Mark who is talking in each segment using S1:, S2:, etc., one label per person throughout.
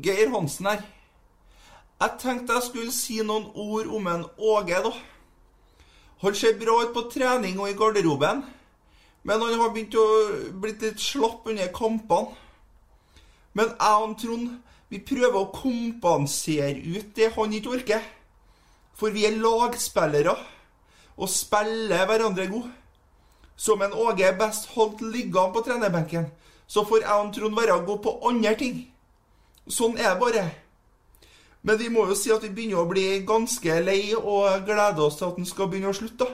S1: Geir Hansen her. Jeg tenkte jeg skulle si noen ord om en Åge, da. Han ser bra ut på trening og i garderoben, men han har begynt å bli litt slapp under kampene. Men jeg og Trond vi prøver å kompensere ut det han ikke orker. For vi er lagspillere og spiller hverandre god. Som en Åge best holdt liggende på trenerbenken, så får jeg og Trond være gode på andre ting. Sånn er det bare. Men vi må jo si at vi begynner å bli ganske lei og gleder oss til at han skal begynne å slutte. da.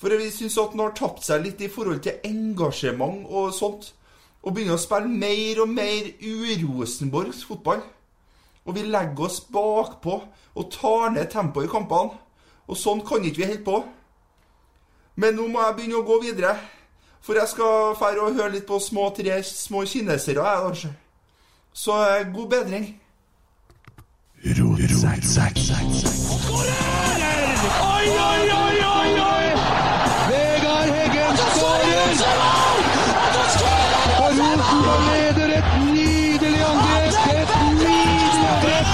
S1: For vi syns at han har tapt seg litt i forhold til engasjement og sånt. Og begynner å spille mer og mer urosenborgs fotball. Og vi legger oss bakpå og tar ned tempoet i kampene. Og sånn kan ikke vi holde på. Men nå må jeg begynne å gå videre. For jeg skal fære og høre litt på små tre små kinesere, altså. jeg, kanskje. Så eh, god bedring.
S2: Oi, oi, oi, oi, oi! Vegard Heggen skårer! Og Rosenborg leder et nydelig angrep! Et nydelig angrep!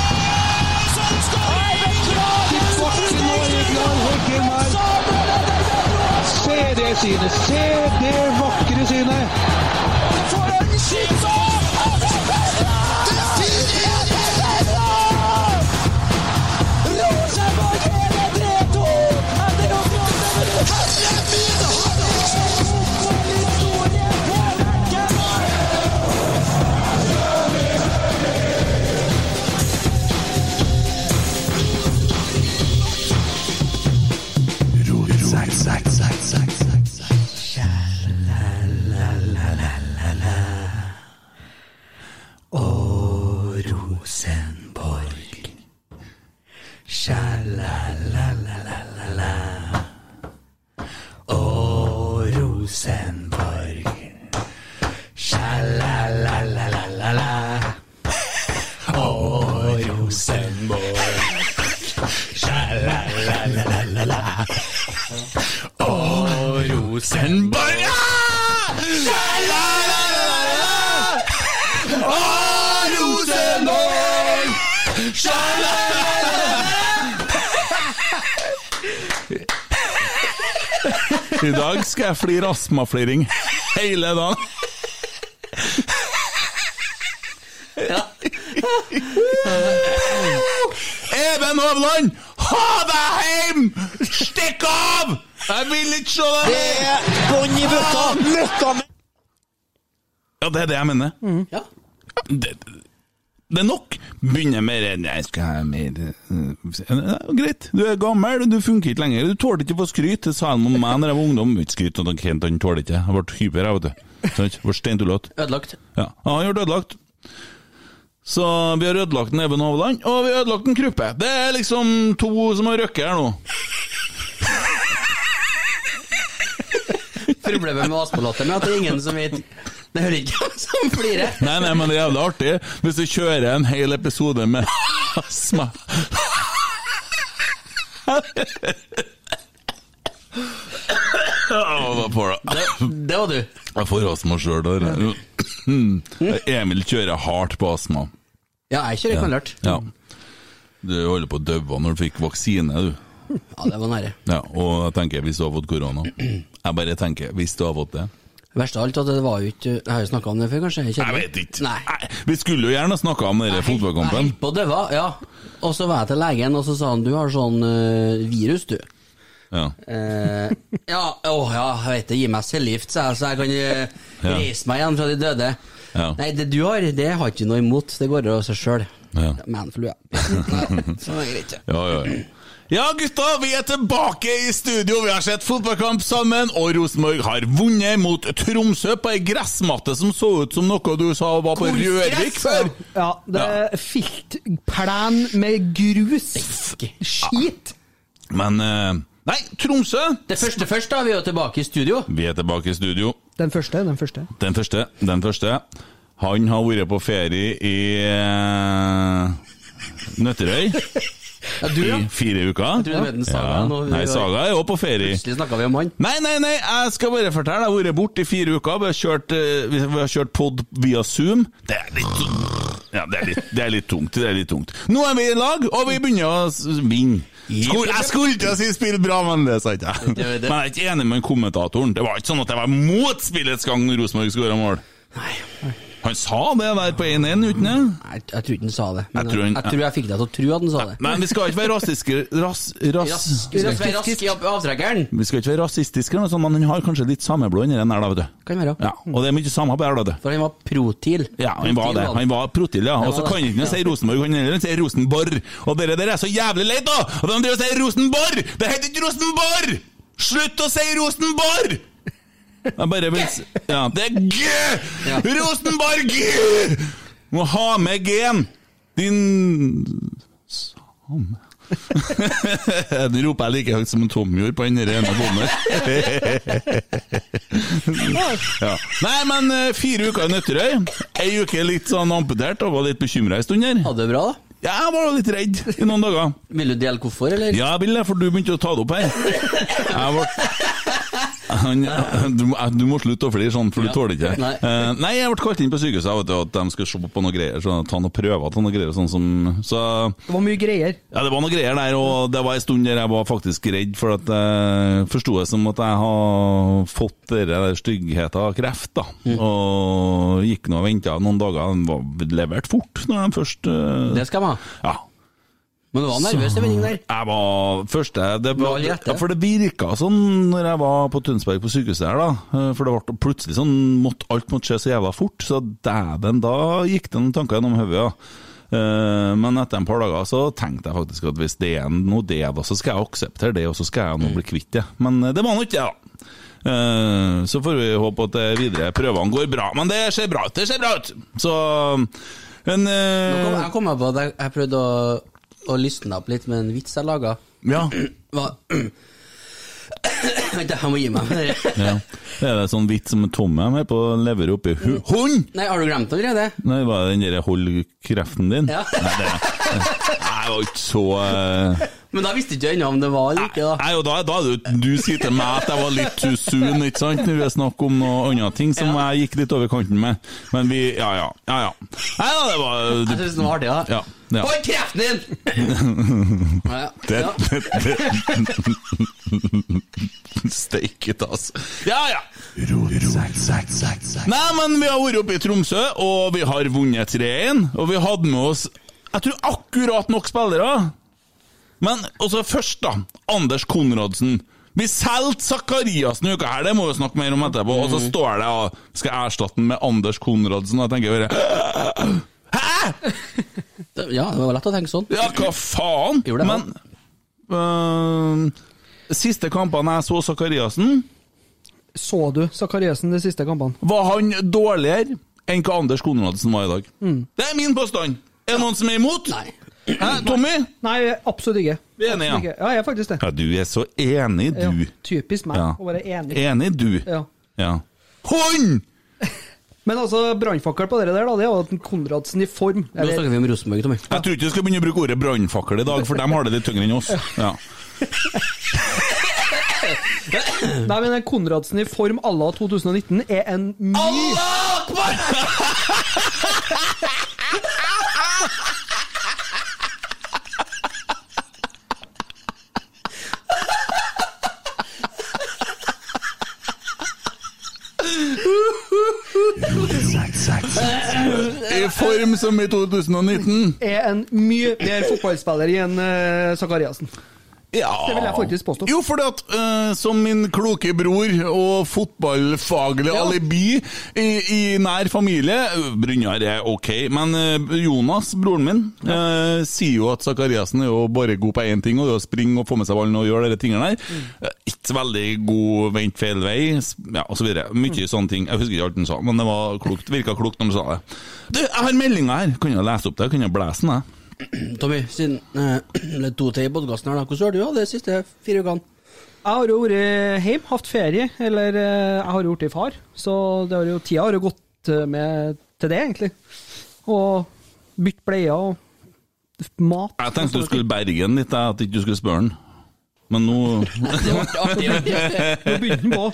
S2: Tilbake nå, Vegard Heggen her. Se det synet! Se det vakre synet!
S3: Rosenborg! I dag skal jeg flire astmafliring hele dagen. Even Hovland, ha deg hjem! Stikk av! Jeg vil ikke se deg mer!
S4: Bånn i bøtta! Møkka med
S3: Ja, det er det jeg mener.
S4: Ja.
S3: Det, det er nok. Begynner mer enn jeg skal ha mer eh, ja, Greit, du er gammel, du funker ikke lenger. Du tålte ikke å få skryt. Det sa han om meg da jeg var ungdom. Ikke skryt av Kent, han tåler ikke. Jeg ble hyper, jeg, vet du. Sant? Ble steintullete.
S4: Ødelagt.
S3: Ja, og han ble ødelagt. Så vi har ødelagt en Even Hovland, og vi har ødelagt en Kruppe. Det er liksom to som har røkket her nå.
S5: Problemet med Aspelatteren er at det er ingen som vet Det hører ikke hvem som flirer.
S3: Nei, nei, men det er jævlig artig hvis du kjører en hel episode med astma. Å, hva får jeg?
S5: Det, det var du. Mm.
S3: Jeg får astma sjøl. Emil kjører hardt på astma.
S5: Ja, jeg kjører knallhardt.
S3: Ja. Du holder på å daue når du fikk vaksine, du.
S5: Ja, det var nære.
S3: Ja, og jeg tenker hvis du har fått korona. Jeg bare tenker hvis du har fått det.
S5: Verst av alt at det var jo ikke Jeg har jo snakka om det før, kanskje? Jeg, kjenner-
S3: Jeg vet ikke.
S5: Nei.
S3: Vi skulle jo gjerne snakka om denne fotballkampen.
S5: Nei, på det var, ja. Og så var jeg til legen, og så sa han du har sånn eh, virus, du.
S3: Ja.
S5: Eh, ja, åh, ja, jeg vet det, gi meg cellegift, sa jeg, så jeg kan eh,
S3: Ja.
S5: reise meg igjen fra de døde.
S3: Ja.
S5: Nei, det du har, det har ikke noe imot, det går av seg sjøl.
S3: Ja.
S5: Manflu, ja. Så det er greit, ja.
S3: Ja, ja, ja. ja, gutta, vi er tilbake i studio. Vi har sett fotballkamp sammen, og Rosenborg har vunnet mot Tromsø på ei gressmatte som så ut som noe du sa var på Rørvik før.
S6: Ja, det er filtplen med grus. Skit.
S3: Men eh, Nei, Tromsø!
S5: Det første først, da. Vi er jo tilbake i studio.
S3: Vi er tilbake i studio.
S6: Den første, den første.
S3: Den første, den første Han har vært på ferie i eh, Nøtterøy
S5: Ja, du, ja.
S3: i fire uker.
S5: trodde du mente Saga nå.
S3: Nei, Saga er jo på ferie.
S5: Plutselig snakka vi om han.
S3: Nei, nei, nei, jeg skal bare fortelle. Jeg har vært borte i fire uker. Vi har kjørt, eh, vi har kjørt pod via Zoom. Det er litt ja, det, er litt, det er litt tungt. Det er litt tungt. Nå er vi i lag, og vi begynner å s- vinne. Skulle, jeg skulle til å si spill bra, men det sa ikke jeg. Men
S5: det-
S3: jeg er ikke enig med kommentatoren. Det var ikke sånn at jeg var mot spillets gang når Rosenborg skåra mål. Han sa det der på 1-1 uten det.
S5: Nei, jeg, jeg tror ikke han sa det. Men
S3: Jeg
S5: jeg
S3: tror
S5: tror
S3: han-
S5: jeg, tror jeg fikk deg til å tro at han sa det.
S3: Men vi skal ikke være rasistiske ras, ras,
S5: Rask, vi skal være rask i av- avtrekkeren.
S3: Vi skal ikke være rasistiske, eller noe sånt, men han har kanskje litt sameblod inni den her, da, vet du.
S5: Kan være.
S3: Ja, og det er mye samer på her, da, vet du.
S5: For han var protil.
S3: Ja, han var det. Han var protil, ja. Og så
S5: det.
S3: kan han ikke si Rosenborg, han kan heller si Rosenborg. Og dere der er så jævlig leit, da! Og de driver og sier Rosenborg! Det heter ikke Rosenborg! Slutt å si Rosenborg! Jeg bare vil s- Ja, det er G!
S5: Ja.
S3: Rosenborg! G! Må ha med G-en! Din Same. Den roper jeg like høyt som en Tommy gjorde på den der ene bommen. Ja. Nei, men eh, fire uker i Nøtterøy. Ei uke litt sånn amputert og var litt bekymra en stund her.
S5: Hadde det bra, da?
S3: Ja, jeg var litt redd i noen dager.
S5: Vil du dele hvorfor, eller?
S3: Ja, jeg ville, for du begynte å ta det opp her. Jeg ble... Han, du, må- du må slutte å flire sånn, for du tåler ikke det.
S5: Nei.
S3: Eh, nei, jeg ble kalt inn på sykehuset vet du, at de skulle se på noen greier, så ta noen prøver til noen greier. Sånn som, så
S6: Det var mye greier.
S3: ja, det var noen greier der, og det var en stund der jeg var faktisk redd, for at jeg forsto det som at jeg har fått den der styggheten av kreft, da.
S5: Mm.
S3: Og gikk nå og venta noen dager. Den var levert fort når den først eh,
S5: Det skal man ha.
S3: Ja.
S5: Men du var nervøs i vendingen der.
S3: Jeg var første det
S5: Med
S3: var,
S5: all rette.
S3: ja, For det virka sånn når jeg var på Tønsberg på sykehuset her, da. Eh, For det ble plutselig sånn måtte, Alt måtte skje så jævla fort, så dæven, da gikk det noen tanker gjennom hodet, ja. Eh, Men etter en par dager så tenkte jeg faktisk at hvis det er noe det, da, så skal jeg akseptere det, og så skal jeg nå bli kvitt det. Men eh, det var nå ikke det, da. Eh, Så får vi håpe at det videre prøvene går bra. Men det ser bra ut, det ser bra ut! Så en, eh,
S5: Nå kom, jeg kom jeg på at jeg, jeg prøvde å, å lysne deg opp litt med en vits jeg laga.
S3: Ja.
S5: Vent, jeg må gi meg.
S3: Ja. Det er det sånn vits som en tomme er med på å levere oppi hu Hund!
S5: Nei, har du glemt det allerede?
S3: Nei, var det den derre hold kreften din?
S5: Ja.
S3: Nei, det Nei, det var ikke så eh,
S5: Men da visste ikke jeg ennå om det var eller ikke. da
S3: Nei, og da, da er det jo- du sier til meg at jeg var litt too soon, ikke sant? Når vi har snakk om noe annet ting som jeg gikk litt over kanten med. Men vi Ja, ja. Ja, ja. Nei da, det var
S5: Jeg synes den var artig, da.
S3: Ja, ja.
S5: Hold kreften din! Ja, ja.
S3: det,
S5: Ja.
S3: det, det. Steike ta, altså. Ja, ja. Nei, men vi har vært oppe i Tromsø, og vi har vunnet 3-1. Og vi hadde med oss Jeg tror akkurat nok spillere. Men også først, da. Anders Konradsen. Vi solgte Zakarias denne uka her, det må vi snakke mer om etterpå. Og så står det og skal jeg erstatte den med Anders Konradsen, og jeg tenker bare Hæ?!
S5: Det- ja, det var lett å tenke sånn.
S3: Ja, hva faen?
S5: Gjorde det,
S3: Men øh, Siste kampene jeg så Sakariassen,
S6: Så du Sakariassen de siste kampene?
S3: var han dårligere enn hva Anders Konradsen var i dag.
S6: Mm.
S3: Det er min påstand! Er det noen som er imot?
S5: Nei.
S3: Hæ, Tommy?
S6: Nei, absolutt ikke.
S3: Vi er enige, ja.
S6: Absolutt ikke. Ja, jeg er faktisk det.
S3: Ja, du er så enig,
S6: Ja,
S3: du.
S6: typisk meg
S3: Ja.
S6: å være enig.
S3: Enig, du.
S6: Ja.
S3: Ja. Hånd!
S6: Men altså, brannfakkel på det der, da, det er jo at Konradsen i form.
S5: Nå
S6: Eller,
S5: snakker vi om Rosenborg, Tommy.
S3: Jeg tror ikke vi skal begynne å bruke ordet brannfakkel i dag, for de har det litt tyngre enn oss. Ja.
S6: nei, men en Konradsen i form à la 2019 er en mye
S3: I form som i 2019.
S6: er en mye bedre fotballspiller enn uh, Sakariassen.
S3: Ja.
S6: Det vil jeg faktisk påstå.
S3: Jo, fordi at eh, som min kloke bror og fotballfaglige
S6: Ja.
S3: alibi i, i nær familie eh, Brynjar er ok, men eh, Jonas, broren min, eh, sier jo at Zakariassen er jo bare god på én ting, og det er å springe og få med seg ballen og gjøre de tingene der.
S6: Mm.
S3: Eh, Ikke veldig god vent feil vei, s- ja, osv. Mye
S6: Mm.
S3: sånne ting. Jeg husker ikke alt han sa, men det var klokt, virka klokt når han sa det. Du, jeg har meldinga her! Kan jeg lese opp det? Kan jeg blæse den? jeg?
S5: Tommy, siden eh, det er to til i podkasten her, da. Hvordan har du hatt det de siste fire ukene?
S6: Jeg har jo vært hjemme, hatt ferie, eller eh, jeg har jo vært i far, så det har jo, tida har jo gått eh, med til det, egentlig. Og bytte bleier og mat.
S3: Jeg tenkte du skulle berge den litt, jeg, at ikke du skulle spørre den. Men nå
S6: Nå begynte den på.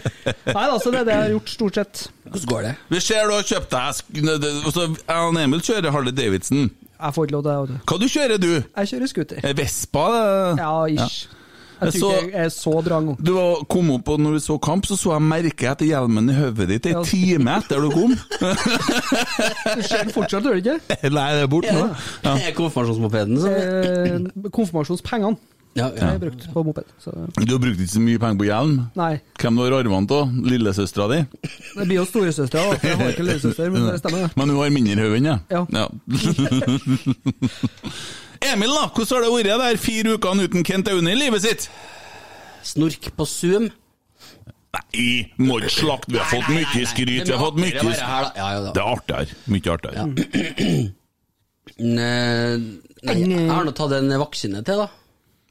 S6: Nei, altså, det er det jeg har gjort stort sett.
S5: Hvordan går det?
S3: Vi ser du har kjøpt deg sk- ne- det- altså, Jeg og Emil kjører Harley Davidson.
S6: Jeg får ikke lov til det. vet du.
S3: Hva du kjører du?
S6: Jeg kjører scooter.
S3: Eh, Vespa? det?
S6: Ja, ish.
S3: Jeg
S6: Jeg tror
S3: så-
S6: ikke jeg er så drang.
S3: Du var- kom opp, og når vi så kamp, så så jeg merket etter hjelmen i hodet ditt
S6: Ja.
S3: en time etter du kom.
S6: Du ser den fortsatt, gjør du ikke?
S3: Nei, det er borte nå. Ja.
S5: Er konfirmasjonsmopeden som
S6: Eh, Konfirmasjonspengene
S5: ja, ja.
S6: jeg har brukt på moped. Så.
S3: Du har brukt ikke så mye penger på hjelm.
S6: Nei.
S3: Hvem du har arvene av? Lillesøstera di?
S6: Det blir jo storesøstera, da. for Jeg har ikke lillesøster, men det stemmer, det.
S3: Men hun har mindre hode enn jeg.
S6: Ja.
S3: Emil, da, hvordan har det vært der fire ukene uten Kent Aune i livet sitt?
S5: Snork på Zoom.
S3: Nei, må ikke slakte. Vi har fått mye skryt. Vi har fått mye
S5: Det er her, da. Ja, ja, da.
S3: Det er artigere. Mye artigere.
S5: Nei, eh, nei, jeg har nå tatt en vaksine til, da.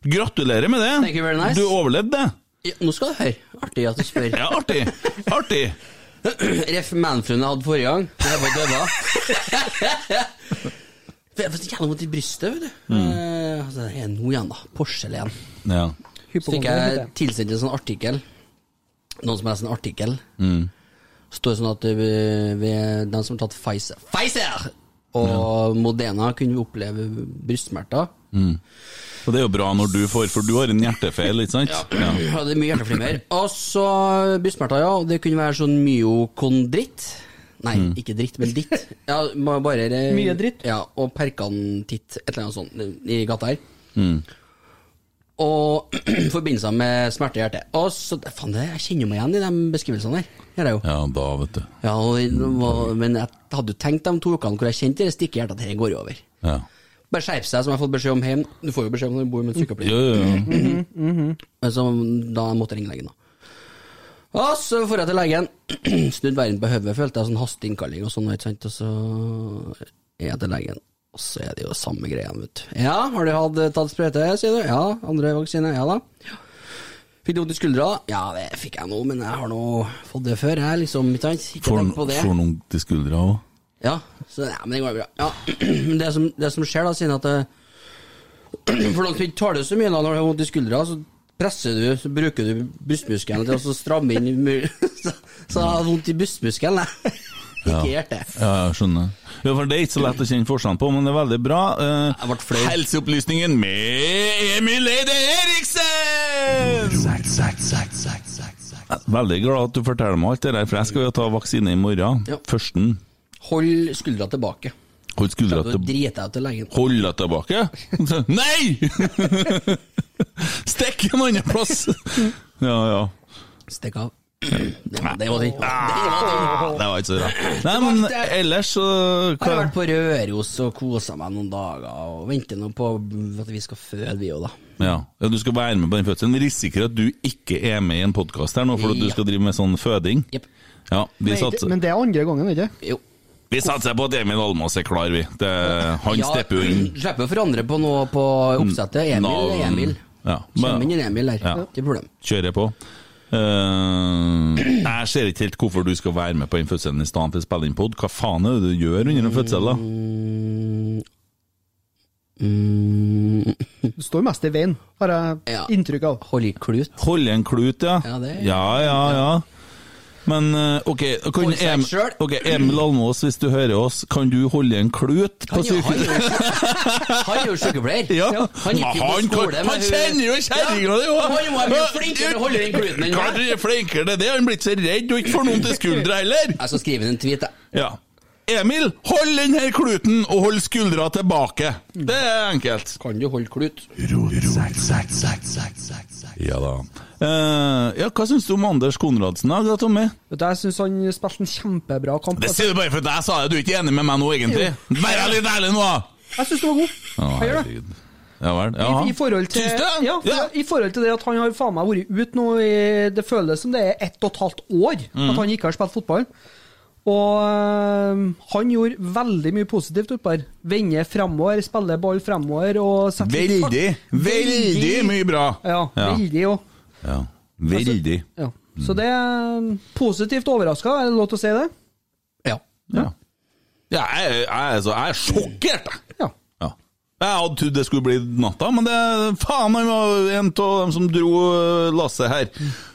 S3: Gratulerer med det.
S5: Thank you very nice.
S3: Du overlevde det.
S5: Ja, nå skal du høre. Artig at du spør.
S3: Ja, artig. Artig.
S5: Ref. Manfruen jeg hadde forrige gang. Jeg var døda. For Jeg får så jævla vondt i brystet, vet du.
S3: Mm.
S5: Eh, altså, det er noe igjen, da. Porselen.
S3: Ja.
S5: Så fikk
S6: Hypokonder heter
S5: jeg
S6: det.
S5: tilsendt en sånn artikkel. Noen som leser en artikkel. Står sånn at eh, ved den som har tatt Pfizer Pfizer! Og Modena kunne oppleve brystsmerter.
S3: Og det er jo bra når du får, for du har en hjertefeil, ikke sant? Ja.
S5: Hadde mye hjerteflimmer. Og så brystsmerter, ja. og Det kunne være sånn myokondritt. Nei, ikke dritt, men ditt. Ja, ma- bare, eh,
S6: Mye dritt.
S5: Ja, Og perkantitt, et eller annet sånt, i gata her. Og forbindelser med smerte i hjertet. Og så, faen, det, Jeg kjenner meg igjen i de beskrivelsene der. Gjør jeg jo.
S3: ja, da, vet du.
S5: Ja, og, det var- men jeg hadde jo tenkt de to ukene hvor jeg kjente det stikket i hjertet, at dette går jo over.
S3: Ja.
S5: Bare skjerp seg, som jeg har fått beskjed om hjemme. Du får jo beskjed om når du bor med en sykepleier.
S3: Jo, jo, jo.
S5: Mhm. Men Så da måtte jeg ringe legen, da. Og så dro jeg til legen. Snudd verden på hodet, følte jeg. Sånn hasteinnkalling og sånn, ikke sant. Og så er jeg til legen, og så er det jo samme greia, vet du. Ja, har du hatt eh, tatt sprøyte, sier du? Ja. Andre vaksine? Ja da. Fikk du vondt i skuldra? Ja, det fikk jeg nå, men jeg har nå fått det før, jeg, liksom. Ikke sant? Ikke
S3: Får
S5: tenk på det.
S3: får noen til skuldra òg.
S5: Ja, så ja, men det går bra. Ja, men det som, det som skjer da, siden at det, For noen som ikke tåler så mye da, når du har vondt i skuldra, så presser du, så bruker du brystmuskelen til å så stramme inn mu- Så, så jeg har vondt i brystmuskelen, jeg. Ikke i hjertet.
S3: Ja, jeg skjønner. Ja, for Det er ikke så lett å kjenne forskjellen på, men det er veldig bra. Eh,
S5: Jeg ble flau.
S3: Helseopplysningen med Emil Eide Eriksen! Jeg er Veldig glad at du forteller meg alt det der, for jeg skal jo ta vaksine i morgen.
S5: Ja.
S3: Førsten.
S5: Hold skuldra tilbake.
S3: Hold skuldra
S5: Da
S3: til...
S5: driter jeg ut til legen.
S3: Hold deg tilbake? Nei! Stikk en annen plass! Ja, ja.
S5: Stikk av. Det var det. var det. Det
S3: Ah.
S5: var det.
S3: Det var ikke så bra. Nei, men ellers så
S5: Jeg har
S3: hva?
S5: vært på Røros og kosa meg noen dager, og venter nå på at vi skal føde, vi òg, da.
S3: ja. ja, du skal være med på den fødselen. Vi risikerer at du ikke er med i en podkast her nå, for at du
S5: Ja.
S3: skal drive med sånn føding.
S5: Jepp.
S3: Ja, vi satser.
S6: Men det er andre gangen, vet du.
S5: Jo.
S3: Vi satser på at Emil Almås er klar, vi. Det, han
S5: Ja,
S3: stepper jo inn.
S5: Slipper å forandre på noe på oppsettet. Emil
S3: Navn.
S5: er Emil.
S3: Ja,
S5: Kjem
S3: mm. men-
S5: inn en Emil der,
S3: Ja.
S5: ikke problem.
S3: Kjører på. Eh, jeg ser ikke helt hvorfor du skal være med på den fødselen i stedet til å spille inn pod. Hva faen er det du gjør under en fødsel, da?
S5: Mm,
S6: Du står mest i veien, har jeg
S5: Ja.
S6: inntrykk av.
S5: Hold i klut.
S3: Holde en klut, ja.
S5: Ja, det-
S3: ja, ja, ja. Men eh, OK, kan
S5: Holde seg
S3: Em-
S5: selv.
S3: ok, Emil Almås, hvis du hører oss, kan du holde en klut på
S5: Han, er jo- han,
S3: sykehuset?
S5: er jo- han er jo sykepleier.
S3: Ja.
S5: Han gikk jo på
S3: Men kan-
S5: skole
S3: han
S5: med hun-
S3: kjenner jo kjerringa, det jo!
S5: Ja, Han var mye flinkere til å holde den kluten enn
S3: Klart
S5: meg.
S3: han er flinkere til det, han blir ikke så redd og ikke får noen til skuldra heller!
S5: Jeg skal skrive en tweet, jeg.
S3: Ja. Emil, hold den her kluten, og hold skuldra tilbake. Det er enkelt.
S5: Kan du holde klut?
S3: Ja da. Eh, ja, hva syns du om Anders Konradsen da, Tommy?
S6: Vet du, Jeg syns han spilte en kjempebra kamp.
S3: Det
S6: Jeg
S3: sier du bare for at jeg sa det, du er ikke enig med meg nå, egentlig? Vær litt ærlig nå!
S6: syns du var god. Jeg gjør det.
S3: Ja vel.
S6: I, I, forhold til,
S3: Syns du?
S6: ja, for, I forhold til det at han har faen meg vært ute nå i Det føles som det er ett og et halvt år
S3: Mm.
S6: at han ikke har spilt fotball. Og øhm, han gjorde veldig mye positivt oppe her. Vender fremover, spiller ball fremover og setter litt fart.
S3: Veldig, veldig mye bra.
S6: Ja, veldig òg.
S3: ja. Veldig.
S6: Ja.
S3: Mm.
S6: Så det er øhm, positivt overraska, er det lov til å si det?
S5: Ja.
S3: Ja. ja jeg, jeg, er så- jeg er sjokkert, jeg.
S6: Ja.
S3: Ja. Jeg hadde trodd det skulle bli natta, men det faen, han var en av dem som dro eh, lasset her.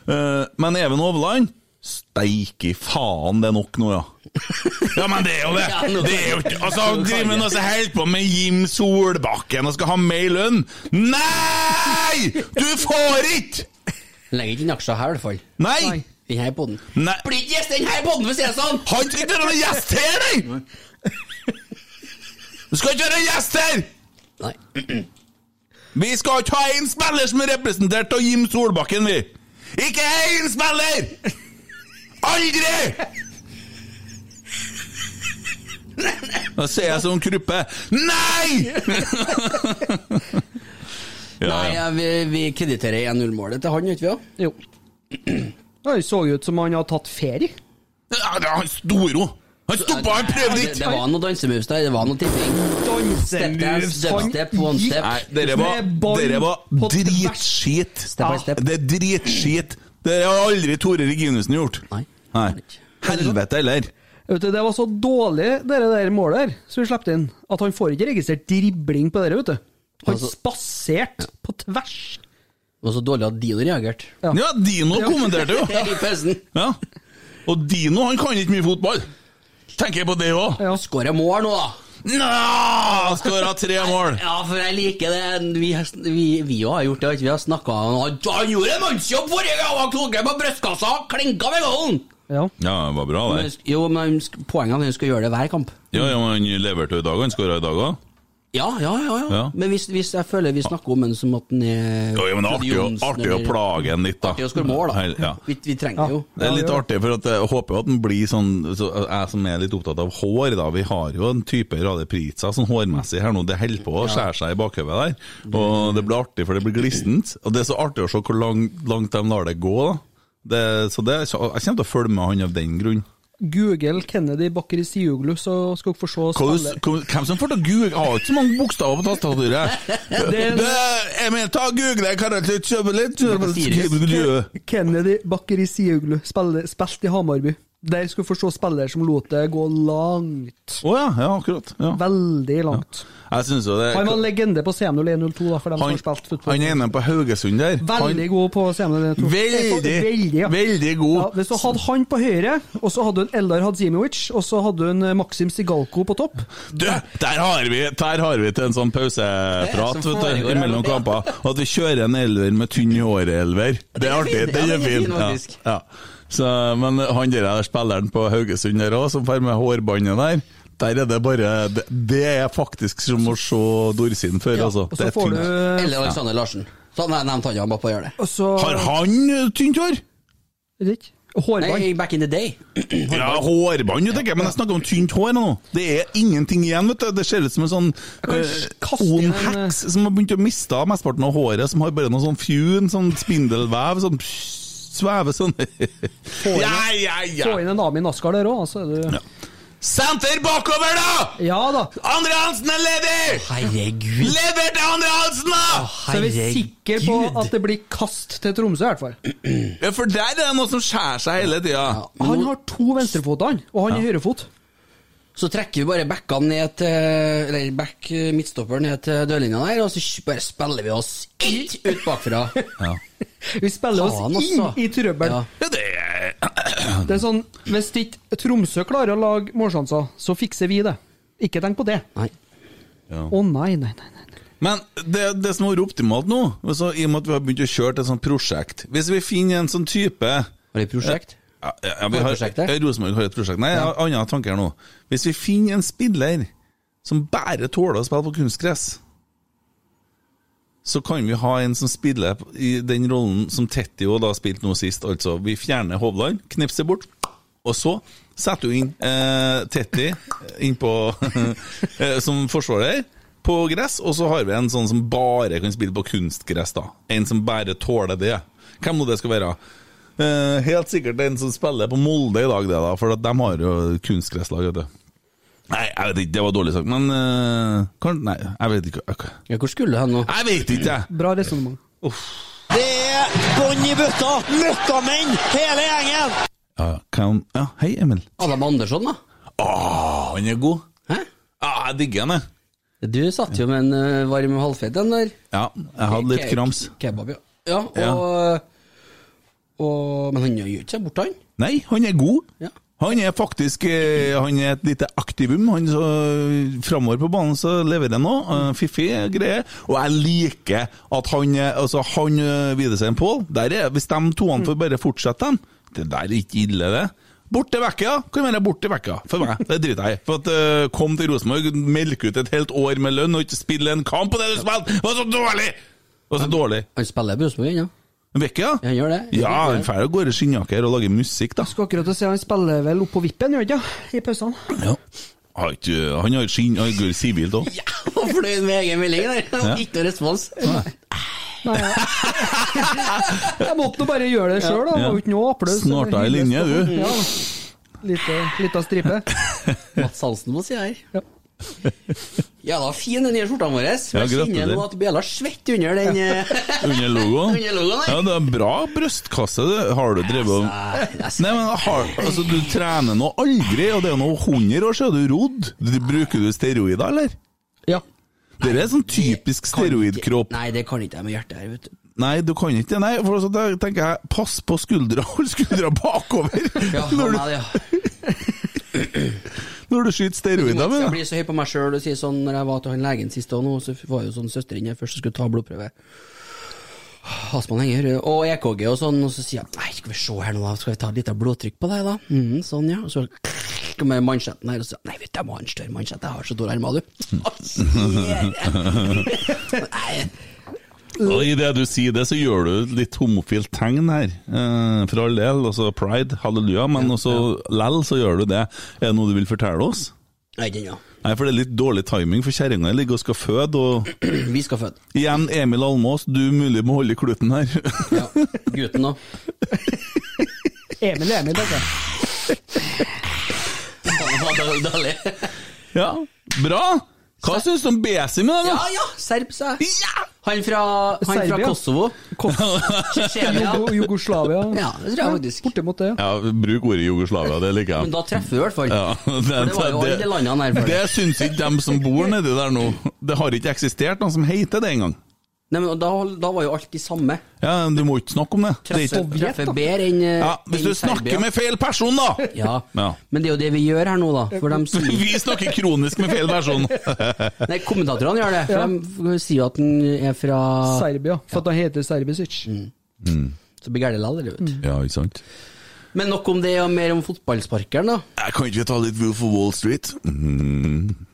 S3: Eh, men Even Hovland Steike faen, det er nok nå, ja. Ja, men det er jo det! Det er jo ikke Altså, han driver med noe som holder på med Jim Solbakken og skal ha mer lønn. Nei! Du får ikke!
S5: Legg ikke inn aksjer her, i hvert fall.
S3: Nei!
S5: Den her podden.
S3: Nei.
S5: Blir ikke gjest i den her podden, for å si det sånn!
S3: Han skal ikke være noen gjest her, nei! Du skal ikke være noen gjest her!
S5: Nei.
S3: Vi skal ikke ha én spiller som er representert av Jim Solbakken, vi! Ikke én spiller! Aldri! Da ser jeg som Kruppe Nei! ja,
S5: Nei,
S3: ja.
S5: ja, vi, vi krediterer 1-0-målet til han, gjør ikke vi da?
S6: Jo. Det så jo ut som han hadde tatt ferie.
S3: Ja, det er Han Storo! Han stoppa, han prøvde
S5: Det, det
S3: ikke!
S5: var noe dansemoves der, det var noe tipping. Step dance,
S6: Dansemoves!
S5: step step, one step.
S3: Nei, dere var,
S6: sånn Med bånd
S3: dere var
S6: på tvers.
S3: dritskit.
S5: Step by step.
S3: Det er dritskit. Det har aldri Tore Reginussen gjort.
S5: Nei.
S3: Nei. Helvete heller.
S6: Vet du, Det var så dårlig, det der målet der, som vi slapp inn, at han får ikke registrert dribling på det, vet du. Han
S5: Altså-
S6: spaserte på tvers.
S5: Det var så dårlig at Dino reagerte.
S6: Ja.
S3: Ja, Dino kommenterte jo.
S5: I pausen.
S3: Ja. Og Dino han kan ikke mye fotball. Tenker jeg på det òg.
S6: Ja.
S5: Skårer jeg mål nå, da?
S3: Nå Skåra tre mål!
S5: Ja, for jeg liker det. Vi har- vi- vi òg har gjort det. ikke? Vi har snakka Han han gjorde en mannsjobb forrige gang! Han tok den på brystkassa og klinka med gålen!
S6: Ja.
S3: Ja, det var bra, det.
S5: Jo, men poenget er at han skal gjøre det hver kamp.
S3: Ja, ja, men Han leverte jo i dag, han skåra i dag òg.
S5: Ja, ja, ja. ja.
S3: Ja.
S5: Men hvis, hvis jeg føler vi snakker om en som at den er
S3: Ja, ja, men det er
S5: Freddy
S3: artig, å-
S5: Johnsen
S3: artig å
S5: eller-
S3: plage han litt, da.
S5: Artig å skåre mål, da.
S3: Hel- Ja.
S5: Vi, vi trenger det jo.
S3: Det er litt
S6: Ja, gjør
S3: artig, for at jeg håper jo at den blir sånn så Jeg som er litt opptatt av hår, da. Vi har jo en type radiopriser sånn hårmessig her nå. Det holder på å skjære seg i bakhodet der.
S6: Mm.
S3: Og det blir artig, for det blir glissent. Og det er så artig å se hvor lang, langt de lar det gå, da. Det, så det, så jeg kommer til å følge med han av den grunn.
S6: Google Kennedy Bakkeri Siuglu, så skal dere få se
S3: Hva du s-
S6: spillet.
S3: hva- Hvem som får til å google? Jeg har ikke så mange bokstaver på tastaturet.
S6: Det-
S3: Det- Emil, ta og google Karatic Søbelit. Nei,
S6: Kennedy Bakkeri Siuglu, spiller- spilt i Hamarby. Der skal dere få se spillere som lot det gå langt.
S3: Å ja, ja, akkurat. Ja.
S6: Veldig langt.
S3: Jeg synes jo det
S6: Han var en legende på CM0102, da, for dem som har spilt
S3: han
S6: fotball.
S3: ene på Haugesund der
S6: Veldig god på CM0102.
S3: Veldig,
S6: Veldig, ja.
S3: veldig god.
S6: Ja, hvis du hadde han på høyre, og så hadde du en Eldar Hadzimovic, og så hadde du en eh, Maxim Sigalko på topp
S3: Du, der har vi, der har vi til en sånn pauseprat
S5: Det er som
S3: vet du,
S5: foregår her
S3: mellom
S5: nå.
S3: kamper. Og At vi kjører en elver med tynn i håret-elver. Det er artig.
S5: fin.
S3: Den
S5: Ja,
S3: er
S5: den er
S3: fin.
S5: fin,
S3: Ja,
S5: faktisk.
S3: ja. Så, men han der er spilleren på Haugesund der òg, som får med hårbåndet der. Der er det bare Det, det er faktisk som å se Dorsin før, altså.
S6: Og
S3: Det
S6: så
S3: er
S6: får du
S3: tynt.
S5: Eller Alexander Larsen. Sånn jeg nevnte han, han bare på å gjøre det.
S6: og så,
S3: Har han eh, tynt hår?
S6: Vet ikke. Hårbånd.
S5: Nei, back in the day.
S3: Ja, hårbånd, jo, tenker jeg, men jeg snakker om tynt hår nå. Det er ingenting igjen, vet du. Det ser ut som en sånn
S6: kan
S3: eh,
S6: kaste inn
S3: ond
S6: en, eh,
S3: heks som har begynt å miste av mesteparten av håret, som har bare noe sånn fjun, sånn spindelvev, sånn svever sånn
S6: inn-
S3: Ja, ja,
S6: Få
S3: ja!
S6: inn en Amin Asgaard der òg, så er du
S3: Ja. Senter bakover, da!
S6: altså. Ja da.
S3: Andre Hansen er ledig!
S5: Herregud.
S3: Lever til Andre Hansen, da!
S6: Så er vi sikre på at det blir kast til Tromsø, i hvert fall.
S3: Ja, for der er det noe som skjærer seg hele tida.
S6: Han har to venstrefoter, han, og han er høyrefot.
S5: Så trekker vi bare backene ned til Eller back eh, midtstopper ned til dørlinja der, og så sk- bare spiller vi oss ikke ut bakfra.
S3: Ja.
S6: Vi spiller oss
S5: Faen,
S6: inn
S5: altså.
S6: i trøbbel.
S5: Ja.
S3: Ja, det er
S6: Det er sånn, Hvis ikke Tromsø klarer å lage målsjanser, så fikser vi det. Ikke tenk på det.
S5: Nei.
S6: Å nei, nei, nei. nei.
S3: Men det, det som har vært optimalt nå, altså, i og med at vi har begynt å kjøre til et sånt prosjekt Hvis vi finner en sånn type
S5: Har de prosjekt?
S3: ja, ja, ja, vi
S5: Har
S3: har,
S5: et prosjekt der?
S3: ja, Rosenborg har et prosjekt. Nei, jeg har andre tanker nå. Hvis vi finner en spiller som bare tåler å spille på kunstgress, så kan vi ha en som spiller i den rollen som Tetti og da spilte nå sist. Altså, vi fjerner Hovland, knipser bort, og så setter du inn eh, Tetti inn på, eh, som forsvarer på gress, og så har vi en sånn som bare kan spille på kunstgress, da. En som bare tåler det. Hvem nå det skal være? Eh, helt sikkert en som spiller på Molde i dag, det da, for at de har jo kunstgresslag, vet du. Nei, jeg vet ikke, det var dårlig sagt, men eh, kan, Nei, jeg vet ikke. Jeg,
S5: Ja, hvor skulle du hen nå?
S3: jeg vet ikke, jeg!
S6: Bra resonnement.
S4: Det er bånn i bøtta! Møkkamenn, hele gjengen!
S3: Ja, kan, ja, hei, Emil.
S5: Adam Andersson, da?
S3: Åh, han er god.
S5: Hæ?
S3: Ja, jeg digger han, jeg.
S5: Du satt jo med en eh, varm halvfeit en der.
S3: Ja, jeg hadde litt
S5: Ke-
S3: krams.
S5: Kebab, ja. ja, og, og Men han gjør jo ikke seg bort, han.
S3: Nei, han er god.
S5: Ja.
S3: Han er faktisk eh, Han er et lite aktivum. Han så Framover på banen så leverer han nå. eh, Fiffig greie. Og jeg liker at han eh, Altså, han eh, Widersein Pål der er- Hvis de toene får bare fortsette, dem Det der er ikke ille, det. Bort til vekka! Kan være bort til vekka, for meg. Det driter jeg i. For at eh, Kom til Rosenborg, melke ut et helt år med lønn og ikke spille en kamp på det du spilte! Det var så dårlig! Det var så dårlig.
S5: Han spiller i Rosenborg ennå.
S3: Vekka?
S5: Ja, han gjør det.
S3: Ja, han drar og går i skinnjakker og lager musikk, da.
S6: Skal akkurat å se, han spiller vel opp på vippen, gjør han ikke? I pausene.
S3: Ja. Har ikke, han har skinn, han går sivilt òg.
S5: Ja, og fornøyd med egen melding der. Ikke noe respons.
S6: Nei, ja. Jeg måtte nå bare gjøre det sjøl, da. Det var jo ikke noe applaus.
S3: Snart er jeg i linje, du.
S6: Ja. Lite, lita stripe.
S5: Mats Hansen må si her.
S6: Ja.
S5: Ja da, fin den nye skjorta vår. Jeg kjenner
S3: gratulerer.
S5: nå at bjella svetter under den eh,
S3: Under logoen.
S5: Under logoen, nei.
S3: Ja, det er bra brystkasse, det har du drevet om.
S5: Nei, altså.
S3: Nei, men har, altså, du trener nå aldri, og det er nå 100 år siden du rodd. Du- Bruker du steroider, eller?
S6: Ja.
S3: Det er sånn typisk
S5: Kan ikke-
S3: steroidkropp.
S5: Nei, det kan ikke jeg med hjertet her, vet du.
S3: Nei, du kan ikke det. Nei, for altså, da tenker jeg, pass på skuldra, hold skuldra bakover
S5: Ja,
S3: når,
S5: nei,
S3: du,
S5: ja.
S3: når du skyter steroider
S5: Jeg
S3: med det.
S5: blir så høy på meg sjøl og sier sånn Når jeg var til han legen sist og nå, så var jo sånn søsteren jeg først skulle ta blodprøve. Astmaanhenger og EKG og sånn, og så sier jeg Nei, skal vi se her nå, da. Skal vi ta litt av blodtrykk på deg, da? Mhm, sånn, ja. Og så kommer mansjetten her og sier Nei, vet du, jeg må ha en større mansjett. Jeg har så dårlige armer, du. Å, sier jeg. Nei,
S3: Og I det du sier det, så gjør du et litt homofilt tegn her. Eh, for all del, altså pride, halleluja, men også lell så gjør du det. Er det noe du vil fortelle oss?
S5: Nei, den, ja.
S3: Nei, for det er litt dårlig timing, for kjerringa ligger og skal føde, og
S5: Vi skal føde.
S3: igjen, Emil Almås, du mulig må holde i kluten her.
S5: Ja, gutten da.
S6: Emil er Emil, vet du.
S5: Han var dårlig- dårlig.
S3: ja, bra! Hva syns du om Besim i dag,
S5: Ja
S3: da?
S5: ja, serb, sa jeg.
S3: Ja!
S5: Han fra, han fra
S6: Serbia.
S5: Kosovo. Tsjetsjenia.
S6: Jo- Jugoslavia.
S5: Ja, det tror jeg faktisk.
S6: Borte mot det.
S3: Ja, bruk ordet Jugoslavia, det liker
S5: Men
S3: jeg.
S5: da treffer du i hvert fall.
S3: Ja, det,
S5: det var jo alle landene her før.
S3: det syns ikke dem som bor nedi der nå. Det har ikke eksistert noen som heter det engang.
S5: Nei, men da, da var jo alt de samme.
S3: Ja, du må ikke snakke om det. det er ikke...
S5: Treffer, treffer bedre enn eh,
S3: Ja, Hvis
S5: enn
S3: du snakker
S5: Serbia.
S3: med feil person, da!
S5: ja.
S3: Ja.
S5: men det er jo det vi gjør her nå, da. For de sier,
S3: Vi snakker kronisk med feil person.
S5: nei, kommentatorene gjør det. For de sier jo at den er fra Mm.
S6: Serbia. For at han heter Serbisic.
S3: Mm.
S5: Så blir gærent likevel, det,
S6: Mm.
S5: vet
S3: Ja, ikke sant?
S5: du. Men nok om det, og mer om fotballsparkeren, da.
S3: Jeg Eh, kan ikke vi ta litt Wolf of Wall Street? Mm.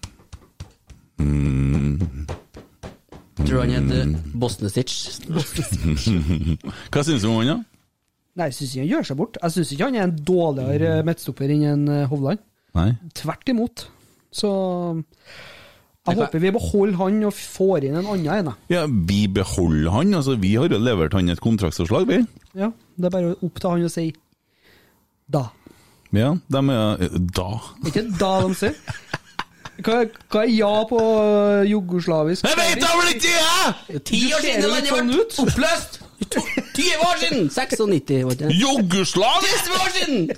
S5: Tror du han heter
S3: Mm.
S5: Bosnestic?
S3: Hva syns du om han, da?
S6: Nei, jeg syns ikke han gjør seg bort. Jeg syns ikke han er en dårligere
S5: Mm.
S6: midtstopper enn en eh, Hovland.
S3: Nei.
S6: Tvert imot. Så
S5: Det
S6: jeg
S5: kan-
S6: håper vi beholder han og får inn en annen en. jeg.
S3: Ja, Vi beholder han. altså Vi har jo levert han et kontraktsforslag, vi.
S6: Ja, det er bare opp til han å si da.
S3: Ja, de er eh, Da.
S6: Det er ikke da de sier. Hva, hva er ja på øh, jugoslavisk?
S3: Jeg vet da vel ikke, jeg!
S5: Ti år siden landet
S6: sånn
S5: ble
S6: ut.
S5: oppløst! To- 20 år siden! 96, var det ikke?
S3: Jugoslav!
S5: 30 år siden!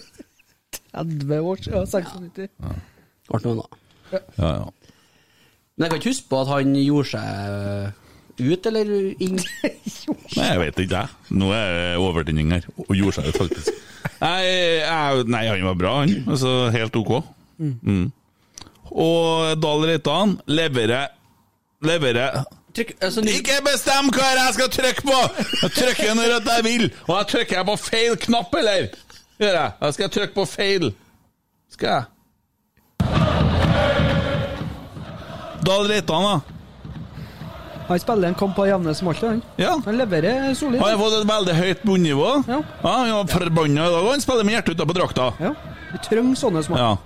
S6: 30 år siden. 96.
S5: Ble noe annet.
S3: Ja, ja.
S5: Men jeg kan ikke huske på at han gjorde seg ut eller inn.
S3: Nei, jeg vet ikke, jeg. Nå er det overtenning her. Og gjorde seg det faktisk. Nei, jeg, nei, han var bra, han. Altså, helt ok. Mm. Og Dahl Reitan leverer leverer
S5: Trykk, altså, ny-
S3: Ikke bestem hva jeg skal trykke på! Jeg trykker når at jeg vil, og jeg trykker jeg på feil knapp, eller? Gjør jeg? Jeg skal trykke på feil. Skal jeg? Dahl Reitan, da.
S6: Han spiller en kamp på jevne som alltid, han.
S3: Ja.
S6: Han leverer solid.
S3: Han har fått et veldig høyt bunnivå.
S6: Ja.
S3: han var forbanna i dag, og han spiller med hjertet utapå drakta.
S6: Ja. Vi trenger sånne som han.
S3: Ja.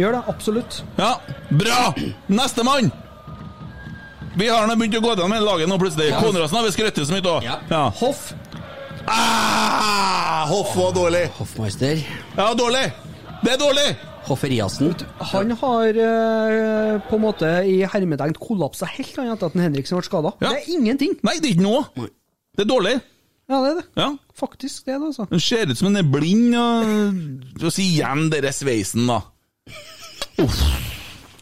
S6: Gjør det, absolutt.
S3: ja. Bra! Nestemann! Vi har nå begynt å gå gjennom hele laget nå, plutselig. Konradsen har vi skrøtt så mye av.
S5: Ja.
S3: Ja.
S6: Hoff.
S3: Ah, Hoff var dårlig.
S5: Hoffmeister.
S3: Ja, dårlig! Det er dårlig!
S5: Hofferiassen.
S6: Han har eh, på en måte i hermetegn kollapsa helt han, etter at den Henriksen ble skada.
S3: Ja.
S6: Det er ingenting.
S3: Nei, det er ikke noe. Det er dårlig.
S6: Ja, det er det.
S3: Ja.
S6: Faktisk det, er det, altså.
S3: Den ser ut som den er blind, og, og si igjen dere sveisen, da. Uff.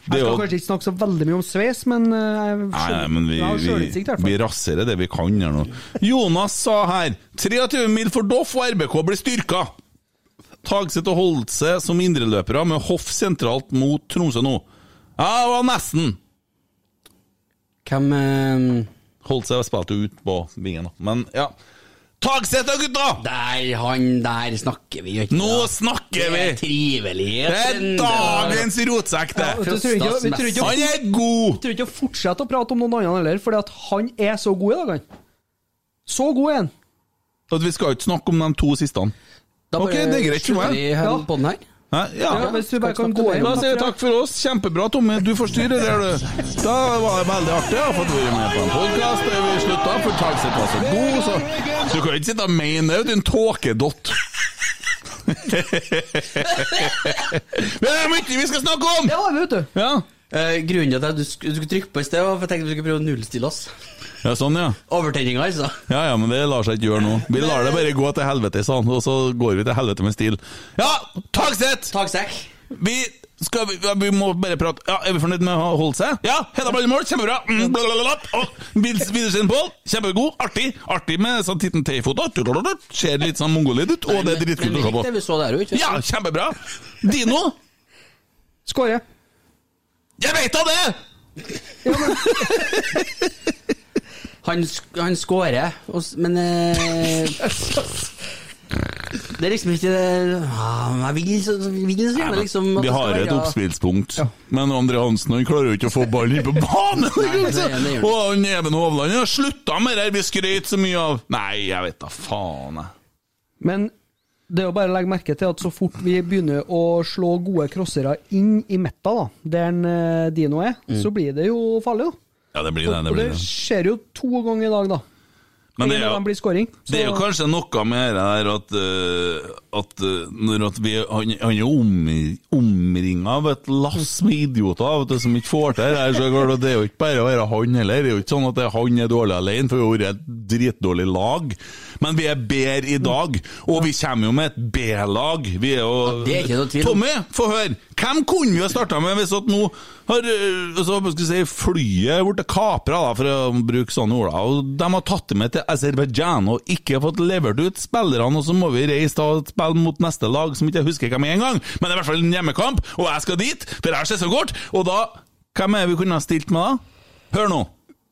S3: Det
S6: Jeg
S3: er
S6: skal
S3: jo
S6: kanskje ikke snakke så veldig mye om sveis, men eh, jeg
S3: Nei, nei, men vi,
S6: jeg har
S3: vi,
S6: sjølinnsikt, i hvert
S3: vi
S6: fall.
S3: raserer det vi kan her nå. Jonas sa her 23 mil for Doff og RBK blir styrka. Tagseth og Holtse som indreløpere med Hoff sentralt mot Tromsø nå. Ja, det var nesten.
S5: Hvem eh,
S3: Holtse spilte jo ut på vingen, da. Men ja. Tagseth og gutta!
S5: Der, han der snakker vi jo ikke.
S3: Nå
S5: da. Det
S3: snakker vi!
S5: er trivelighet.
S3: Det er
S5: men det var-
S3: dagens rotsekk,
S6: Ja, vet du,
S3: det.
S6: vi trenger ikke- vi trenger ikke-
S3: Han er god!
S6: Jeg tror ikke å fortsette å prate om noen annen heller, fordi at han er så god i dag, han. Så god er han.
S3: At vi skal ikke snakke om de to siste.
S5: Da bare
S3: Ok, det er greit for meg.
S5: slutter vi her
S6: Ja.
S5: på den her.
S3: Hæ? Ja.
S6: Ja, hvis vi bare kan gå
S3: Da
S6: inn
S3: sier vi takk for oss. Kjempebra, Tommy. Du forstyrrer der, du. Da var det veldig artig å ha fått være med på en podkast der vi slutta, for Tagseth var så god, så Du kan ikke sitte og mene det, din tåkedott. Det er mye vi skal snakke om!
S6: Det var vi, vet du.
S3: Ja,
S5: Eh, grunnen til at du, sk du skulle trykke på i sted, var for jeg tenkte du skulle prøve å nullstille oss.
S3: ja sånn, ja.
S5: Overtenninga, altså.
S3: Ja, ja, men det lar seg ikke gjøre nå. Vi lar det bare gå til helvete, sa han, og så går vi til helvete med stil. Ja, Tagseth!
S5: Taksekk.
S3: Vi skal vi, ja, vi må bare prate ja, Er vi fornøyd med å holde seg? Ja! Hedda Ballemål, kjempebra! Mm, blablabla. Og Nils Widersen Pål, kjempegod! Artig! Artig med sånn titten T-foto. Ser litt sånn mongolid ut, og det er dritkult å se
S5: Det
S3: på.
S5: vi så der jo, ikke
S3: Ja, kjempebra! Dino!
S6: Skåre.
S3: Jeg veit da det!
S5: Han, sk han scorer, og s- men eh, Det er liksom ikke det ah, Jeg vil så, så vil så gjerne liksom
S3: Vi
S5: at det skal
S3: har et
S5: være-
S3: oppspillspunkt, men André Hansen han klarer jo ikke å få ballen inn på banen!
S5: Nei, det er det.
S3: Og han Even Hovland har slutta med det her vi skrøt så mye av! Nei, jeg vet da faen, jeg.
S6: Men det er jo bare å legge merke til at så fort vi begynner å slå gode crossere inn i metta, da, der en, eh, Dino er, så blir det jo farlig, da.
S3: Mm. Ja, det blir det. det
S6: Og det
S3: blir det.
S6: skjer jo to ganger i dag, da.
S3: Men det er
S6: En av
S3: jo
S6: dem blir scoring. Så-
S3: Det er jo kanskje noe med det her at, eh, at eh, når at vi, han, han er omri- omringa av et lass med idioter vet du, som ikke får til det her. så er det klart at Det er jo ikke bare å være han heller. Det er jo ikke sånn at det er han er dårlig alene, for vi har vært et dritdårlig lag. Men vi er bedre i dag, og vi kommer jo med et B-lag. Vi er jo
S5: det er ikke noe tvil om.
S3: Tommy, få høre! Hvem kunne vi ha starta med hvis at nå har øh, altså, hva skal jeg si, flyet blitt kapra, da, for å bruke sånne ord? da, og De har tatt det med til Aserbajdsjan og ikke fått levert ut spillerne, og så må vi reise da og spille mot neste lag som ikke jeg husker hvem er engang, men det er i hvert fall en hjemmekamp, og jeg skal dit, for jeg ser så kort, og da Hvem er det vi kunne ha stilt med da? Hør nå!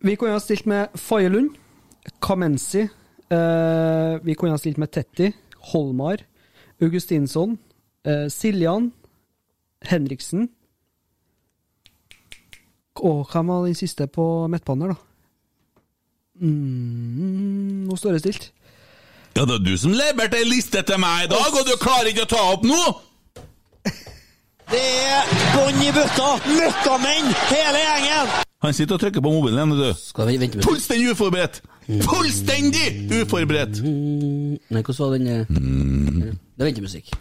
S6: Vi kunne ha stilt med Faye Lund, Kamenzi, eh, vi kunne ha stilt med Tetti, Holmar, Augustinsson, eh, Siljan, Henriksen Og hvem var den siste på midtbanen her, da? Mm, nå står det stilt.
S3: Ja, det er du som leverte ei liste til meg i dag, og du klarer ikke å ta opp nå!
S4: Det er bånn i bøtta. Møkkamenn, hele gjengen.
S3: Han sitter og trykker på mobilen igjen, vet du.
S5: Skal vi vente med
S3: Fullstendig uforberedt! Fullstendig uforberedt! Mm.
S5: Nei, hvordan var den eh, Det er ventemusikk.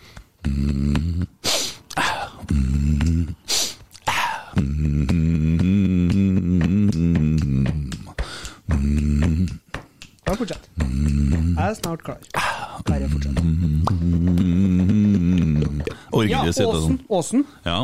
S6: Bare fortsett. Jeg er snart klar. Bare fortsett.
S3: Mm-hmm. Orker
S6: Ja,
S3: ikke sitte
S6: Åsen.
S3: sånn.
S6: Åsen.
S3: Ja.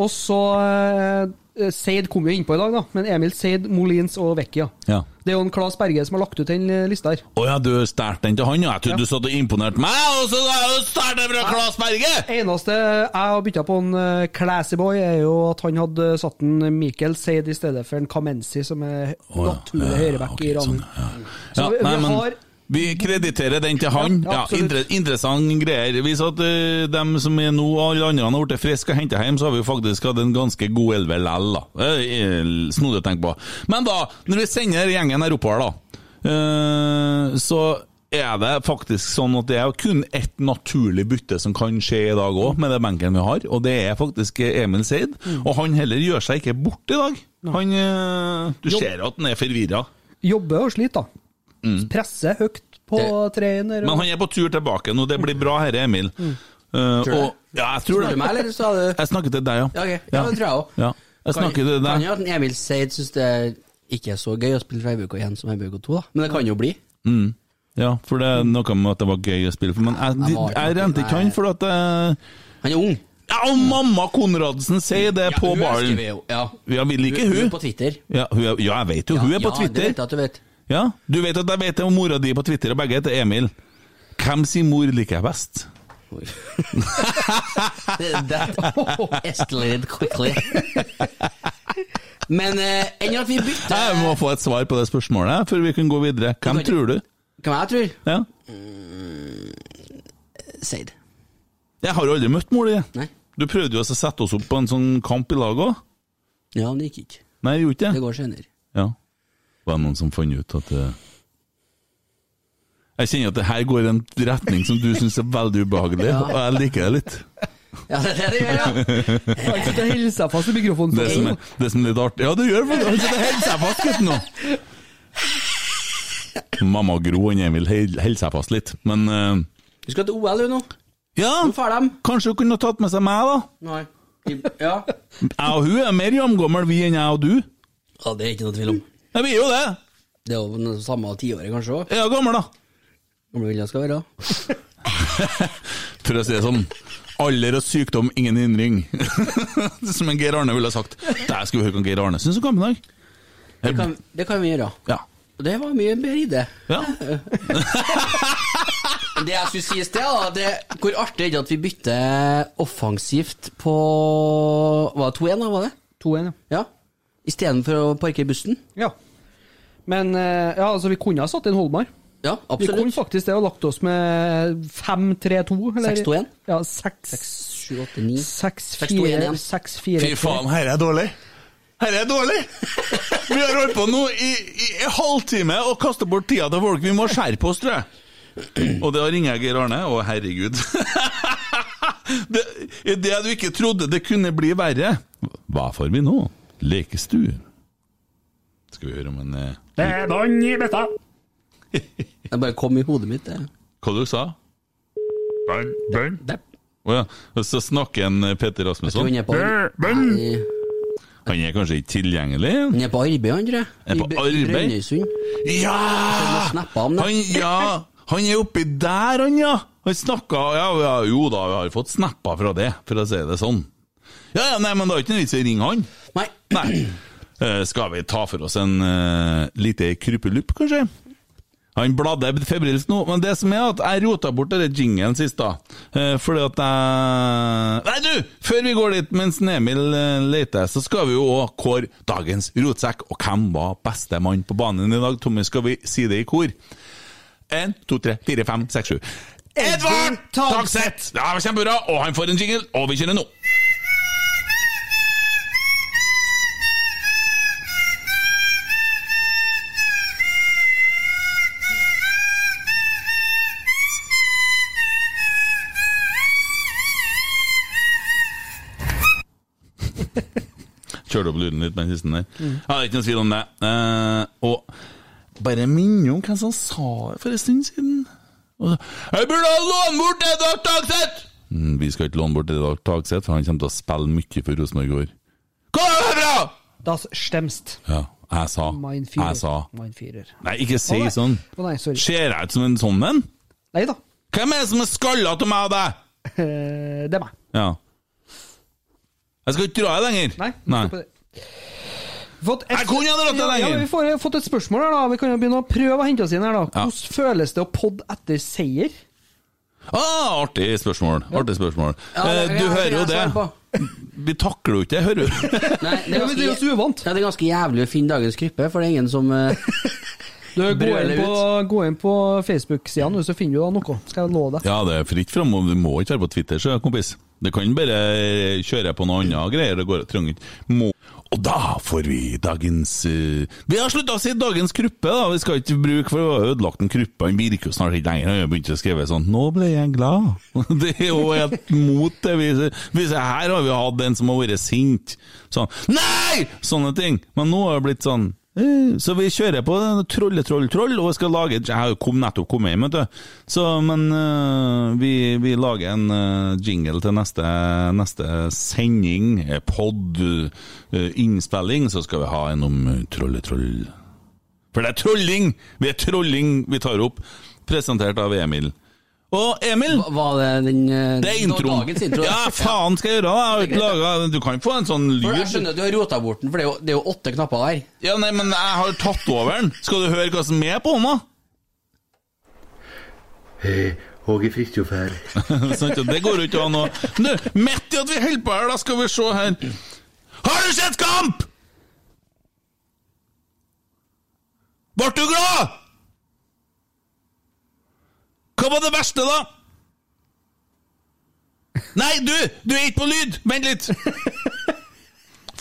S6: Og så eh, Seid kom jo innpå i dag, da. Men Emil Seid, Molins og Vecchia.
S3: Ja.
S6: Det er jo en Claes Berge som har lagt ut den eh, lista her.
S3: Å ja, du stjal den til han, ja. Jeg trodde du satt og imponerte meg, og så har jeg jo stjålet den fra Claes Berge!
S6: Eneste jeg har bytta på en eh, Classyboy, er jo at han hadde satt en Michael Seid i stedet for en Kamenzi, som er
S3: Å, ja.
S6: naturlig
S3: Ja,
S6: høyreback
S3: ok,
S6: i Ranum.
S3: sånn, ja.
S6: Så
S3: Ja,
S6: vi,
S3: nei,
S6: vi
S3: men-
S6: har
S3: Vi krediterer den til han.
S6: Ja,
S3: Ja,
S6: absolutt.
S3: inter interessant greier. Hvis at eh, dem som er nå, alle andre har blitt friske og henta hjem, så har vi jo faktisk hatt en ganske god elver lell, da. Eh, eh, Snodig å tenke på. Men da, når vi sender gjengen her oppover, da, eh, så er det faktisk sånn at det er jo kun ett naturlig bytte som kan skje i dag òg, med den benken vi har, og det er faktisk Emil Seid.
S6: Mm.
S3: Og han heller gjør seg ikke bort i dag. Han eh, Du
S6: Jo.
S3: ser jo at han er forvirra.
S6: jobber og sliter, da. Presser høyt på
S5: Det-
S6: treen. der,
S3: Mm. Men
S6: og-
S3: han er på tur tilbake nå, det blir bra herre Emil. Eh,
S5: Mm. Tror du
S3: og, ja, jeg tror
S5: Spør du meg,
S3: det.
S5: eller sa du
S3: Jeg snakker til deg, ja.
S5: Ja, ok. Ja, det tror jeg også.
S3: Ja. Jeg
S5: Kan-
S3: snakker til
S5: Kan
S3: deg.
S5: jo at en Emil Seid syns det er ikke er så gøy å spille for RBK 1 som RBK 2, da. Men det kan jo bli.
S3: Ja, for det er noe med at det var gøy å spille for, men jeg,
S5: Mm. Nei,
S3: jeg,
S5: jeg var-
S3: rente ikke han, for at jeg,
S5: Han er ung.
S3: ja, og mamma Konradsen sier det på
S5: hun elsker
S3: ballen.
S5: vi jo. Ja.
S3: Ja, vi liker
S5: Hun
S3: hun.
S5: er på Twitter.
S3: Ja, hun er, ja, jeg vet jo, hun er på
S5: Ja, det vet jeg
S3: Twitter.
S5: at du vet.
S3: Ja, du vet at jeg vet det om mora di på Twitter, og begge heter Emil. Hvem sin mor liker jeg best?
S5: Oi. That escalated quickly. Men eh, enn at vi
S3: Jeg
S5: bytter
S3: må få et svar på det spørsmålet før vi kan gå videre. Hvem
S5: Du kan-
S3: tror du?
S5: Hva jeg tror?
S3: Ja.
S5: Seid.
S3: Jeg har jo aldri møtt mor di.
S5: Nei.
S3: Du prøvde jo også å sette oss opp på en sånn kamp i lag òg.
S5: Ja, men det gikk ikke.
S3: Nei, jeg gjorde
S5: Det
S3: ikke det.
S5: går senere.
S3: Ja. Var det noen som fant ut at det Jeg kjenner at det her går i en retning som du syns er veldig ubehagelig,
S5: Ja.
S3: og jeg liker det litt.
S5: Ja, det er det det gjør, ja.
S6: Han sitter og holder seg fast i mikrofonen.
S3: Det som er, det som er litt artig Ja, det gjør faktisk Han sitter og holder seg fast, gutten, nå! Mamma og Gro og Emil held- holder seg fast litt, men eh,
S5: Du skal til OL, du, nå.
S3: Ja,
S5: Nå får dem.
S3: kanskje hun kunne tatt med seg meg, da?
S5: Nei. Ja.
S3: Jeg og hun er mer jamgammel, vi, enn jeg og du.
S5: ja, det er ikke noe tvil om.
S3: Ja, vi er jo det!
S5: Det er jo den samme tiåret, kanskje òg.
S3: Jeg er gammel, da.
S5: Hvor gammel jeg skal være.
S3: For å si det sånn. Alder og sykdom, ingen hindring. Som en Geir Arne ville ha sagt. Der skal vi høre hva Geir Arne syns om kampen i dag.
S5: Det kan, det kan vi gjøre.
S3: Ja.
S5: Og det var mye bedre idé.
S3: ja.
S5: Det jeg skulle si i sted, da, det, hvor artig er det at vi bytter offensivt på Var det 2-1, da? var det?
S6: 2-1, ja.
S5: Ja. Istedenfor å parkere bussen?
S6: Ja. Men eh, ja, altså, vi kunne ha satt inn Holmar.
S5: Ja,
S6: Vi kunne
S5: absolutt.
S6: faktisk det og lagt oss med 5-3-2. eller-
S5: 6-2-1?
S6: Ja,
S5: 7, 8, 9 6-2-1.
S6: 6-4-3.
S3: Fy faen, herre er dårlig. Herre er dårlig! Vi har holdt på nå i, i en halvtime og kasta bort tida til folk. Vi må skjerpe oss, tror jeg. Og da ringer jeg Geir Arne. Å, herregud. Det, det du ikke trodde det kunne bli verre. Hva får vi nå? Lekestue. Skal vi høre om en eh,
S5: Det bare kom i hodet mitt, det.
S3: Hva du sa
S5: det. sånn.
S3: Å ja. Og så snakker en eh, Petter
S5: Jeg tror
S3: Rasmusson.
S5: han er på, han
S3: Han er kanskje ikke tilgjengelig?
S5: er på arbeid, han, tror jeg.
S3: Er på
S5: I Br-
S3: arbeid?
S5: Brønnøysund.
S3: Ja!
S5: Snappa han det.
S3: Han, ja! han er oppi der, han, ja! Han snakka ja, ja, Jo da, vi har fått snappa fra det, for å si det sånn. Ja, ja, nei, men det er ikke noe vits i å ringe han.
S5: Nei.
S3: Nei. Eh, skal vi ta for oss en eh, lite krypelupp, kanskje? Han bladde febrilsk nå, men det som er at jeg rota bort denne jingelen sist, da. Eh, fordi at jeg Nei, du! Før vi går dit, mens Emil eh, leter, så skal vi jo òg kåre dagens rotsekk. Og hvem var beste mann på banen i dag? Tommy, skal vi si det i kor? Én, to, tre, fire, fem, seks, sju. Edvard Tagseth! Ja, det var kjempebra, og han får en jingle, og vi kjører nå. Kjørte opp lyden litt med den siste der.
S6: Mm.
S3: Ja, det er ikke noe tvil om det. Eh, og bare minne om hvem som sa det for en stund siden. Og så, jeg burde ha lånt bort Edvard Tagseth! Mm, vi skal ikke låne bort Reidar Tagseth, for han kommer til å spille mye for Rosenborg i år. Hva er det bra?!
S6: Das stemst.
S3: Ja, jeg sa.
S6: Mein Führer.
S3: Jeg sa.
S6: Mein Führer.
S3: Nei, ikke si
S6: Å, nei.
S3: sånn.
S6: Å, nei, sorry.
S3: Ser jeg ut som en sånn en?
S6: Nei da.
S3: Hvem er det som er skalla til meg og deg?
S6: Eh, Det er meg.
S3: Ja. Jeg skal ikke dra i lenger.
S6: Nei.
S3: Nei.
S6: stopp det. Fått et,
S3: Jeg kunne ha dratt det
S6: Ja, ja,
S3: lenger.
S6: vi får, eh, fått et spørsmål her, da. Vi kan jo begynne å prøve å hente oss inn her, da.
S3: Ja.
S6: Hvordan føles det å podde etter seier?
S3: Ah, artig spørsmål. Artig spørsmål.
S5: Ja, det-
S3: Eh, du
S5: jeg- jeg-
S3: hører jo
S5: jeg svarer
S3: det.
S5: på.
S3: Vi takler jo ikke det, hører du?
S5: Nei, det,
S6: Ja, men det er jo så uvant.
S5: Nei, det er ganske jævlig å finne dagens gruppe, for det er ingen som eh,
S6: Du, gå,
S5: Brøler
S6: inn på, gå inn på Facebook-sidene, så finner du da noe. Skal jeg love deg.
S3: Ja, det er fritt fram, og du må ikke være på Twitter, så kompis. Du kan bare eh, kjøre på noe annet greier, det går trenger ikke må. Og da får vi dagens eh, Vi har slutta å si dagens gruppe, da. Vi skal ikke bruke for å ha ødelagt en gruppe, han virker jo snart ikke lenger. Han har begynt å skrive sånn 'Nå ble jeg glad'. Det er jo helt mot det. Vi, vi, her har vi hatt en som har vært sint. Sånn 'Nei!' Sånne ting. Men nå har det blitt sånn Eh, Så vi kjører på den trolle, troll, troll, og skal lage Jeg har jo kom, nettopp kommet hjem, vet du. Så, men eh, vi, vi lager en eh, jingle til neste, neste sending, eh, pod, eh, innspilling, så skal vi ha en om eh, trolle, troll. For det er trolling! Vi er trolling vi tar opp. Presentert av Emil. Og Emil!
S5: Var det den eh,
S3: Det er introen.
S5: dagens intro?
S3: Ja, faen skal jeg gjøre! Jeg har jo ikke laget Du kan ikke få en sånn
S5: For jeg
S3: lyd.
S5: skjønner at du har rota bort den, for det er jo, det er jo åtte knapper her.
S3: Ja, nei, men jeg har tatt over den. Skal du høre hva som er på hånda?
S7: Eh, Åge Fridtjof her.
S3: Sant, og det går jo ikke an å Men Du, midt i at vi holder på her, da skal vi se her Har du sett kamp?! Ble du glad?! Hva var det verste, da? Nei, du! Du er ikke på lyd! Vent litt!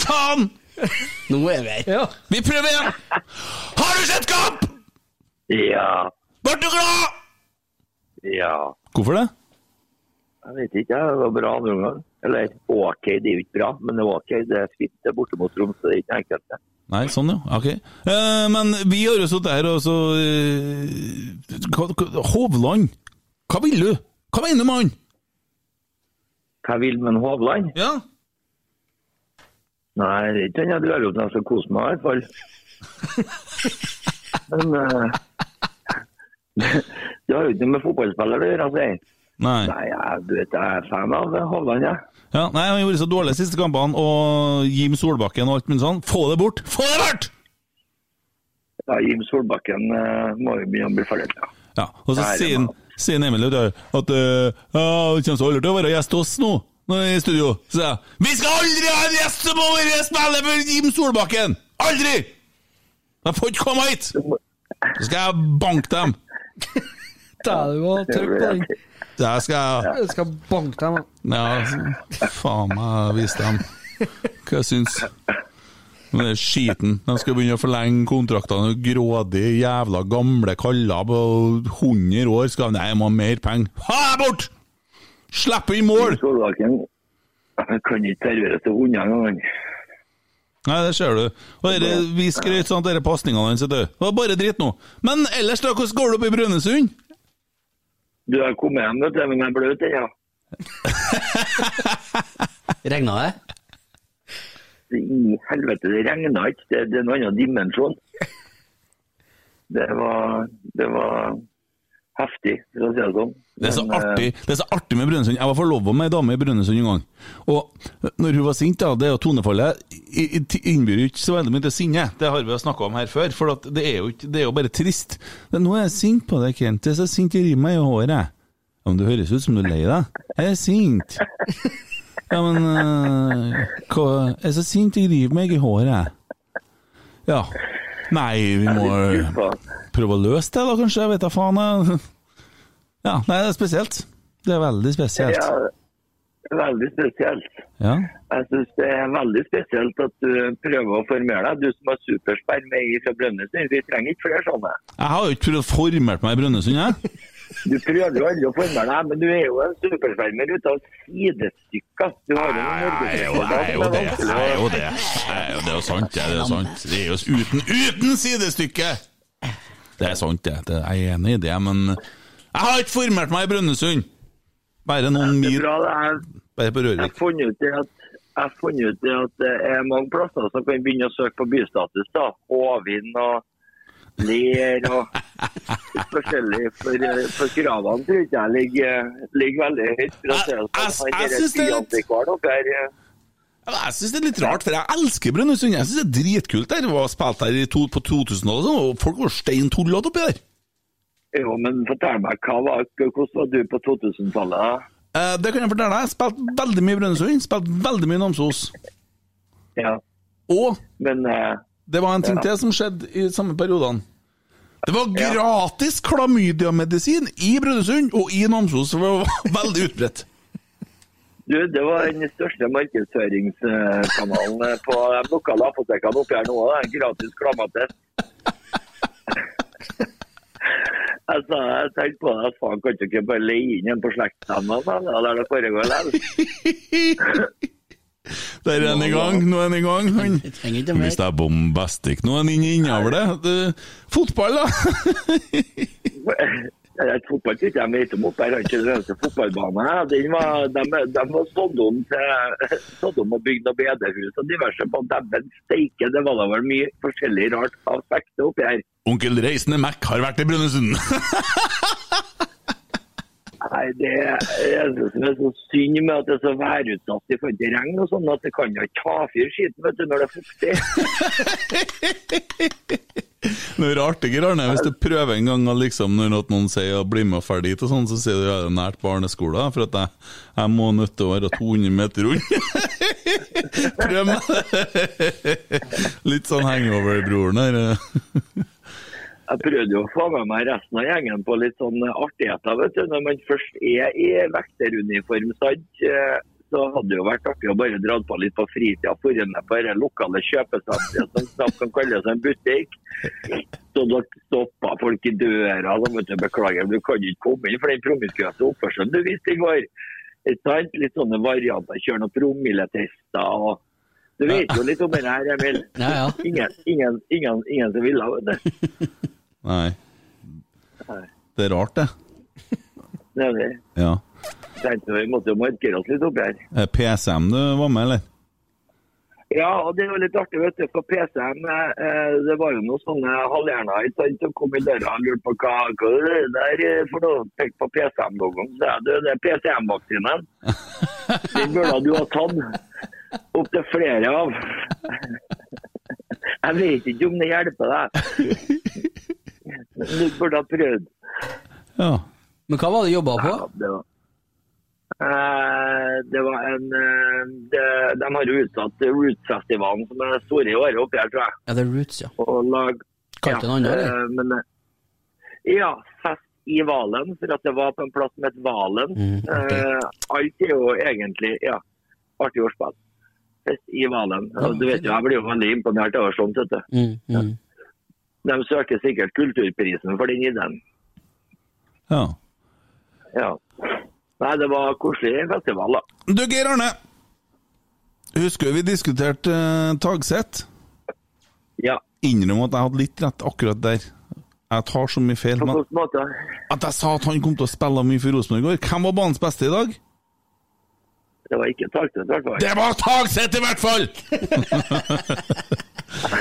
S3: Faen!
S5: Nå er vi her.
S6: Ja.
S3: Vi prøver igjen! Har du sett kamp?!
S7: Ja,
S3: Ble du glad?!
S7: ja.
S3: Hvorfor det?
S7: Jeg vet ikke, jeg. det var bra andre omgang. Eller OK, det er jo ikke bra, men det var OK. Det er fint det er borte mot Tromsø, det er ikke enkelt. det.
S3: Nei, sånn ja, ok. Eh, men vi har jo sittet her og så eh, hva- hva- Hovland, hva vil du? Hva mener du med han?
S7: Hva vil med en Hovland?
S3: Ja.
S7: Nei, det er ikke han jeg drar opp når jeg skal kose meg, i hvert fall. Men eh, det har jo ikke noe med fotballspillere å gjøre, altså. jeg.
S3: Nei.
S7: Nei, jeg vet jeg er fan av Hovland, jeg.
S3: Ja, nei, han gjorde så dårlig de siste kampene, og Jim Solbakken og alt mulig sånn. Få det bort! Få det bort!
S7: Ja, Jim Solbakken eh, må jo begynne å bli ferdig. Ja.
S3: Ja, og så
S7: Nei, det
S3: sier han-
S7: var-
S3: sier han Emil der at eh, ja, det kommer så aldri til å være gjest hos nå, nå i studio. Så sier jeg Vi skal aldri ha en gjest som har vært spiller for Jim Solbakken! Aldri! De får ikke komme hit! Så skal jeg banke dem!
S6: Da er det jo å trykke på den.
S3: Der skal jeg
S6: Jeg skal banke deg, mann.
S3: Ja, altså, faen meg vise dem hva jeg syns. Men det er skiten. De skal begynne å forlenge kontraktene. Grådige, jævla gamle kaller på 100 år skal Nei, jeg må ha mer penger. Ha deg bort! Slipp inn mål!
S7: Solbakken kan ikke serveres til hundene engang.
S3: Nei, det ser du. Og dere, Vi skrøt sånn at disse pasningene hans er døde. Det var bare dritt nå. Men ellers, da, hvordan går det opp i Brønnøysund?
S7: Du har kommet hjem, vet du, men jeg er bløt ennå.
S5: Regna det?
S7: Det I helvete, det regna ikke. Det, det er en annen dimensjon. Det var, det var heftig, for å si det sånn.
S3: Det er, så
S7: Men, eh,
S3: artig, det er så artig med Brønnøysund. Jeg var forlova med ei dame i Brønnøysund en gang. Og når hun var sint, da, det er jo tonefallet i- i- t- innbyr jo ikke så veldig mye til sinne. Det har vi jo snakka om her før. For at det, er jo ikke, det er jo bare trist. Men nå er jeg sint på deg, Kent. Jeg er så sint jeg river meg i håret. jeg. Ja, men Du høres ut som du er lei deg. Jeg er sint. Ja, men øh, hva, Jeg er så sint jeg river meg i håret. jeg. Ja. Nei, vi må
S7: faen.
S3: prøve å løse det, da, kanskje. Jeg vet da faen. Jeg. Ja, nei, det er spesielt. Det er veldig
S7: Ja,
S3: spesielt.
S7: veldig spesielt.
S3: Ja.
S7: Jeg syns det er veldig spesielt at du prøver å formere deg, du som har supersperm i fra Brønnøysund. Vi trenger ikke flere sånne.
S3: Jeg har jo ikke prøvd å formert meg i Brønnøysund, jeg.
S7: Du prøver jo aldri å formere deg, men du er jo en superspermer ute av sidestykker. Du har jo noen norgesmesterskap som er vanskelig å-
S3: det. Jeg er jo- Det er jo sant, det. Det er jo sant. Det er jo uten, uten sidestykke! Det er sant, det. det. Jeg er enig i det, men jeg har ikke formert meg i Brønnøysund! Bare noen
S7: Det er
S3: mil
S7: bra, det er
S3: Bare på
S7: Jeg har
S3: Rørvik.
S7: funnet ut det at jeg har funnet ut det at det er mange plasser som kan begynne å søke på bystatus. da. Håvind og Ler og litt forskjellig. For, eh, for kravene tror ikke jeg ligger, ligger veldig høyt. For å si det sånn. Han
S3: jeg
S7: er
S3: synes det er litt-
S7: byantikvaren dere, eh,
S3: Ja, Jeg synes det er litt rart, for jeg elsker Brønnøysund. Jeg synes det er dritkult der. Jeg var spilt her i to, på 2000 og sånn, og folk var steintullete oppi der.
S7: Jo, men fortell meg, hva var, hvordan var du på 2000-tallet? da?
S3: Eh, det kan jeg fortelle deg. Jeg spilte veldig mye Brønnøysund, spilte veldig mye Namsos.
S7: Ja.
S3: Og
S7: Men eh,
S3: det var en ting
S7: Ja.
S3: til som skjedde i samme periodene. Det var gratis klamydiamedisin i Brønnøysund og i Namsos, for det var veldig utbredt.
S7: du, det var den største markedsføringskanalen eh, på de lokale apotekene oppi her nå. da. Gratis klamatest. Jeg, sa, jeg tenkte på det, at faen, kan dere ikke bare leie inn en på slektshemmene da, da, der det foregår likevel?
S3: Der er han i gang, nå er han i gang. Han.
S5: Trenger ikke
S3: Hvis
S5: mer.
S3: det er bombastikk nå, er han inne innover det. det fotball, da!
S7: Det er Et fotballklubb jeg vet om oppe her, har ikke den eneste fotballbanen. her. Den var, de, de var sådd om til sådd om og bygd noe bedehus og diverse på dæven steike. Det var da vel mye forskjellig rart av spekter oppi her.
S3: Onkel Reisende Mac har vært i Brønnøysund!
S7: Nei, det er det som er så synd med at det er så værutsatt i forhold til regn og sånn, at det kan jo ikke ta fyr skiten vet du, når det er fuktig.
S3: Det er artigere, Arne, hvis du prøver en gang å liksom, når at noen sier å bli med og ferdig dit og sånn, så sier du at det er nært barneskolen, for at jeg, jeg må nødt til å være 200 meter unna. Prøv med det. Litt sånn hangover-broren her.
S7: Jeg prøvde jo å få med meg resten av gjengen på litt sånn artigheter, vet du. Når man først er i vekteruniform, sant, eh, så hadde det jo vært artig å bare dra på litt på fritida. Forrige ned på det lokale kjøpesenteret som snart kan kalles en butikk. Så da stoppa folk i døra. Da, vet du, beklager, du kan ikke komme inn for den promiskuøse oppførselen du viste i går. Ikke sant? Litt sånne varianter. Kjøre noen promilletester og Du vet jo litt om det her, Emil.
S5: Ja, ja.
S7: Ingen, ingen, ingen, ingen som ville, vet du.
S3: Nei. Det er rart, det.
S7: Nemlig.
S3: Ja. Eh,
S7: Tenkte vi måtte jo markere oss litt oppi her.
S3: Er det PSM du var med, eller?
S7: Ja, og det er jo litt artig, vet du. For PC-en, eh, det var jo noen sånne halvhjerner ikke sant, som kom i døra og lurte på hva, hva er det der eh, for noe. Pekte på PCM-logoen. Så jeg, du, det er PCM-vaksinen. Den burde du ha tatt. Opptil flere av. Jeg vet ikke om det hjelper deg. Men Du burde ha prøvd.
S3: Ja.
S5: Men hva var det du jobba på?
S7: Ja, det var. Eh, det var en eh, de, de har jo utsatt Roots-festivalen, som er store i året oppe her, tror jeg.
S5: Ja, det er Roots, ja.
S7: Og lag,
S5: Kalte den andre, eller?
S7: eh, men, eh, ja, fest i Valen, for at det var på en plass som het Valen.
S5: Mm, artig.
S7: Eh, alt er jo egentlig ja, artig ordspill. Fest i Valen. Og du vet jo, jeg blir jo veldig imponert over sånt. Vet du.
S5: Mm, mm.
S7: De søker sikkert Kulturprisen for den ideen.
S3: ja.
S7: Ja. Nei, det var koselig festival, da.
S3: Du, Geir Arne. Husker vi diskuterte uh, Tagseth?
S7: Ja.
S3: Innrøm at jeg hadde litt rett akkurat der. Jeg tar så mye feil.
S7: På
S3: Men
S7: hvilken måte?
S3: at jeg sa at han kom til å spille mye for Rosenborg i går. Hvem var banens beste i dag?
S7: Det var ikke Tagtvedt, i hvert fall.
S3: Det var Tagseth, i hvert fall!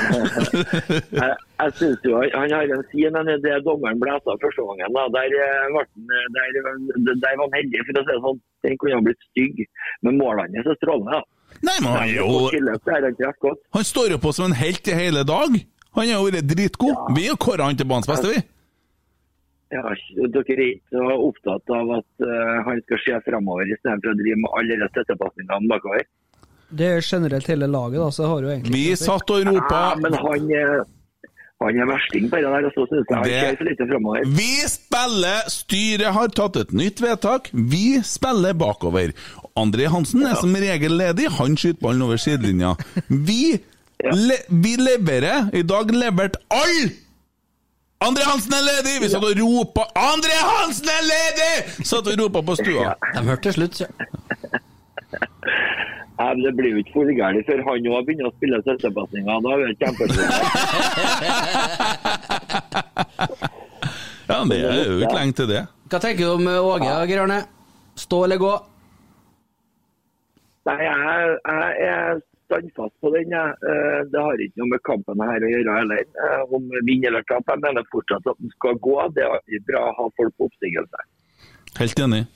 S7: Jeg, jeg synes jo han- han har en fin en i det dommeren ble etter første gangen. Da. Der, eh, ble han- der, eh, der var han heldig, for å si det sånn. Den kunne ha blitt stygg, men målene er så strålende. da.
S3: Nei, men han, er jo,
S7: Og tilløp der, han traff godt.
S3: han står jo på som en helt i hele dag. Han har jo vært dritgod. Vi har kåra han til banens beste, vi.
S7: Ja, dere er ikke så opptatt av at eh, han skal se fremover istedenfor å drive med alle de støttepasningene bakover.
S6: Det er generelt hele laget, da, så det har jo egentlig
S3: Vi satt og ropa
S7: Ja, men han, eh, han er versting på det der, og så synes jeg han
S3: Det-
S7: ser for lite fremover.
S3: Vi spiller Styret har tatt et nytt vedtak. Vi spiller bakover. André Hansen er som regel ledig. Han skyter ballen over sidelinja. Vi, le, vi leverer. I dag leverte alle! André Hansen er ledig! Vi satt og ropa 'André Hansen er ledig!' Satt og ropa på stua.
S5: De hørte til slutt, ja.
S7: Ja, men det blir jo ikke fullgærlig før han òg begynner å spille støttepasninger. Da er det kjempeproblem.
S3: Ja, men det er jo ikke lenge til det.
S5: Hva tenker du om eh, Åge og Geir Arne? Stå eller gå?
S7: Nei, jeg, jeg er standfast på den. Jeg. Eh, Det har ikke noe med kampen her å gjøre heller. Eh, Om vinn eller tap. Jeg mener fortsatt at den skal gå. Det er alltid bra å ha folk på oppstigelse.
S3: Helt enig.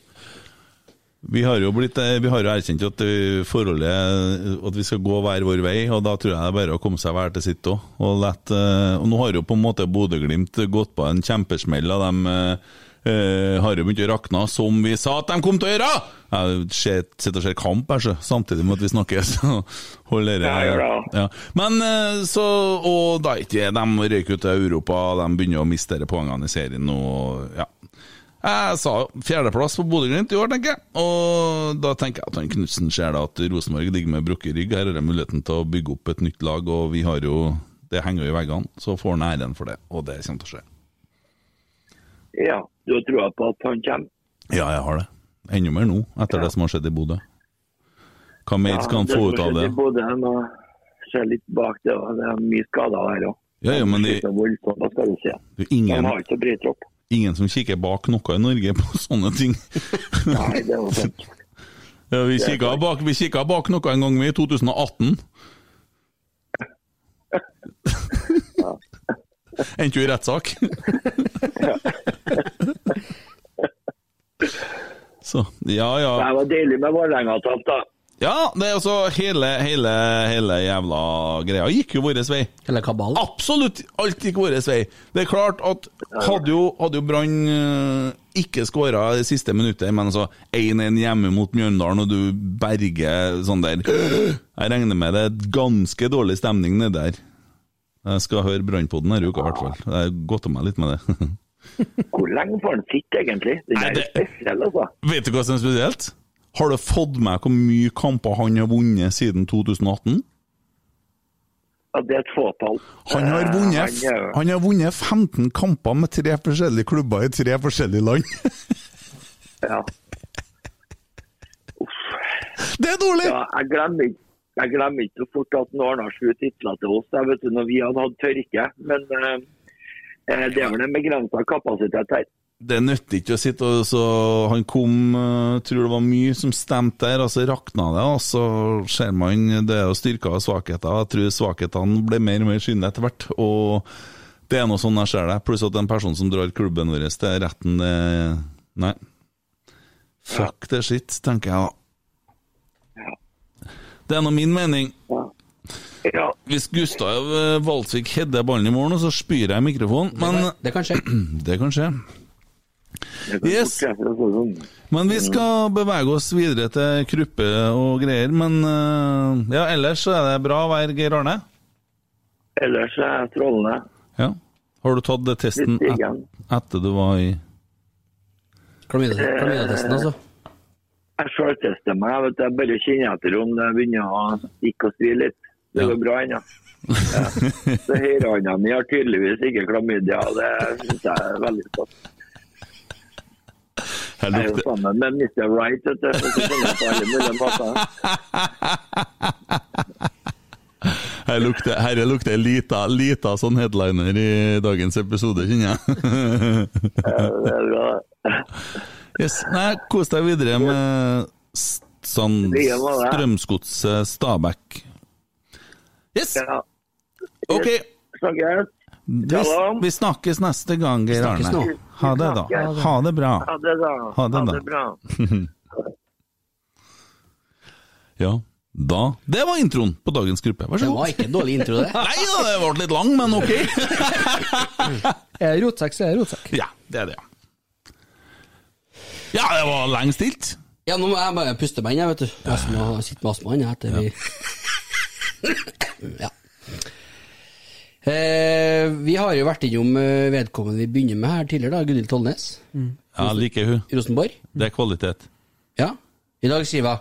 S3: Vi har jo blitt, eh, vi har jo erkjent at eh, forholdet eh, at vi skal gå hver vår vei, og da tror jeg det er bare å komme seg hver til sitt òg. Og, lett, eh, og nå har jo på en måte Bodø-Glimt gått på en kjempesmell, og de eh, eh, har jo begynt å rakne, som vi sa at de kom til å gjøre! Jeg ser- sitter og ser kamp her, så, samtidig med at vi snakker, så hold dere
S7: Ja, gjør det,
S3: ja. Men eh, så Og da er ikke de røyker ut til Europa, de begynner å miste dere poengene i serien og ja. Jeg sa jo fjerdeplass på Bodø-Glimt i år, tenker jeg. Og da tenker jeg at han Knutsen ser da at Rosenborg ligger med brukket rygg. Her er det muligheten til å bygge opp et nytt lag, og vi har jo Det henger jo i veggene. Så får han æren for det, og det kommer til å skje.
S7: Ja, du har trua på at han kommer.
S3: Ja, jeg har det. Enda mer nå, etter det som har skjedd i Bodø. Hva mer skal han
S7: Ja,
S3: få
S7: det
S3: ut av det?
S7: som skjedde i Bodø, jeg må se litt bak det. og Det er mye skader her òg.
S3: Ja, ja, men de-
S7: Hva skal du si?
S3: Det er jo ingen-
S7: De har ikke så bred tropp.
S3: Ingen som kikker bak noe i Norge på sånne ting.
S7: Nei, det var sant.
S3: Ja, vi
S7: Det er
S3: kikka bak, vi kikket bak noe en gang, vi, i 2018. Endte jo i rettssak. Så, ja ja.
S7: Det var deilig med Vålerenga-tap, da.
S3: Ja, det er altså hele, hele, hele jævla greia gikk jo vår vei.
S5: Hele kabalen?
S3: Absolutt alt gikk vår vei. Det er klart at hadde jo, hadde jo Brann eh, ikke skåra det siste minuttet, men så 1-1 hjemme mot Mjøndalen, og du berger sånn der Jeg regner med det er ganske dårlig stemning nedi der. Jeg skal høre Brannpodden denne uka, i hvert fall. Jeg godter meg litt med det.
S7: Hvor lenge får han sitte, egentlig? Den
S3: Nei,
S7: er
S3: det-
S7: spesiell, altså.
S3: Vet du hva som er spesielt? Har du fått med hvor mye kamper han har vunnet siden 2018?
S7: Ja, det er et fåtall.
S3: Han har,
S7: Eh,
S3: vunnet,
S7: han er-
S3: han har vunnet 15 kamper med tre forskjellige klubber i tre forskjellige land.
S7: Ja.
S3: Det er dårlig!
S7: Ja, jeg glemmer ikke. Jeg glemmer ikke så fort at han ordna sju titler til oss jeg vet du, når vi hadde hatt tørke. Men eh, eh, det er vel en begrensa kapasitet her.
S3: Det nytter ikke å sitte og så Han kom, eh, tror det var mye som stemte der, og så rakna det, og så ser man det er jo styrker og svakheter. Jeg tror svakhetene ble mer og mer synlige etter hvert. Og det er nå sånn jeg ser det. Pluss at en person som drar klubben vår til retten, det Nei. Fuck the shit, tenker jeg da. Det er nå min mening.
S7: Ja.
S3: Hvis Gustav eh, Valsvik hedder ballen i morgen, og så spyr jeg i mikrofonen, men
S5: Det kan skje.
S3: det kan skje.
S7: det kan
S3: Yes.
S7: fort skje, Mm. for å si det sånn.
S3: Men vi skal bevege oss videre til kruppe og greier, men eh, ja, ellers så er det bra vær, Geir Arne.
S7: Ellers er jeg strålende.
S3: Ja. Har du tatt det testen
S7: Litt
S3: et,
S7: igjen.
S3: etter du var i
S5: Klamydia-testen, altså.
S7: Jeg sjøltester meg. Jeg vet, jeg bare kjenner etter om det begynner å stikke og svi litt. Det
S3: Ja.
S7: går bra ennå. Ja. Så høyrehånda mi har tydeligvis ikke klamydia. og Det syns jeg er veldig stas.
S3: Jeg
S7: Jeg er jo
S3: lukter,
S7: sammen med Mr. Right. Vet du. så jeg kjenner jeg på alle mulige måter.
S3: her lukter, her lukter lita, lita sånn headliner i dagens episode, kjenner jeg.
S7: Det er bra.
S3: yes. Nei, kos deg videre med s- sånn
S7: Det må det.
S3: Strømsgodset Stabæk. Yes!
S7: Ja.
S3: Ok,
S7: Snakkes.
S3: vi,
S7: Shalom.
S3: vi snakkes neste gang, Geir
S5: snakkes
S3: Arne.
S5: nå.
S3: Ha det, da.
S7: snakkes.
S3: Ha det bra.
S7: Ha det, da.
S3: Ha det, da.
S7: bra.
S3: Ja, da Det var introen på dagens gruppe. Vær
S5: Det
S3: så
S5: var
S3: god.
S5: ikke en dårlig intro, det.
S3: Nei da, det ble litt lang, men ok.
S6: Er det rotsekk, så er det rotsekk.
S3: Ja, det er det. Ja, det var lenge stilt.
S5: Ja, nå må jeg bare puste meg inn, jeg, vet du. Jeg som har- sitter med astmaen, jeg, etter vi Ja. Eh, vi har jo vært innom eh, vedkommende vi begynner med her tidligere, da. Gunhild Tollnes
S3: Ja, jeg liker hun.
S5: i Rosenborg.
S3: Det er kvalitet.
S5: Ja. I dag skriver hun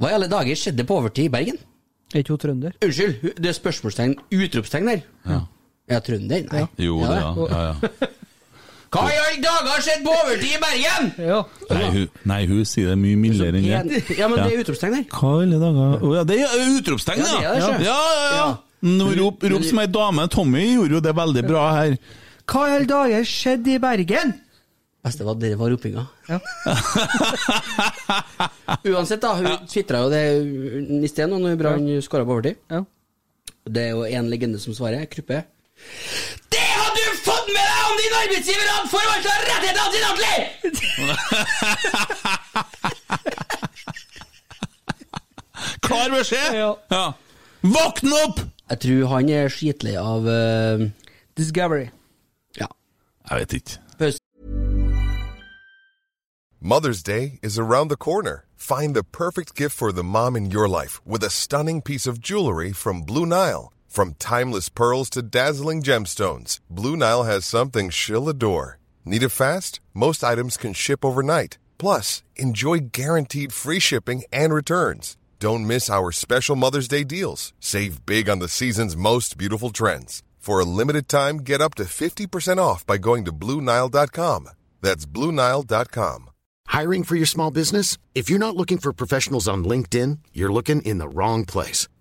S5: Hva i alle dager skjedde på overtid i Bergen?
S6: Er ikke hun trønder?
S5: Unnskyld, hu- det er spørsmålstegn, utropstegn der. Ja. Er jeg trønder? Nei.
S3: Jo, det, ja. ja, ja.
S5: Hva i alle dager skjedde på overtid i Bergen?!
S6: Ja.
S3: Nei, hun, nei, hun sier det mye mildere enn det.
S5: Ja, men det er utropstegn der.
S3: Hva i alle dager Å ja, det er jo utropstegn, ja!
S5: Ja, det er det,
S3: Ja,
S5: sjø.
S3: ja, ja.
S5: Ja.
S3: Nå rop, rop som ei dame. Tommy gjorde jo det veldig bra her.
S6: Hva i alle dager skjedde i Bergen?
S5: Beste var at dere var ropinga.
S6: Ja.
S5: Uansett, da. Hun tvitra jo det i sted nå når Brann skåra på overtid.
S6: Ja.
S5: Det er jo én legende som svarer. Kruppe. Det har du fått med deg om din arbeidsgiver hadde forvalta rettighetene til Atli!
S3: Klar beskjed!
S6: Ja.
S3: Ja. Våkn opp!
S5: Jeg tror han er skitlei av eh,
S6: Discovery.
S5: Ja.
S3: Jeg vet ikke.
S8: Mother's Day is around the corner. Find the perfect gift for the mom in your life with a stunning piece of jewelry from Blue Nile. From timeless pearls to dazzling gemstones, Blue Nile has something she'll adore. Need it fast? Most items can ship overnight. Plus, enjoy guaranteed free shipping and returns. Don't miss our special Mother's Day deals. Save big on the season's most beautiful trends. For a limited time, get up to 50% off by going to Blue Nile.com. That's Blue Nile.com.
S9: Hiring for your small business? If you're not looking for professionals on LinkedIn, you're looking in the wrong place.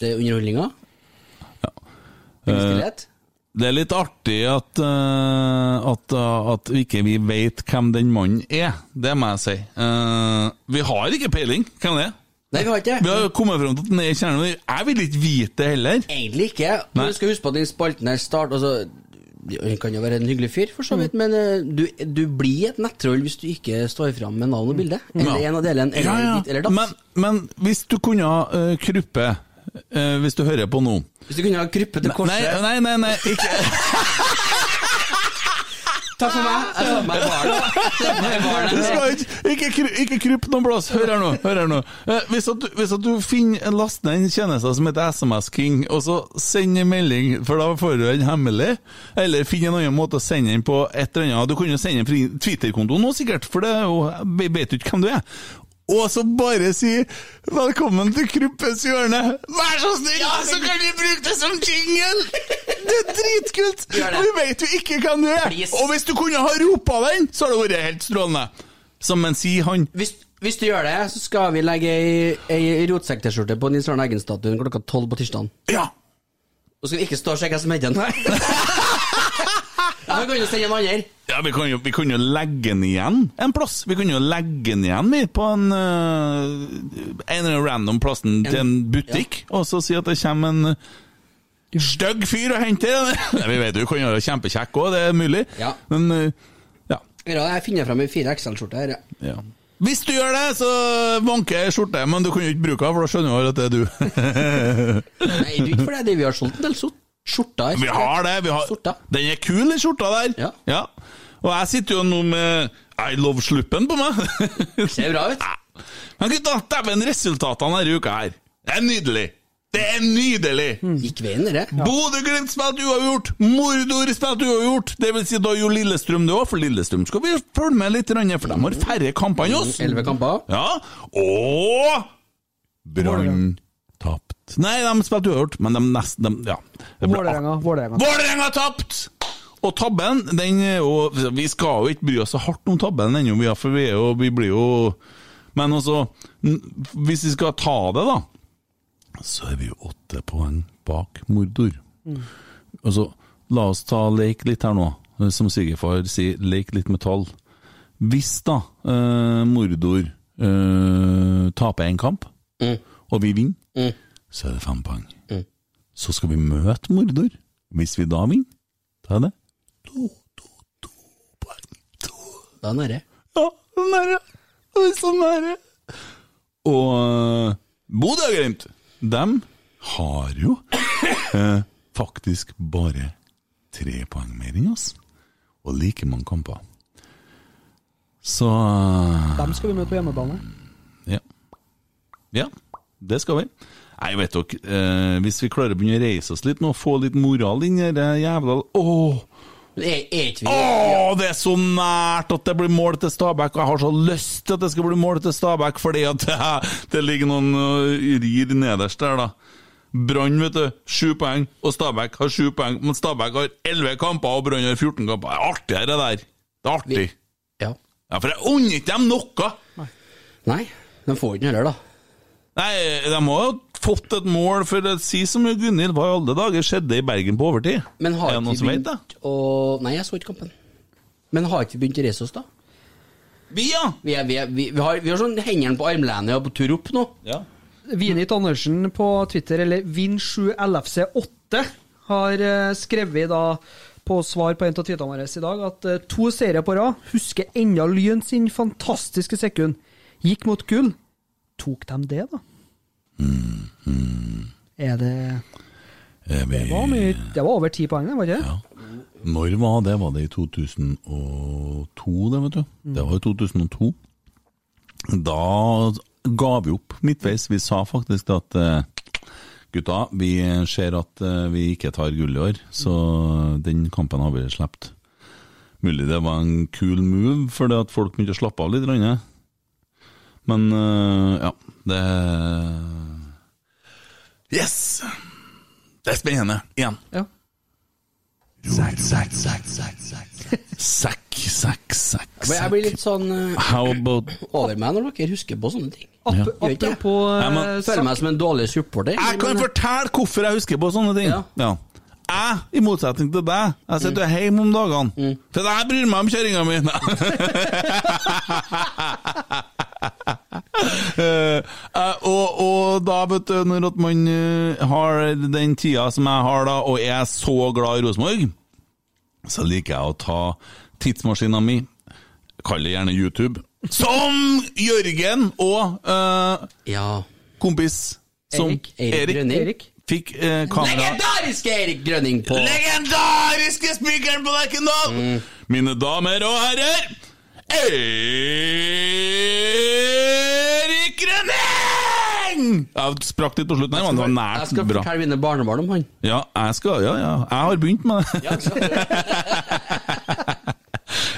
S5: Det er underholdninga. Ja. Stillhet.
S3: Eh, Det er litt artig at, eh, at, at ikke vi vet hvem den mannen er. Det må jeg si. Eh, vi har ikke peiling hvem det er.
S5: Nei, vi har ikke
S3: Vi har jo kommet frem til at den er i kjernen. men Jeg vil ikke vite det heller.
S5: Egentlig ikke.
S3: Nei.
S5: Men du skal huske på at den spalten her start altså, Han kan jo være en hyggelig fyr, for så
S3: Mm.
S5: vidt, men eh, du, du blir et nettroll hvis du ikke står fram med navn og bilde. Eller
S3: Mm. Ja.
S5: en av delene, eller
S3: Ja, ja.
S5: ditt eller datt.
S3: Men, men hvis du kunne ha eh, Kruppe eh, Hvis du hører på nå
S5: hvis du kunne ha gruppe til
S3: Nei,
S5: korset
S3: nei, nei, nei ikke.
S5: Takk for meg! Jeg tar meg
S3: Du
S5: barnet.
S3: skal ikke, ikke, kry- ikke kryp noen plass. Hør her nå. Hør her nå. Eh, Hvis, at, du- hvis at du finner last ned en tjeneste som heter SMS King, og så send en melding, for da får du den hemmelig, eller finn en annen måte å sende den på et eller annet Du kan jo sende den fra Twitter-kontoen nå, sikkert, for det er jo, vi vet jo ikke hvem du er. Og så bare si 'velkommen til Kruppes hjørne'. Vær så snill, så kan vi bruke det som jingle! Det er dritkult!
S5: Gjør det.
S3: Vi vet jo ikke hvem du er.
S5: Please.
S3: Og hvis du kunne ha ropa den, så hadde det vært helt strålende. Som en sier han.
S5: Hvis, hvis du gjør det, så skal vi legge ei, ei rotsekk-T-skjorte på Nils Arne Eggen-statuen klokka tolv på tirsdag.
S3: Ja!
S5: Og skal vi ikke stå og sjekke hvem som heter den. Ja, vi kan jo sende en annen.
S3: ja vi, kan jo, vi kan jo legge den igjen en plass. Vi kan jo legge den igjen vi, på en, øh, en eller annen random plassen til en butikk, og så si at det kommer en øh, stygg fyr og henter den. Nei, vi vet jo, du kan gjøre det kjempekjekk òg, det er mulig.
S5: Ja.
S3: Men øh, ja.
S5: Ja, jeg finner frem ei 4XL-skjorte her. ja.
S3: ja. Hvis du gjør det, så vanker jeg skjorte, men du kan jo ikke bruke den, for da skjønner jo at det er du.
S5: Nei, du ikke for det, det vi har solgt en del sort- skjorter.
S3: Vi har det. Vi har...
S5: Skjorta.
S3: Den er kul, den skjorta der.
S5: Ja.
S3: Og jeg sitter jo nå med I love sluppen på meg.
S5: Ser bra ut.
S3: Men gutta, dæven, resultatene denne uka her. Det er nydelig. Det er nydelig!
S5: Gikk veien, dere.
S3: Bodø-Glimt spilte uavgjort! Mordor spilte uavgjort! Det vil si, da gjorde Lillestrøm det òg, for Lillestrøm skal vi følge med litt, grann, for de har færre kamper enn oss.
S5: Mm, Elleve kamper.
S3: Ja, og Brann tapt. Nei, de spilte uavgjort, men de nesten de, Ja. Det ble
S6: Vålerenga. Vålerenga.
S3: Vålerenga tapt! Og tabben, den er jo Vi skal jo ikke bry oss så hardt om tabben ennå, vi er- for vi, er jo, vi blir jo Men altså, n- hvis vi skal ta det, da, så er vi jo åtte poeng bak Mordor. Altså, la oss ta leik litt her nå, som svigerfar sier, leik litt med tall. Hvis da eh, Mordor eh, taper en kamp, og vi vinner, så er det fem poeng. Så skal vi møte Mordor. Hvis vi da vinner, da er det to, to, to poeng. To.
S5: Da er det.
S3: Ja, nære. Det er så nære. Og eh, Bodø-Glimt, dem har jo eh, faktisk bare tre poeng mer enn oss, og like mange kamper. Så
S6: Dem skal vi møte på hjemmebane.
S3: ja. ja, det skal vi. Nei, vet dere, eh, hvis vi klarer å begynne å reise oss litt nå, få litt moral inn i det jævla Åh! Åh, det er så nært at det blir mål til Stabæk, og jeg har så lyst til at det skal bli mål til Stabæk, fordi at det, det ligger noen øh, rir nederst der, da. Brann, vet du, sju poeng, og Stabæk har sju poeng, men Stabæk har elleve kamper, og Brann har 14 kamper. Det er artig, det der. Det er artig.
S5: ja.
S3: for jeg unner ikke dem noe!
S5: Nei, de får ikke den heller, da.
S3: Nei, de må jo ha fått et mål, for det sier som Gunhild, hva i alle dager skjedde i Bergen på overtid?
S5: Men har
S3: er det
S5: ikke
S3: noen
S5: vi
S3: som vet det?
S5: begynt å Nei, jeg så ikke kampen. Men har ikke vi begynt å reise oss, da?
S3: Vi, ja!
S5: Vi, er, vi, er, vi, vi, har, vi har sånn hendene på armlenet og på tur opp nå.
S3: Ja.
S6: Vinit Andersen på Twitter, eller Vinn7LFC8, har eh, skrevet da på svar på en av tweetene våre i dag at eh, to seire på rad husker enda Lyn sin fantastiske sekund. Gikk mot gull. Tok de det, da? Er det
S3: Er vi-
S6: Det var, mye, det var over ti poeng, det, var det ikke? det?
S3: Når var det? Var det i 2002, det, vet du? Det var i 2002. Da ga vi opp midtveis. Vi sa faktisk at eh, gutta, vi ser at eh, vi ikke tar gull i år, så den kampen har vi sluppet. Mulig det var en kul move, fordi at folk begynte å slappe av litt. grann. Men eh, ja, det Yes! Det er spennende. Igjen.
S6: Ja.
S3: Sekk, sekk, sekk, sekk, sekk. Sekk, sekk, sekk.
S5: Men jeg blir litt sånn eh,
S3: How about
S5: over meg når dere husker på sånne ting.
S3: Ja.
S5: Gjør ikke det?
S6: Apropos eh,
S3: Nei, men-
S5: Føler meg som en dårlig supporter.
S3: Jeg kan fortelle hvorfor jeg husker på sånne ting.
S5: Ja.
S3: Ja. Jeg, i motsetning til deg, jeg sitter jo hjemme om dagene. Til deg bryr meg om kjerringa mi! Eh, eh, og, og da, vet du, når at man eh, har den tida som jeg har da, og er så glad i Rosenborg, så liker jeg å ta tidsmaskina mi, kall det gjerne YouTube, som Jørgen og eh,
S5: Ja.
S3: kompis som
S6: Erik.
S5: Erik Grønning.
S6: Erik?
S3: fikk eh, kamera
S5: Legendariske Erik Grønning på
S3: Legendariske spikeren på Lerkendal! Mine damer og herrer, Erik Grønning! Jeg sprakk litt på slutten her, men det var
S5: Jeg skal
S3: nært bra.
S5: fortelle mine barnebarn om han.
S3: Ja, jeg skal, ja, ja. Jeg har begynt med det.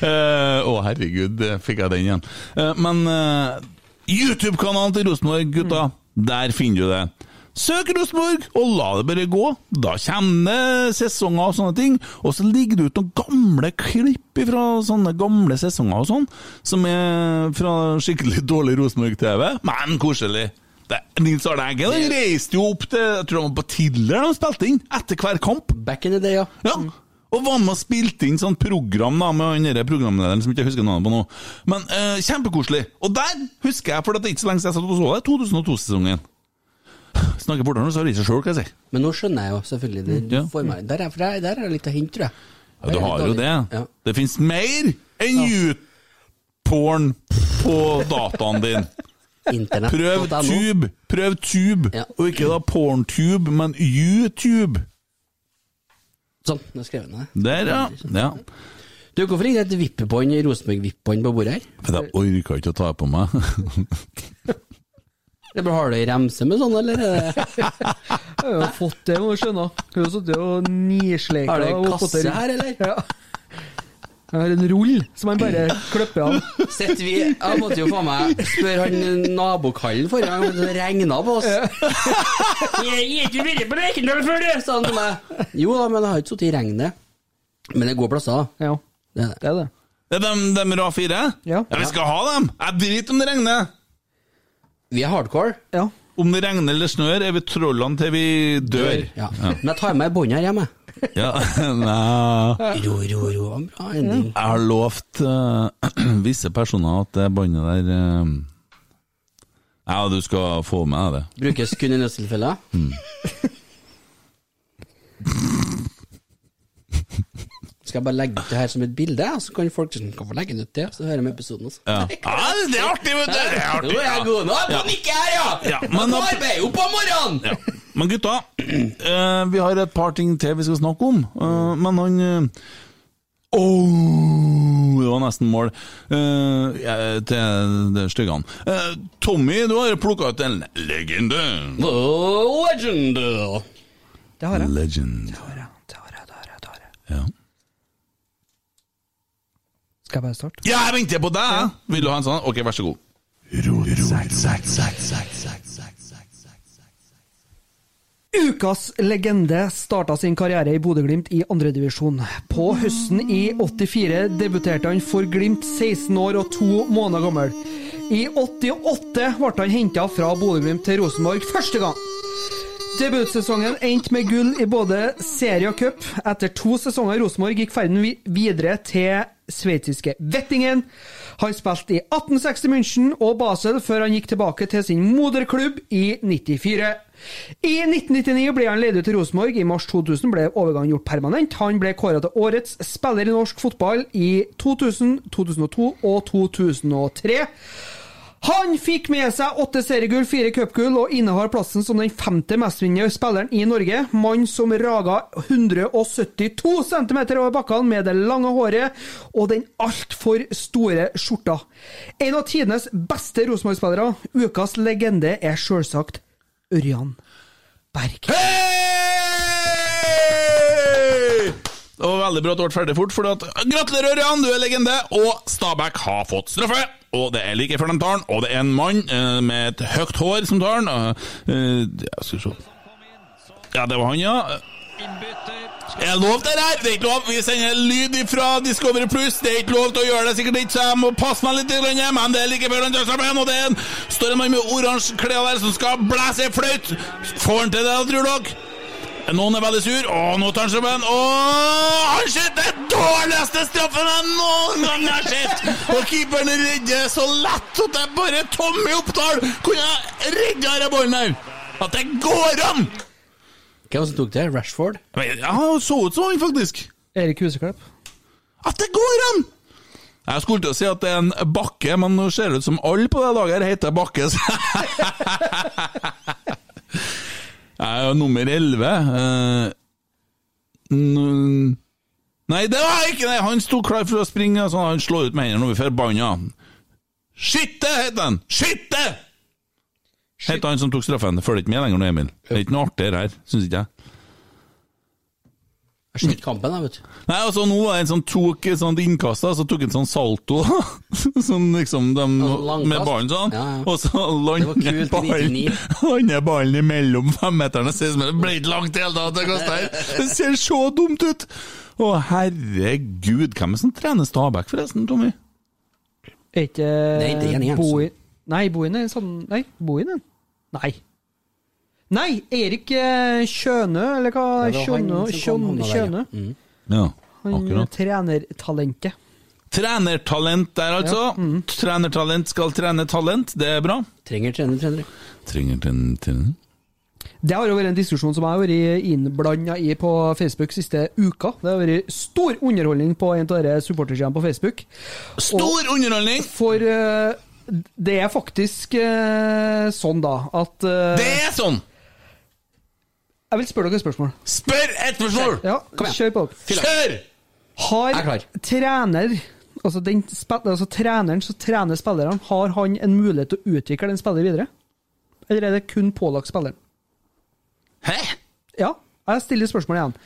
S3: Eh, Å, herregud, eh, fikk jeg den igjen. Eh, men eh, YouTube-kanalen til Rosenborg, gutta, der finner du det. Søk Rosenborg, og la det bare gå. Da kommer det sesonger og sånne ting. Og så ligger det ut noen gamle klipp fra sånne gamle sesonger og sånn, som er fra skikkelig dårlig Rosenborg-TV, men koselig. Det, Nils Arne Eggen han reiste jo opp til jeg tror det var på Tiller de spilte inn, etter hver kamp.
S5: Back in the day, ja.
S3: Ja, og var med og spilte inn sånn program da, med han der programlederen som ikke jeg husker navnet på nå. Men eh, kjempekoselig. Og der husker jeg, for det er ikke så lenge siden jeg satt og så det, 2002-sesongen. Snakker fortere nå, så har jeg ikke sjøl hva jeg sier.
S5: Men nå skjønner jeg jo selvfølgelig det. Du
S3: Ja.
S5: får meg. Der, er, for der, der er det litt å hente, tror jeg.
S3: Ja, du
S5: Der er
S3: har
S5: litt
S3: jo
S5: dårlig.
S3: det.
S5: Ja.
S3: Det fins mer enn YouPorn på dataen din.
S5: Internett.
S3: Prøv
S5: .no.
S3: Tube, prøv Tube,
S5: Ja.
S3: og ikke da PornTube, men YouTube.
S5: Sånn, nå skrev jeg ned.
S3: Der, ja. ja.
S5: Du, hvorfor ligger det et vippebånd, Rosenborg-vippebånd på bordet her?
S3: For jeg orka ikke å ta det på meg.
S5: Det er bare Har du ei remse med sånn, eller? er det-
S6: Jeg har jo fått det, må du skjønne. Jeg har jo sittet og nisleika.
S5: Har du
S6: og
S5: en
S6: fått det
S5: kasse
S6: rundt.
S5: her, eller?
S6: Ja. Jeg har en rull som han bare klipper av.
S5: Sitter vi Jeg måtte jo faen meg spørre han nabokallen forrige gang, men det regna på oss. Jeg har ikke vært på Lerkendal før, du! sa han til meg. Jo da, men jeg har ikke sittet i regnet. Men det går plasser, da.
S6: Ja,
S5: Det er det.
S6: det er det.
S3: Det er dem, dem RA4?
S6: Ja.
S3: vi skal ha dem! Jeg driter om det regner!
S5: Vi er hardcore.
S6: Ja.
S3: Om det regner eller snør, er vi trollene til vi dør.
S5: Ja. Men jeg tar med båndet her hjemme.
S3: Ja, Nei.
S5: Ro, ro, ro. en Bra ending.
S3: Jeg har lovt eh, visse personer at det båndet der eh, Ja, du skal få med deg det.
S5: Brukes kun i nødstilfeller. Skal skal jeg bare legge ut det her som et bilde, så kan folk sånn, Hvorfor legge den ut det? Så hører de episoden også.
S3: Ja. Ja, det er artig, vet du! Det er artig.
S5: Nå er jeg god. Nå er jeg
S3: Ja.
S5: på nikket her, ja!
S3: Ja, men
S5: men
S3: da-
S5: nå arbeider jeg jo på morgenen!
S3: Ja. Men gutta, eh, vi har et par ting til vi skal snakke om. Eh, men han Åh, det var nesten mål eh, jeg- til det stygge han. Eh, Tommy, du har plukka ut en legende.
S5: Legend.
S6: Det har jeg.
S3: Legend. Ja.
S6: Skal jeg bare starte?
S3: Ja, jeg venter på deg! jeg. Vil du ha en sånn? Ok, vær så god.
S6: Ukas legende starta sin karriere i Bodø-Glimt i andredivisjon. På høsten i 84 debuterte han for Glimt 16 år og to måneder gammel. I 88 ble han henta fra Bodø-Glimt til Rosenborg første gang. Debutsesongen endte med gull i både serie og cup. Etter to sesonger i Rosenborg gikk ferden vi- videre til sveitsiske Vettingen. Han spilte i 1860 München og Basel før han gikk tilbake til sin moderklubb i 94. I 1999 ble han leid ut til Rosenborg. I mars 2000 ble overgangen gjort permanent. Han ble kåra til årets spiller i norsk fotball i 2000, 2002 og 2003. Han fikk med seg åtte seriegull, fire cupgull og innehar plassen som den femte mestvinnende spilleren i Norge. Mann som raga 172 cm over bakkene med det lange håret og den altfor store skjorta. En av tidenes beste Rosenborg-spillere. Ukas legende er sjølsagt Ørjan Berg.
S3: Hei! Det var veldig bra at du ble ferdig fort. Fordi at, Gratulerer, Ørjan, du er legende! Og Stabæk har fått straffe! Og det er like før de tar den, og det er en mann eh, med et høyt hår som tar den. eh, eh, ja, skal vi se Ja, det var han, ja. Er det lov, det her? Det er ikke lov. Vi sender lyd fra Discovery Pluss. Det er ikke lov til å gjøre det, sikkert ikke, så jeg må passe meg litt, grann, men det er like før han tar straffe, og det er en, står en mann med oransje klær der som skal blæse ei flaut! Får han til det, tror dere? Noen er veldig sur. Å, nå tar han seg med en. Å, han skyter den dårligste straffen jeg noen gang har sett! Og keeperen redder så lett at jeg bare Tommy Oppdal kunne redda denne ballen her! At det går an!
S5: Hvem som tok det? Rashford?
S3: Men, Ja, han så ut som han, faktisk.
S6: Erik Huseklepp.
S3: At det går an! Jeg skulle til å si at det er en bakke, men nå ser det ut som alle på det laget her heter Bakke. så Jeg er jo nummer 11. eh, n- Nei, det var jeg ikke det! Han sto klar for å springe, så han slår ut med hendene over forbanna. Skytte, het han! Skytte! Het han som tok straffen. Følger ikke med lenger nå, Emil. Det er ikke noe artigere her, syns ikke jeg.
S5: Jeg skyter kampen, jeg, vet du.
S3: Nei, altså nå var det en som tok et sånt innkast, da, så tok en sånn salto, sånn liksom de,
S5: langkast.
S3: med ballen sånn,
S5: Ja, ja.
S3: og så
S5: Det var
S3: lander
S5: kult i
S3: ballen,
S5: 99.
S3: lander ballen imellom femmeterne, og sier, men det ble ikke langt i hele tatt, det kastet her, det ser så dumt ut! Å herregud, hvem er det som trener Stabæk forresten, Tommy?
S6: Er ikke
S5: Nei, det er en Jensen.
S6: Bohin Nei, Bohin er en sånn Nei, Bohin er en Nei. Nei, Erik eh, Kjønø, eller hva?
S5: Ja, det var han
S6: Kjønø,
S5: som kom, han
S6: Kjøn-
S5: var
S6: Kjønø.
S5: der, ja. Mm.
S3: Ja,
S6: Han eh,
S3: akkurat.
S6: trenertalentet.
S3: Trenertalent der altså,
S6: mm.
S3: trenertalent skal trene talent, det er bra.
S5: Trenger trener, trener.
S3: Trenger den til
S6: Det har jo vært en diskusjon som jeg har vært innblanda i på Facebook siste uka. Det har vært stor underholdning på en av dere supportersidene på Facebook.
S3: Stor underholdning!
S6: For eh, det er faktisk eh, sånn, da, at eh,
S3: Det er sånn!
S6: Jeg vil spørre dere et spørsmål.
S3: Spør et spørsmål!
S6: Ja,
S5: Kom igjen.
S6: kjør på.
S3: Kjør!
S5: Jeg er
S6: Har
S5: klar.
S6: trener altså, den, spill- altså treneren som trener spillerne, har han en mulighet til å utvikle den spilleren videre? Eller er det kun pålagt spilleren?
S3: Hæ?
S6: Ja, jeg stiller spørsmålet igjen.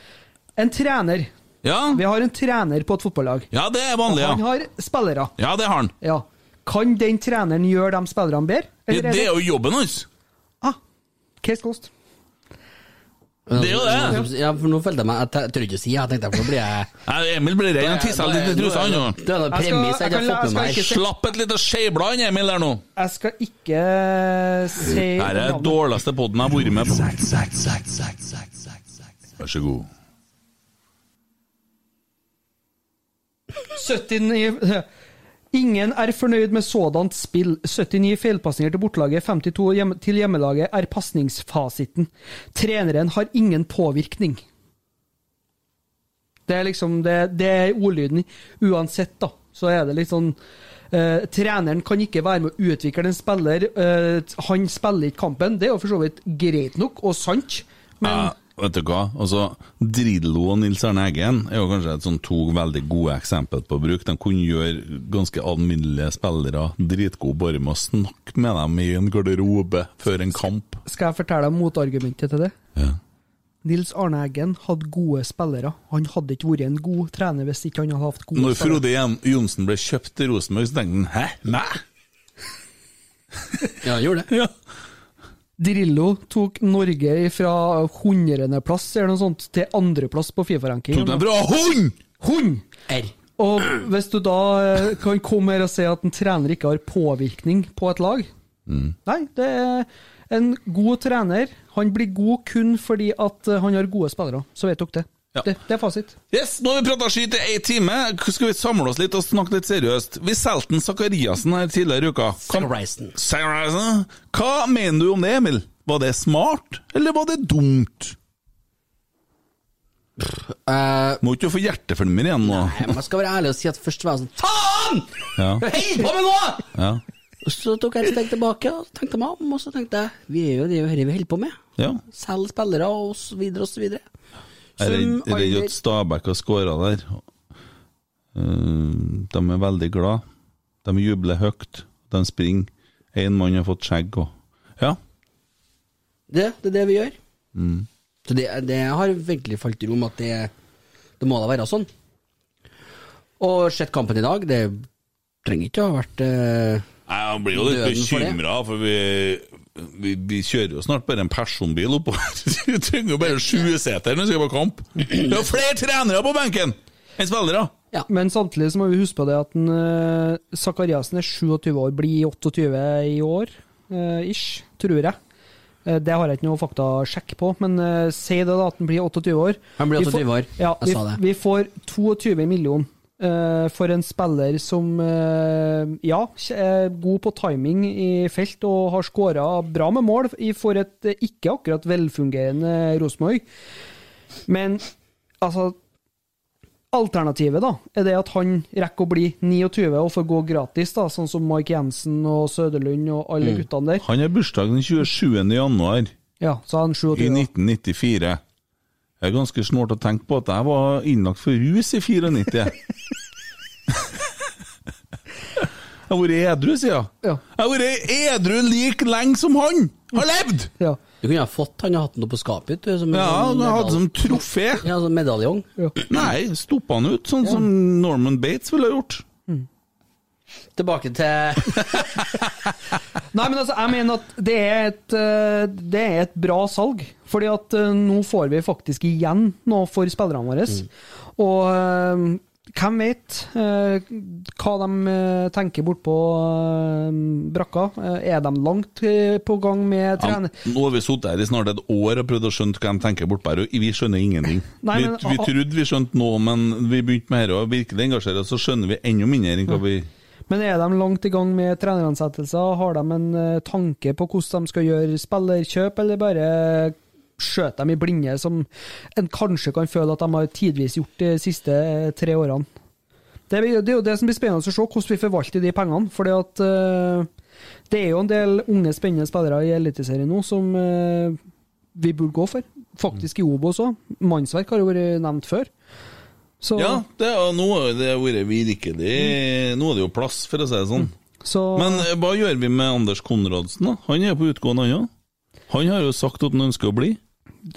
S6: En trener.
S3: Ja,
S6: Vi har en trener på et fotballag.
S3: ja det er vanlig,
S6: Han
S3: ja.
S6: har spillere.
S3: Ja, det har han.
S6: Ja. Kan den treneren gjøre de spillerne bedre?
S3: Ja,
S6: Eller
S3: det er jo jobben hans.
S6: ah, case closed.
S3: Det er jo det.
S5: Ja, for nå følte jeg meg Jeg t- tør ikke å si jeg tenkte jeg, for nå blir jeg
S3: Nei, Emil blir redd og tisser litt i trusa, han nå.
S5: Det er en
S6: Jeg skal-
S5: premiss jeg
S6: jeg
S5: ikke
S6: kan
S5: har
S6: la-
S5: fått med
S6: jeg
S5: meg.
S6: skal
S3: Slapp et lite skeiblad inn, Emil, der nå.
S6: Jeg skal ikke si
S3: Dette er den dårligste poden jeg har vært med på. Vær så god.
S6: 79 Ingen er fornøyd med sådant spill. 79 feilpasninger til bortelaget, 52 hjem, til hjemmelaget er pasningsfasiten. Treneren har ingen påvirkning. Det er liksom det, det er ordlyden uansett, da. Så er det litt sånn eh, Treneren kan ikke være med å utvikle en spiller. eh, han spiller ikke kampen. Det er jo for så vidt greit nok og sant, men
S3: Ja, vet du hva? Altså, Drillo og Nils Arne Eggen er jo kanskje et sånn to veldig gode eksempel på bruk. De kunne gjøre ganske alminnelige spillere dritgode bare med å snakke med dem i en garderobe før en kamp.
S6: Skal jeg fortelle deg motargumentet til det?
S3: Ja.
S6: Nils Arne Eggen hadde gode spillere. Han hadde ikke vært en god trener hvis ikke han hadde hatt gode
S3: Når
S6: spillere.
S3: Frode Jon- Johnsen ble kjøpt til Rosenborg, så tenkte han hæ, meg?
S5: Ja, han gjorde det.
S6: Drillo tok Norge fra 100.-plass eller noe sånt til andreplass på Fifa-ranking.
S3: Tok dem fra hund!
S6: Hund!
S5: R.
S6: Og hvis du da eh, kan komme her og si at en trener ikke har påvirkning på et lag
S3: Mm.
S6: Nei, det er en god trener. Han blir god kun fordi at eh, han har gode spillere. Så vet dere det. Det, det er fasit.
S3: Yes, nå har vi prata skyt i én time. Skal vi samle oss litt og snakke litt seriøst? Vi solgte en Sakariassen her tidligere i uka. Kan- Sakariassen. Hva mener du om det, Emil? Var det smart, eller var det dumt? Må ikke få hjerteflimmer igjen nå.
S5: Nei, men jeg skal være ærlig og si at først var jeg sånn Faen!
S3: Ja.
S5: Hva holder på med nå?!
S3: Ja.
S5: Og Så tok jeg et steg tilbake og tenkte meg om, og så tenkte jeg vi er jo det er jo dette vi holder på med.
S3: ja.
S5: Selge spillere og så videre og så videre.
S3: Jeg er redd- jeg
S5: Sum
S3: er redd
S5: aldri-
S3: at Stabæk har skåra der. Eh, De er veldig glad. De jubler høyt. De springer. Én mann har fått skjegg òg. Ja.
S5: Det, det er det vi gjør.
S3: Mm.
S5: Så det, det har virkelig falt i rom at det, det må da være sånn. Og sett kampen i dag, det trenger ikke å ha vært eh,
S3: Jeg blir jo litt
S5: Døden for det.
S3: bekymra, for vi, vi, vi kjører jo snart bare en personbil oppover. Vi trenger jo bare sjueseter når vi skal på kamp. Det er flere trenere på benken enn spillere!
S6: Men samtidig så må vi huske på det at en, eh, Sakariassen er 27 år, blir 28 i år, eh, ish, tror jeg. Eh, det har jeg ikke noe faktasjekk på, men eh, si det da at han blir 28 år.
S5: Han blir
S6: Vi får-
S5: 28 år.
S6: Ja,
S5: Jeg
S6: vi,
S5: sa det.
S6: Vi får 22 millioner eh, for en spiller som eh, ja, kj- er god på timing i felt og har skåra bra med mål i- for et eh, ikke akkurat velfungerende Rosenborg. Men altså Alternativet da, er det at han rekker å bli 29 og får gå gratis, da, sånn som Mike Jensen og Søderlund og alle
S3: Mm.
S6: guttene der.
S3: Han har bursdag den 27. januar
S6: Ja, så han 27.
S3: i 1994. Det er ganske snålt å tenke på at jeg var innlagt for rus i 94. Jeg har vært edru, sier jeg.
S6: Ja.
S3: Jeg har vært edru like lenge som han har levd!
S6: Ja.
S5: Du kunne ha fått han og hatt noe på skapet. Du,
S6: Mm.
S5: som en
S3: Ja,
S5: sånn
S3: han hadde
S5: medal-
S3: som trofé.
S5: Ja, som medaljong.
S3: Nei, stoppa han ut, sånn som Norman Bates ville ha gjort.
S5: Tilbake til
S6: Nei, men altså, jeg mener at det er et, eh, det er et bra salg. Fordi at eh, nå får vi faktisk igjen noe for spillerne våre.
S3: Mm.
S6: Og eh, hvem vet eh, hva de eh, tenker bortpå eh, brakka? Eh, Er de langt eh, på gang med
S3: Ja,
S6: trener...
S3: nå har vi sittet her i snart et år og prøvd å skjønne hva de tenker bortpå her, og vi skjønner ingenting.
S6: Nei, men-
S3: vi, vi trodde vi skjønte noe, men vi begynte med dette og virkelig engasjere oss, så skjønner vi enda mindre enn hva vi
S6: Men er de langt i gang med treneransettelser? Har de en eh, tanke på hvordan de skal gjøre spillerkjøp, eller bare skjøter dem i blinde, som en kanskje kan føle at de har tidvis gjort de siste eh, tre årene? Det er, det er jo det som blir spennende å se, hvordan vi forvalter de pengene. For det er jo en del unge, spennende spillere i Eliteserien nå som eh, vi burde gå for. Faktisk i Obos òg. Mannsverk har jo vært nevnt før. Så,
S3: Ja, det, er- og nå har det vært virkelig
S5: Mm.
S3: Nå er det jo plass, for å si det sånn.
S6: så
S3: Men eh, hva gjør vi med Anders Konradsen, da? Han er på utgående, han òg. Han har jo sagt at han ønsker å bli.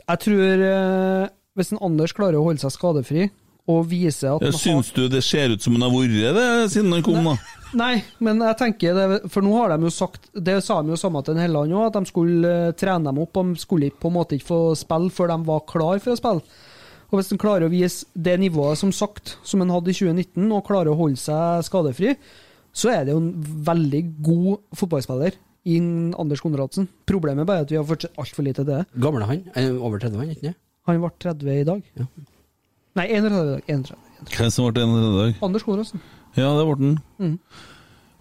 S6: Jeg tror eh, hvis en Anders klarer å holde seg skadefri og vise at
S3: Ja,
S6: han har
S3: Eh, Syns du det ser ut som han har vært det siden han kom, da?
S6: Nei, men jeg tenker det, For nå har de jo sagt Det sa de jo samme til en Helland òg, at de skulle eh, trene dem opp. De skulle ikke- på en måte ikke få spille før de var klar for å spille. Og Hvis han klarer å vise det nivået som sagt, som han hadde i 2019, og klarer å holde seg skadefri, så er det jo en veldig god fotballspiller i en Anders Konradsen. Problemet er bare at vi har fortsatt altfor lite til det.
S5: Gamle han. eh, Over 30, han, ikke det?
S6: Han ble 30 i dag. Nei, 31 i dag. 31.
S3: Hvem som ble det i dag?
S6: Anders Konradsen.
S3: Ja, det ble den.
S6: Mm.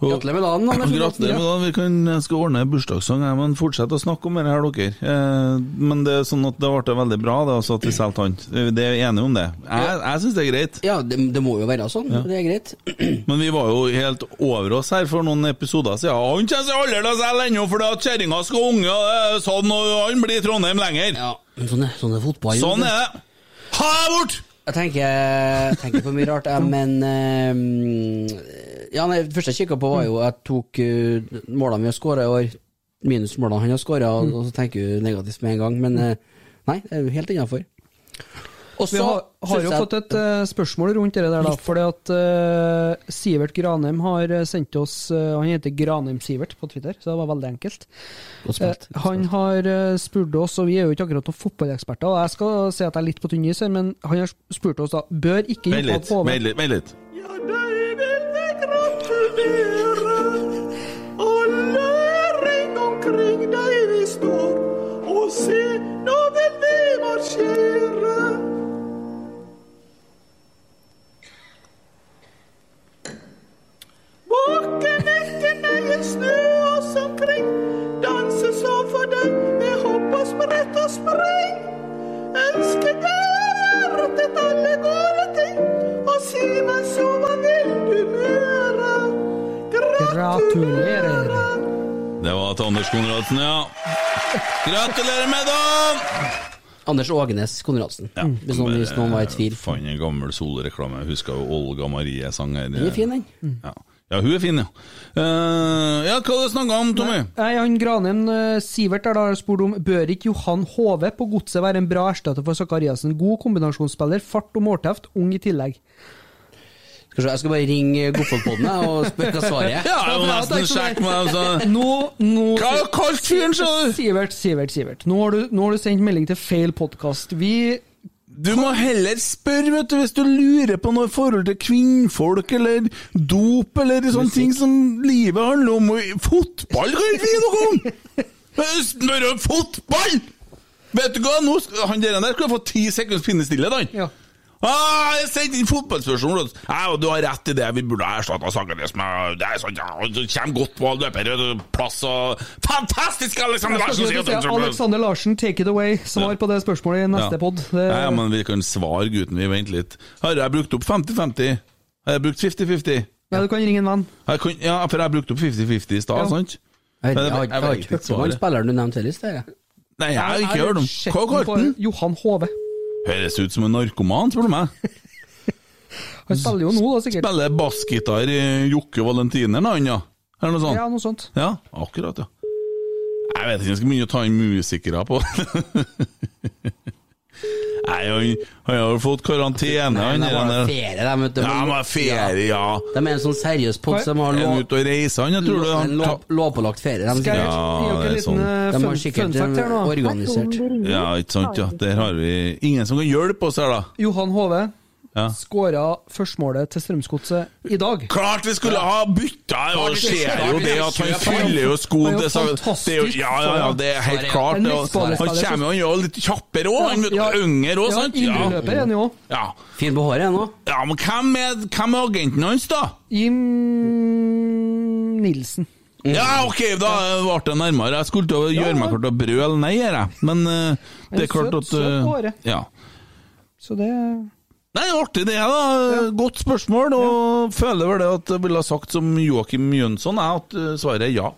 S5: Gratulerer med dagen, Anders.
S3: Gratulerer med dagen. Vi kan, jeg skal ordne bursdagssang, jeg, men fortsett å snakke om det her, dere. Eh, men det er sånn at det ble veldig bra det, altså,
S5: Mm.
S3: at vi solgte han. Det er vi enige om det. Jeg, jeg syns det er greit.
S5: Ja, det, det må jo være sånn. Det er greit.
S3: Men vi var jo helt over oss her for noen episoder siden. Han kommer seg aldri til å selge ennå, fordi at kjerringa skal unge, og det er sånn, og han blir i Trondheim lenger.
S5: Men sånn er, sånn er fotball. jo.
S3: Sånn er det. Ha deg bort!
S5: Jeg tenker, jeg tenker på mye rart, jeg, men eh, ja, nei, Det første jeg kikka på, var jo Jeg tok eh, målene vi har skåra i år, minus målene han har skåra, og, og så tenker du negativt med en gang. Men eh, nei, det er jo helt innafor. Og
S6: Vi
S5: så
S6: har, har
S5: synes
S6: jo
S5: jeg-
S6: fått et eh, spørsmål rundt det der, da. Fordi at eh, Sivert Granheim har eh, sendt oss eh, Han heter Granheim-Sivert på Twitter, så det var veldig enkelt.
S5: Godt spilt.
S6: Eh, han har eh, spurt oss, og vi er jo ikke akkurat noen fotballeksperter, og jeg skal si at jeg er litt på tynn is her, men han har spurt oss da Bør ikke
S3: Vent litt,
S6: Johan Hove
S3: vent litt. Vent litt.
S2: omkring deg vi står, og se, nå vil vi marsjere. Våken etter nøye snø oss omkring, danse så for deg med hopp og sprett og spring. Ønske deg rettet alle gode ting, og si meg så hva vil du mere?
S6: Gratulerer!
S3: Det var til Anders Konradsen, ja. Gratulerer med dagen!
S5: Anders Ågenes Konradsen, hvis, noen, hvis noen var i tvil.
S3: Fant en gammel solreklame. Jeg husker jo Olga Marie sang her. Mm.
S5: Den er fin, den.
S3: Ja. ja, hun er fin, ja. Eh, ja, hva snakka du om, Tommy?
S6: Nei, han Granheim eh, Sivert har da spurt om bør ikke Johan Hove på godset være en bra erstatter for Sakariassen? God kombinasjonsspiller, fart og målteft, ung i tillegg.
S5: Skal vi se, jeg skal bare ringe Goffelpodden jeg, og spørre hva svaret er.
S3: Ja, jeg må nesten sjekke meg altså.
S6: Eh, Nå, nå
S3: Hva kalte fyren, sa du?
S6: Sivert, Sivert, Sivert. Nå har du, nå har du sendt melding til feil podkast. Vi
S3: Du må heller spørre, vet du, hvis du lurer på noe i forhold til kvinnfolk eller dop eller sånne ting som livet handler om. og Fotball kan ikke vi noe om! Men Spør om fotball! Vet du hva, nå, sk- han der der skulle få ti sekunds pinnestille, da.
S6: Ja.
S3: Ah, jeg sendte inn fotballspørsmål! og- Ja, og du har rett i det, vi burde ha erstatta Saganes med Det er sånn, ja, og du kommer godt på løper, og plass og Fantastisk, Alexander
S6: Jeg
S3: Larsen!
S6: skal
S3: sier
S6: ikke si,
S3: at-
S6: Alexander Larsen, take it away. Svar på det spørsmålet i neste pod. Det,
S3: ja, ja, men vi kan svare gutten, vi venter litt. Har jeg brukt opp 50-50? Har jeg brukt 50-50?
S6: ja, du kan ringe en venn.
S3: Jeg kan- Ja, for jeg har brukt opp 50-50 i stad,
S6: Ja.
S3: sant?
S5: Jeg
S3: Men
S5: vet- jeg har ikke- jeg har ikke hørt om han
S3: svaret.
S5: spilleren du nevnte heller i sted. jeg.
S3: Nei, jeg har ikke
S6: Jeg
S3: hørt om
S6: sett
S3: Hva kalte
S6: på
S3: han?
S6: Johan Hove.
S3: Høres ut som en narkoman, spør du meg.
S6: Han spiller jo nå, da, sikkert.
S3: Spiller bassgitar i Jokke Valentiner eller noe annet? Eller noe sånt?
S6: Ja, noe sånt.
S3: Ja, akkurat, ja. Jeg vet ikke, jeg skal begynne å ta inn musikere på Nei, han han har jo fått karantene,
S5: Nei,
S3: han
S5: de har
S3: der.
S5: ferie, de, vet du.
S3: Ja, han har ferie, ja.
S5: De er en sånn seriøs pod som har
S3: Er
S5: lov...
S3: han ute og reiser, han? Jeg tror det
S5: Lov-
S3: han
S5: lov- lovpålagt ferie. De,
S6: Skal jeg
S5: sikkert.
S3: Ja,
S6: gi dere en
S3: det er
S6: liten
S3: sånn.
S6: eh,
S5: de har
S6: fun,
S5: sikkert eh,
S6: fun fact her nå?
S5: organisert.
S3: Ja, ikke sant, ja. Der har vi ingen som kan hjelpe oss her, da.
S6: Johan Hove
S3: Ja.
S6: skåra førstemålet til Strømsgodset i dag.
S3: Klart vi skulle ha bytta! Og ser jo det at han fyller jo skoen til Sa- det er jo, Ja, ja, ja, det er helt klart. Det, og han kommer jo han er jo litt kjappere òg, han er jo yngre òg, sant?
S6: Ja,
S3: Ja.
S6: indreløper er han jo.
S3: ja.
S5: Fin på håret ennå.
S3: Ja, men hvem er, hvem er agenten hans, da?
S6: Jim Nilsen.
S3: Ja, ok, da ble det nærmere. Jeg skulle til å gjøre meg klar til å brøle nei, her, jeg. men eh, det er klart
S6: Søt-
S3: at
S6: søt på
S3: eh,
S6: håret.
S3: ja.
S6: Så det
S3: Nei, artig det, da. Godt spørsmål. Og føler vel det at jeg ville ha sagt som Joakim Jønsson, er at eh, svaret er ja.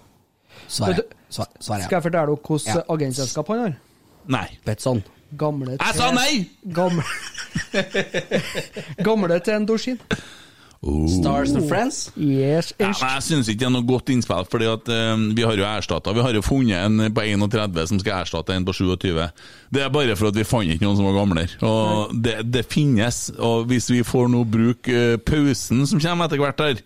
S5: Svaret. Svar- Svaret.
S6: Skal jeg fortelle dere hvilket
S5: Ja.
S6: agentselskap han har?
S3: Nei.
S5: Betsson.
S6: Gamle
S3: Jeg sa nei!
S6: Gamle, gamle til Endorsin.
S5: Stars
S3: Oh.
S5: and Friends.
S6: Yes,
S3: Ja,
S6: ish.
S3: men jeg syns ikke det er noe godt innspill, fordi at eh, vi har jo erstatta Vi har jo funnet en på 31 som skal erstatte en på 27. Det er bare for at vi fant ikke noen som var gamlere. Og det, det finnes. Og hvis vi får nå bruke eh, pausen som kommer etter hvert her,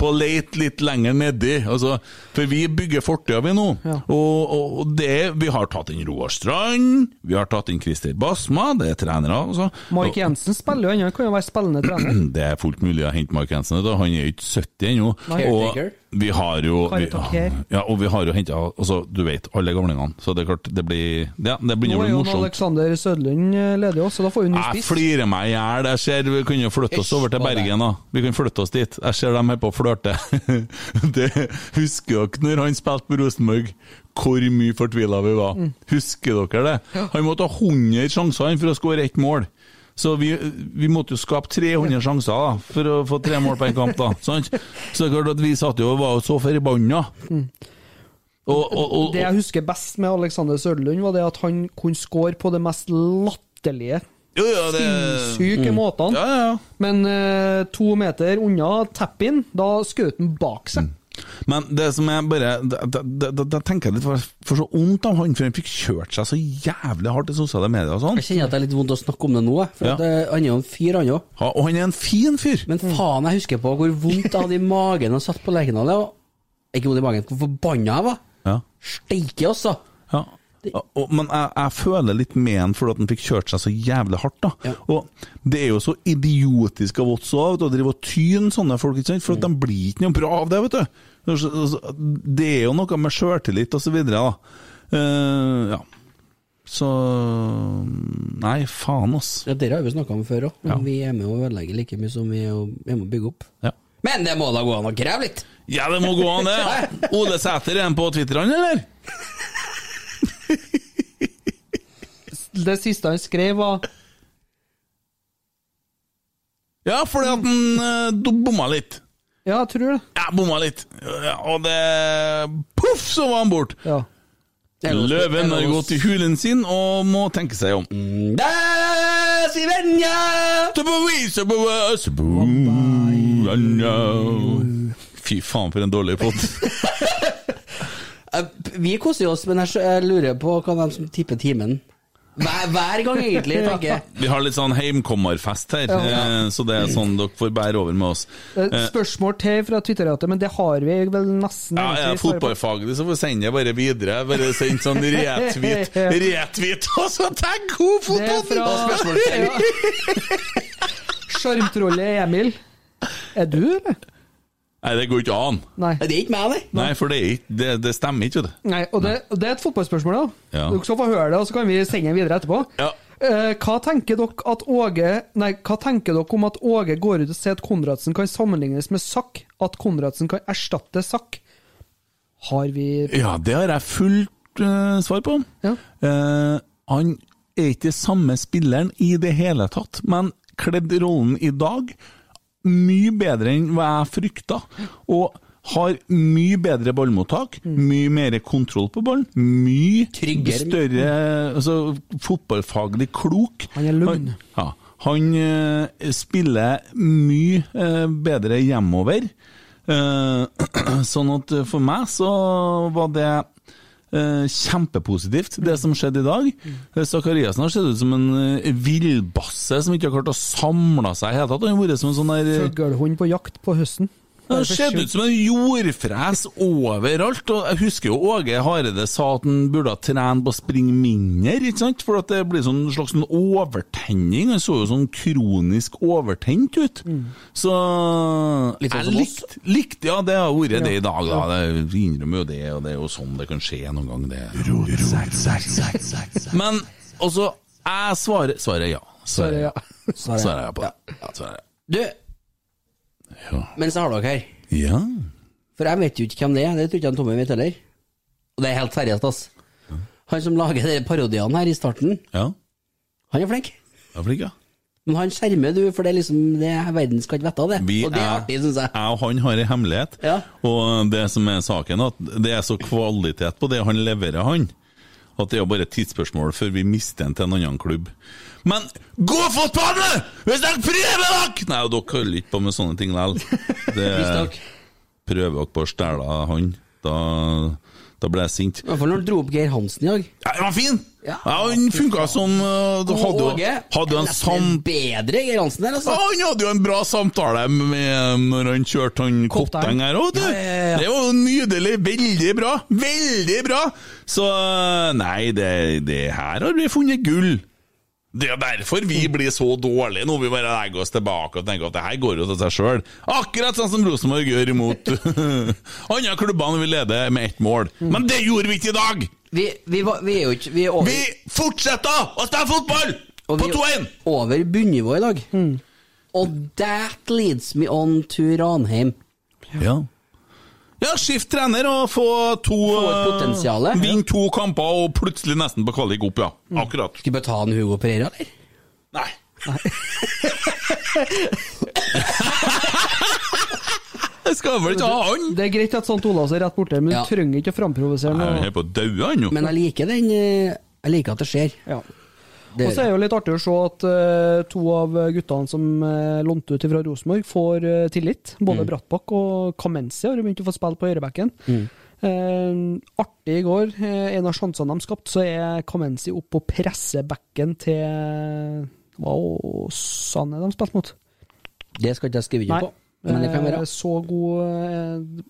S3: på å lete litt lenger nedi altså, For vi bygger fortida, vi nå. Og, og, og det Vi har tatt inn Roar Strand, vi har tatt inn Christer Basma, det er trenere, altså.
S6: Mark Jensen spiller jo ennå, han kan jo være spillende trener.
S3: Det er fullt mulig å hente Mark Jensen. vet du. Han er jo ikke 70 ennå.
S5: Caretaker.
S3: Og vi har jo vi,
S6: Caretaker.
S3: ja, og vi har jo henta altså, Du vet, alle gamlingene. Så det er klart, det blir ja, Det
S6: Nå
S3: begynner å
S6: er
S3: bli
S6: jo en
S3: morsomt.
S6: Alexander Sødlund eh, ledig også, så da får vi ny
S3: Jeg
S6: spiss.
S3: flirer meg i hjel. Jeg ser vi kunne jo flytte oss
S5: Hysj
S3: over til
S5: på deg.
S3: Bergen, da. Vi kan flytte oss dit. Jeg ser dem her på flø klarte det. Husker dere når han spilte på Rosenborg, hvor mye fortvila vi var?
S10: Mm.
S3: Husker dere det? Han måtte ha 100 sjanser han for å skåre ett mål. Så vi, vi måtte jo skape 300 sjanser da, for å få tre mål på en kamp. da, sant? Så det er klart at vi satt jo og var jo så forbanna. Og, og, og,
S6: Det jeg husker best med Alexander Sørlund, var det at han kunne score på det mest latterlige.
S3: Jo, ja, det-
S6: Sinnssyke
S3: Mm.
S6: måtene. Men eh, to meter unna tap-in, da skjøt han bak seg.
S3: Men det som er bare Da, da, da, da tenker jeg litt for, for så vondt av han, for han fikk kjørt seg så jævlig hardt i sosiale medier og sånn.
S5: Jeg kjenner at det er litt vondt å snakke om det nå, jeg, for
S3: Ja.
S5: at det, han er jo en fyr, han òg.
S3: Ja, og han er en fin fyr.
S5: Men
S6: Mm.
S5: faen, jeg husker på hvor vondt jeg hadde i magen da jeg satt på Lerkendal. jeg, og- Ikke vondt i magen, hvor forbanna jeg var.
S3: Ja.
S5: Steike, altså!
S3: Ja. Og, men jeg, jeg føler litt med han fordi at han fikk kjørt seg så jævlig hardt. da Og Det er jo så idiotisk av oss også, vet du, å drive og tyne sånne folk, ikke sant? for at de blir ikke noe bra av det. vet du Så- så- så- Det er jo noe med sjøltillit og så videre. da Eh, Ja. Så Nei, faen, ass.
S5: Ja, Dere har vi snakka om før òg, men vi er med å ødelegge like mye som vi er å- er med å bygge opp. Men det må da gå an å kreve litt?
S3: Ja, det må gå an, det. Ole Sæter, er han på Twitter, han, eller?
S6: Det siste han skrev, var
S3: Ja, fordi at han eh, do- bomma litt.
S6: Ja, jeg tror det.
S3: Ja, bomma litt. Ja, og det Poff, så var han borte! Løven har gått i hulen sin og må tenke seg om. Fy faen, for en dårlig pott.
S5: Vi koser jo oss, men jeg skjø- jeg lurer på hva de som tipper timen. Hver, hver gang, egentlig, tenker jeg.
S3: Vi har litt sånn heimkommerfest her,
S6: Ja.
S3: eh, så det er sånn dere får bære over med oss.
S6: Et
S3: Eh,
S6: spørsmål til fra Twitter-ratet, men det har vi vel nesten
S3: Ja, er
S6: egentlig
S3: det
S6: svaret på.
S3: fotballfaglig, så får vi sende det bare videre. Bare send sånn retweet. Retweet, og så tagg hun
S6: Det er fra-
S3: fotoen!
S6: Sjarmtrollet Emil. Er du, eller?
S3: Nei, det går ikke an.
S6: Nei.
S5: Det er ikke meg, nei.
S3: Nei, for det, er ikke, det, det stemmer ikke, vet du.
S6: Nei, og det, og det er et fotballspørsmål, da.
S3: Ja.
S6: Dere skal få høre det, og så kan vi sende den videre etterpå. Eh, hva, tenker dere at Åge, nei, hva tenker dere om at Åge går ut og sier at Konradsen kan sammenlignes med Sakk? At Konradsen kan erstatte Sakk? Har vi
S3: Ja, det har jeg fullt eh, svar på. Eh, han er ikke samme spilleren i det hele tatt, men kledd rollen i dag mye bedre enn hva jeg frykta. Og har mye bedre ballmottak, mye mer kontroll på ballen, mye
S5: Tryggere.
S3: større altså, fotballfaglig klok. Han er
S6: lugn.
S3: Ja. Han eh, spiller mye eh, bedre hjemover. Eh, sånn at eh, for meg så var det eh, kjempepositivt, det som skjedde i dag. Eh, Zakariassen har sett ut som en eh, villbasse som ikke har klart å samle seg i det hele tatt. Han har vært som en sånn der eh,
S6: fuglehund på jakt på høsten?
S3: han ser ut som en jordfres overalt. Og jeg husker jo Åge Hareide sa at han burde ha trene på å springe mindre, ikke sant? for at det blir sånn slags sånn overtenning. Han så jo sånn kronisk overtent ut. Så
S5: Litt sånn
S3: jeg
S5: som oss.
S3: likte, likte Ja, det har vært det i dag, da. Det vi innrømmer jo det, og det er jo sånn det kan skje noen gang, det. Men også jeg svarer Svarer ja. Svarer ja. Svarer ja på det. Svarer ja.
S5: Du, mens jeg har dere her
S3: Ja.
S5: For jeg vet jo ikke hvem det er, det tror ikke han Tommy vet heller. Og det er helt seriøst, ass. Han som lager de parodiene her i starten,
S3: Ja.
S5: han er flink.
S3: Ja, flink, ja.
S5: Men han skjermer, du, for det er liksom det er verden skal ikke vite av det.
S3: Vi
S5: og det er
S3: er-
S5: artig, syns jeg.
S3: og han har en hemmelighet, og det som er saken, at det er så kvalitet på det han leverer, han. At det er jo bare et tidsspørsmål før vi mister han til en annen klubb. Men gå fotballen! Hvis dere prøver dere! Nei, og dere holder ikke på med sånne ting likevel.
S5: Hvis dere-
S3: Det prøver dere på å stjele han. Da, da blir jeg sint.
S5: I hvert fall når han dro opp Geir Hansen i dag.
S3: Ja, han var fin! Ja, han funka som uh,
S5: Og
S3: Hadde jo,
S5: Åge,
S3: hadde jo en
S5: nesten
S3: sam...
S5: Bedre Geir Hansen der, altså.
S3: Ja, han hadde jo en bra samtale med når han kjørte han Koppeng her òg, du.
S5: Ja, ja, ja.
S3: Det var jo nydelig. Veldig bra. Veldig bra! Så nei, det, det her har vi funnet gull. Det er derfor vi
S5: Mm.
S3: blir så dårlige nå. Vi bare legger oss tilbake og tenker at det her går jo til seg sjøl. Akkurat sånn som Rosenborg gjør imot andre klubber når vi leder med ett mål.
S5: Mm.
S3: Men det gjorde vi ikke i dag!
S5: Vi, vi, var- vi er jo ikke Vi er over,
S3: Vi fortsetter å spille fotball!
S5: og
S3: På
S5: vi er
S3: 2-1!
S6: Mm.
S5: over bunnivået i dag. Og that leads me on to Ranheim.
S3: Ja. Ja, skift trener og få to
S5: potensial,
S3: Vinn to kamper og plutselig nesten på kvalik opp, ja. Akkurat.
S5: Skal vi bare ta en Hugo Pereira, eller?
S3: Jeg skal vel ikke ha han!
S6: Det er greit at Sant Olavs er rett borte, men
S5: Ja.
S6: du trenger ikke å framprovosere
S3: Nei, Han
S6: noe.
S3: er på å daue, han jo.
S5: Men jeg liker den eh, Jeg liker at det skjer.
S6: Ja.
S5: Det
S6: Og så er det jo litt artig å se at eh, to av guttene som uh, lånte ut fra Rosenborg, får eh, tillit. Både Brattbakk og Kamenzi har jo begynt å få spille på høyrebekken. Eh, artig i går, eh, en av sjansene de skapte, så er Kamenzi oppe og presser bekken til Hva var Sanne de spilte mot?
S5: Det skal ikke jeg skrive
S6: Nei,
S5: under på. Men det kan
S6: eh,
S5: være.
S6: Så god eh,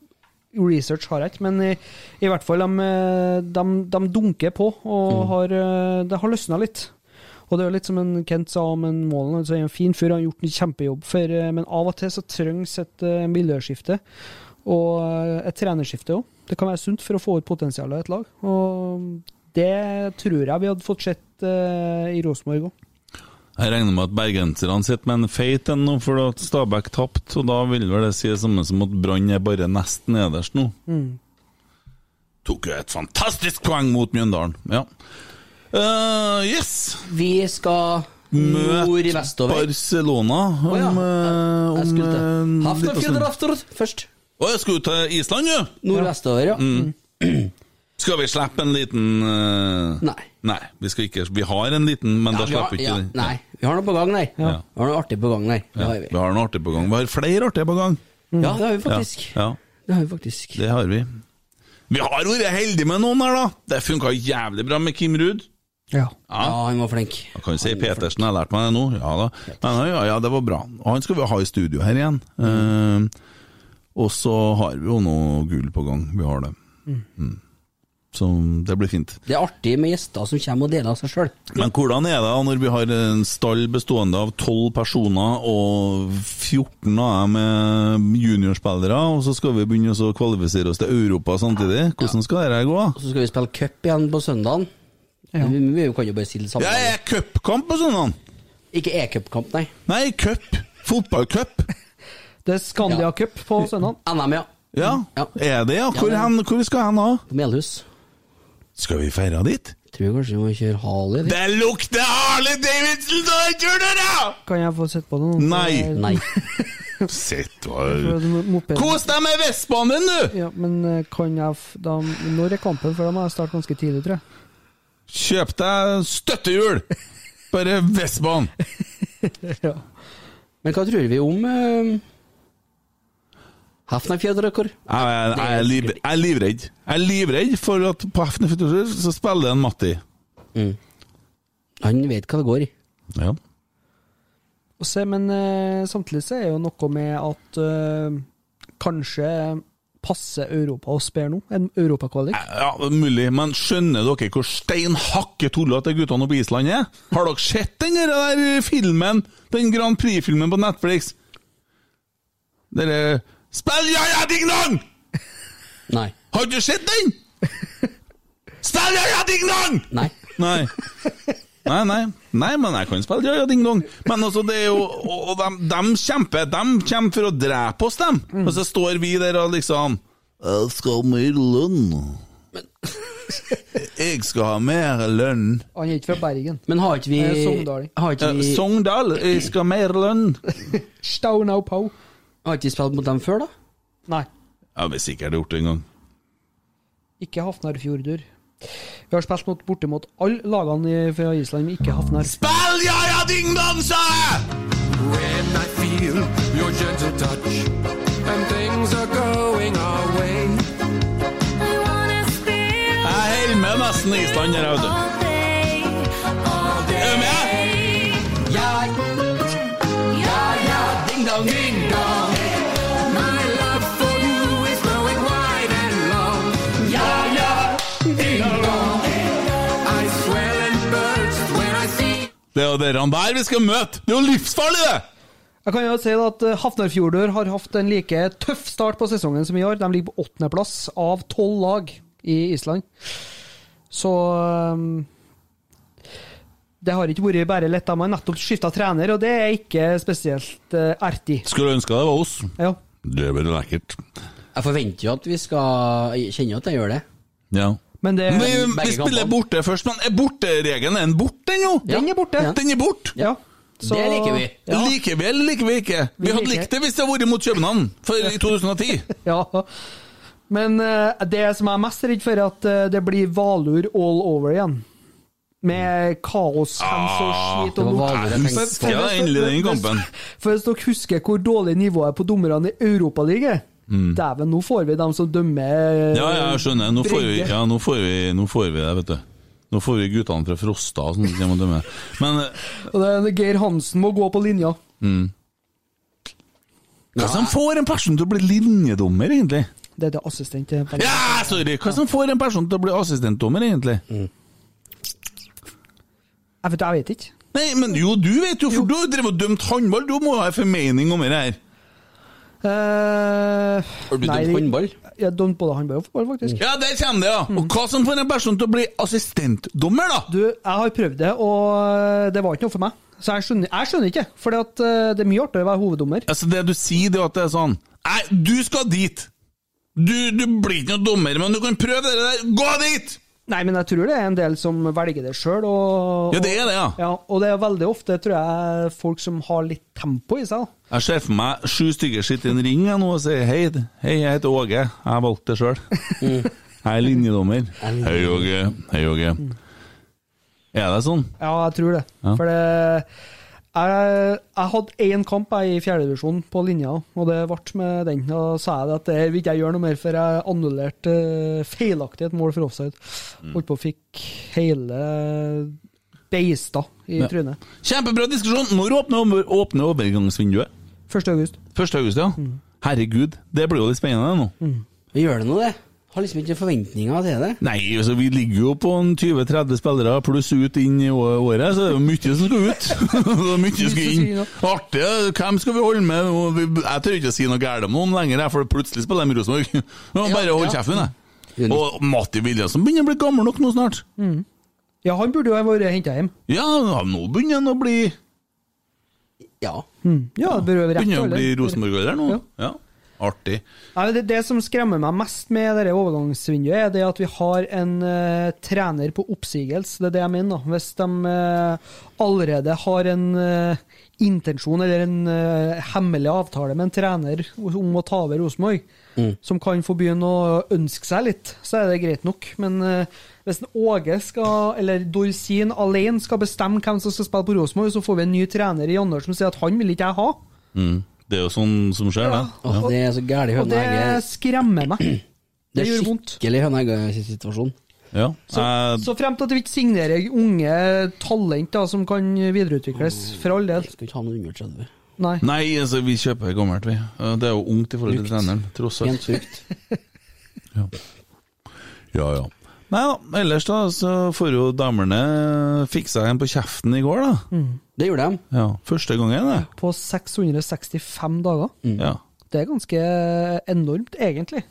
S6: research har jeg ikke, men i, i hvert fall de, eh, de, de dunker på, og
S5: Mm.
S6: har, eh, det har løsna litt. Og det er jo litt som en Kent sa om en Målen, altså er en fin fyr, han har gjort en kjempejobb, for, eh, men av og til så trengs et eh, miljøskifte, og eh, et trenerskifte òg. Det kan være sunt for å få ut potensialet i et lag, og det tror jeg vi hadde fått sett eh, i Rosenborg òg.
S3: Jeg regner med at bergenserne sitter med en feit en nå, for at Stabæk tapte, og da vil vel det si det samme som at Brann er bare nesten nederst nå. Tok jo et fantastisk poeng mot Mjøndalen, ja. Eh, yes!
S5: Vi skal nord i
S3: Møt
S5: vestover.
S3: Barcelona om,
S5: Å ja,
S3: eh,
S5: Jeg
S3: om
S5: skulle
S3: eh,
S5: til
S3: litt på stund.
S5: Hafnarfjørdraftor først.
S3: Å, jeg skulle til Island, jo!
S5: Nordvestover, ja.
S3: Mm. Skal vi slippe en liten eh,
S5: Nei.
S3: Nei, vi skal ikke Vi har en liten, men da
S5: vi har,
S3: slipper vi
S5: ja,
S3: ikke den.
S5: nei, vi har noe på gang, nei.
S3: Ja.
S5: Vi har noe artig på gang, nei. Det
S3: Ja,
S5: har
S3: vi
S5: vi.
S3: har noe artig på gang. Vi har flere artige på gang.
S5: Ja, det har vi faktisk.
S3: Ja, ja.
S5: Det har vi faktisk.
S3: Det har vi. Vi har vært heldige med noen her, da! Det funka jævlig bra med Kim Ruud.
S6: Ja.
S5: Ja, han var flink.
S3: Jeg kan jo si Petersen har lært meg det nå. Ja da. Men ja, ja, det var bra. Og han skal vi ha i studio her igjen. Eh, og så har vi jo noe gull på gang. Vi har det. Mm. Så det blir fint.
S5: Det er artig med gjester som kommer og deler av seg sjøl.
S3: Men hvordan er det da når vi har en stall bestående av tolv personer, og 14 av dem er juniorspillere, og så skal vi begynne å kvalifisere oss til Europa samtidig? Hvordan skal dette gå?
S5: Og så skal vi spille cup igjen på søndagen.
S6: Ja.
S5: Vi, vi kan jo bare si det samme.
S3: Ja, er cupkamp på søndag!
S5: Ikke e-cupkamp, nei.
S3: Nei, cup! Fotballcup!
S6: Det er Scandia
S5: Ja.
S6: Cup på søndag.
S5: NM, ja.
S3: Ja,
S5: Ja.
S3: er det, ja? Hvor,
S5: Ja, det-
S3: hen, hvor skal hen da?
S5: På Melhus.
S3: Skal vi feire dit?
S5: Tror kanskje vi må kjøre Harley. eller?
S3: Det lukter Harley Davidson av den turen her!
S6: Kan jeg få sett på Eh, det nå?
S3: Nei.
S5: Nei.
S3: Sitt
S6: For
S3: og
S6: at mo- mopeden-
S3: Kos deg med Vestbanen din, du!
S6: Ja, men eh, kan jeg f da, Når er kampen? For da må jeg starte ganske tidlig, tror jeg.
S3: Kjøp deg støttehjul! Bare Vestbanen!
S5: Men hva tror vi om uh, Hafnarfjørdrakkor?
S3: Jeg, jeg, jeg, er liv, jeg er livredd. Jeg er livredd for at på Hefne Futurer så spiller en Matti.
S5: Han vet hva det går i.
S3: Ja.
S6: Og se, men eh, samtidig så er jo noe med at eh, kanskje passer Europa oss bedre nå enn europakvalik.
S3: ja, mulig, men skjønner dere hvor steinhakke tullete guttene oppe på Island er? Har dere sett den der- der filmen? Den Grand Prix-filmen på Netflix? Dere Spill ja ja ding dong!
S5: Nei.
S3: Har du sett den? Spill ja ja ding dong!
S5: Nei.
S3: Nei. Nei, nei. nei, men jeg kan spille ja, ja, ding dong. Men altså, det er jo Og, og de, kjemper. De kommer for å drepe oss, dem. Og så står vi der og liksom Jeg skal ha mer lønn. Jeg skal ha mer lønn.
S6: Han er ikke fra Bergen.
S5: Men har ikke vi
S6: Eh, Sogndal.
S5: Har ikke
S3: Eh,
S5: vi,
S3: Sogndal, jeg skal ha mer lønn.
S6: Staunau-pau.
S5: har ikke vi spilt mot dem før, da?
S6: Nei,
S3: Ja, vi har sikkert gjort det en gang.
S6: ikke Hafnarfjordur. Vi har spilt mot bortimot alle lagene i- fra Island, men ikke Hafnar.
S3: Spill ja, ja, ding dong, sa jeg!
S10: When I feel your gentle touch and things are going our way.
S3: Jeg holder med nesten Island her, vet du. Er du med?
S5: Ja, ja, ja, ding dong, ding dong.
S10: My love for you is growing wide and long.
S5: Ja, ja, ding dong.
S10: I swell and burst when I see
S3: Det er jo dere der vi skal møte! Det er jo livsfarlig, det!
S6: Jeg kan jo si at eh, Hafnarfjordur har hatt en like tøff start på sesongen som i år. De ligger på åttendeplass av tolv lag i Island. Så um, Det har ikke vært bare lett. De har nettopp skifta trener, og det er ikke spesielt eh, ertig.
S3: Skulle ønske det var oss.
S6: Ja.
S3: Det er veldig lekkert.
S5: Jeg forventer jo at vi skal Jeg kjenner jo at jeg gjør det.
S3: Ja.
S6: Men det
S3: Vi, vi spiller borte først, men er borteregelen er den borte, den jo?
S6: Den er borte.
S3: Den er borte!
S6: Ja. Så-
S3: Det liker vi.
S6: Ja.
S3: Liker vi eller liker vi ikke? Vi,
S6: Vi
S3: hadde
S6: liker.
S3: likt det hvis det hadde vært mot København for i 2010.
S6: Ja. Men eh, det som jeg er mest redd for, er at eh, det blir Valur all over igjen. Med kaos, hens og
S3: Ah,
S6: skit
S3: det
S6: og
S3: var
S6: lort.
S3: Valur jeg tenkte på. Ja, endelig den kampen.
S6: For hvis dere husker hvor dårlig nivået er på dommerne i Europaligaen er,
S3: Mm.
S6: Dæven, nå får vi dem som dømmer
S3: Ja, ja, jeg skjønner. Nå får, vi,
S6: Brygge.
S3: ja, nå får, vi, nå får vi det, vet du. Nå får vi guttene fra Frosta og sånn. som må dømme. Men eh,
S6: Og det er Geir Hansen må gå på linja.
S3: mm. Hva som får en person til å bli linjedommer, egentlig?
S6: Det er det assistent til
S3: Ja, sorry! Hva som får en person til å bli assistentdommer, egentlig?
S6: Jeg vet, jeg vet ikke.
S3: Nei, men jo, du vet jo, for du har drevet og dømt håndball, du må ha en formening om det her.
S6: har
S3: du dømt håndball?
S6: Eh, Jeg har dømt både håndball og fotball, faktisk.
S3: Ja, der kommer det, ja! Og hva som får en person til å bli assistentdommer, da?
S6: Du, jeg har prøvd det, og eh, det var ikke noe for meg. Så jeg skjønner, jeg skjønner ikke, for det er mye artigere å være hoveddommer.
S3: Altså, det du sier, det er at det er sånn Nei, du skal dit! Du, du blir ikke noen dommer, men du kan prøve det der. Gå dit!
S6: Nei, men jeg tror det er en del som velger det sjøl. Og,
S3: Ja, det er det, ja.
S6: ja. Og det er veldig ofte, tror jeg, folk som har litt tempo i seg. da.
S3: Jeg ser for meg sju stykker sitter i en ring jeg, nå og sier hei, hei, jeg heter Åge, jeg valgte det sjøl. Mm. Jeg er linjedommer. Mm. Hei, Åge. Hei, Åge. Er det sånn?
S6: Ja, jeg tror det.
S3: Ja.
S6: For det jeg, jeg hadde én kamp jeg, i fjerdedivisjon på linja, og det ble med den. Da sa jeg det at det her vil ikke jeg gjøre noe mer, for jeg annullerte eh, feilaktig et mål for offside.
S3: Mm.
S6: Holdt på å fikk hele beista i
S3: Ja.
S6: trynet.
S3: Kjempebra diskusjon! Når åpner, åpner overgangsvinduet?
S6: 1. august.
S3: 1. august, ja. Herregud, det blir jo litt spennende nå.
S5: Vi gjør det nå, det. Har liksom ikke forventninger til det.
S3: Nei, altså, vi ligger jo på en 20-30 spillere pluss ut inn i å- året, så det er jo mye som skal ut. det er mye som skal inn. Artig. Hvem skal vi holde med? Og vi- Jeg tør ikke å si noe galt om noen lenger, jeg, for plutselig spiller de i Rosenborg. Jeg må Bare hold kjeften, jeg. Og Matti Williamsen begynner å bli gammel nok nå snart.
S6: Ja, han burde jo ha vært henta hjem.
S3: Ja, nå begynner han å bli
S5: Ja.
S6: Ja, det bør jo være rett
S3: Begynner å
S6: alder.
S3: bli Rosenborg-alder nå. Ja. Artig.
S6: Nei, men det, det som skremmer meg mest med dette overgangsvinduet, er det at vi har en eh, trener på oppsigelse. Det er det jeg mener. da. Hvis de eh, allerede har en eh, intensjon eller en eh, hemmelig avtale med en trener om å ta over Rosenborg,
S5: Mm.
S6: som kan få begynne å ønske seg litt, så er det greit nok. Men eh, hvis en Åge skal, eller Dorsin alene skal bestemme hvem som skal spille på Rosenborg, så får vi en ny trener i januar som sier at han vil ikke jeg ha.
S3: Mm. Det er jo sånn som skjer, det. Ja.
S5: Altså, Det er så gæli
S6: Og det
S5: høneegge.
S6: skremmer meg.
S5: Det
S6: gjør
S5: er skikkelig eh, høneegge-situasjon.
S3: Ja. Eh,
S6: Så, så frem til at vi ikke signerer unge talent da, som kan videreutvikles, for all del.
S5: Skal ikke ha noe under 30.
S6: Nei.
S3: Nei, altså, vi kjøper gammelt, vi. Eh, Det er jo ungt i forhold til
S5: Brukt.
S3: treneren, tross alt.
S5: Rent brukt.
S3: Ja, ja. Nei da, ellers da, så får jo damerne fiksa en på kjeften i går, da.
S5: Det gjorde de.
S3: Ja, Første gangen, det.
S6: På 665 dager.
S3: Ja.
S6: Det er ganske enormt, egentlig.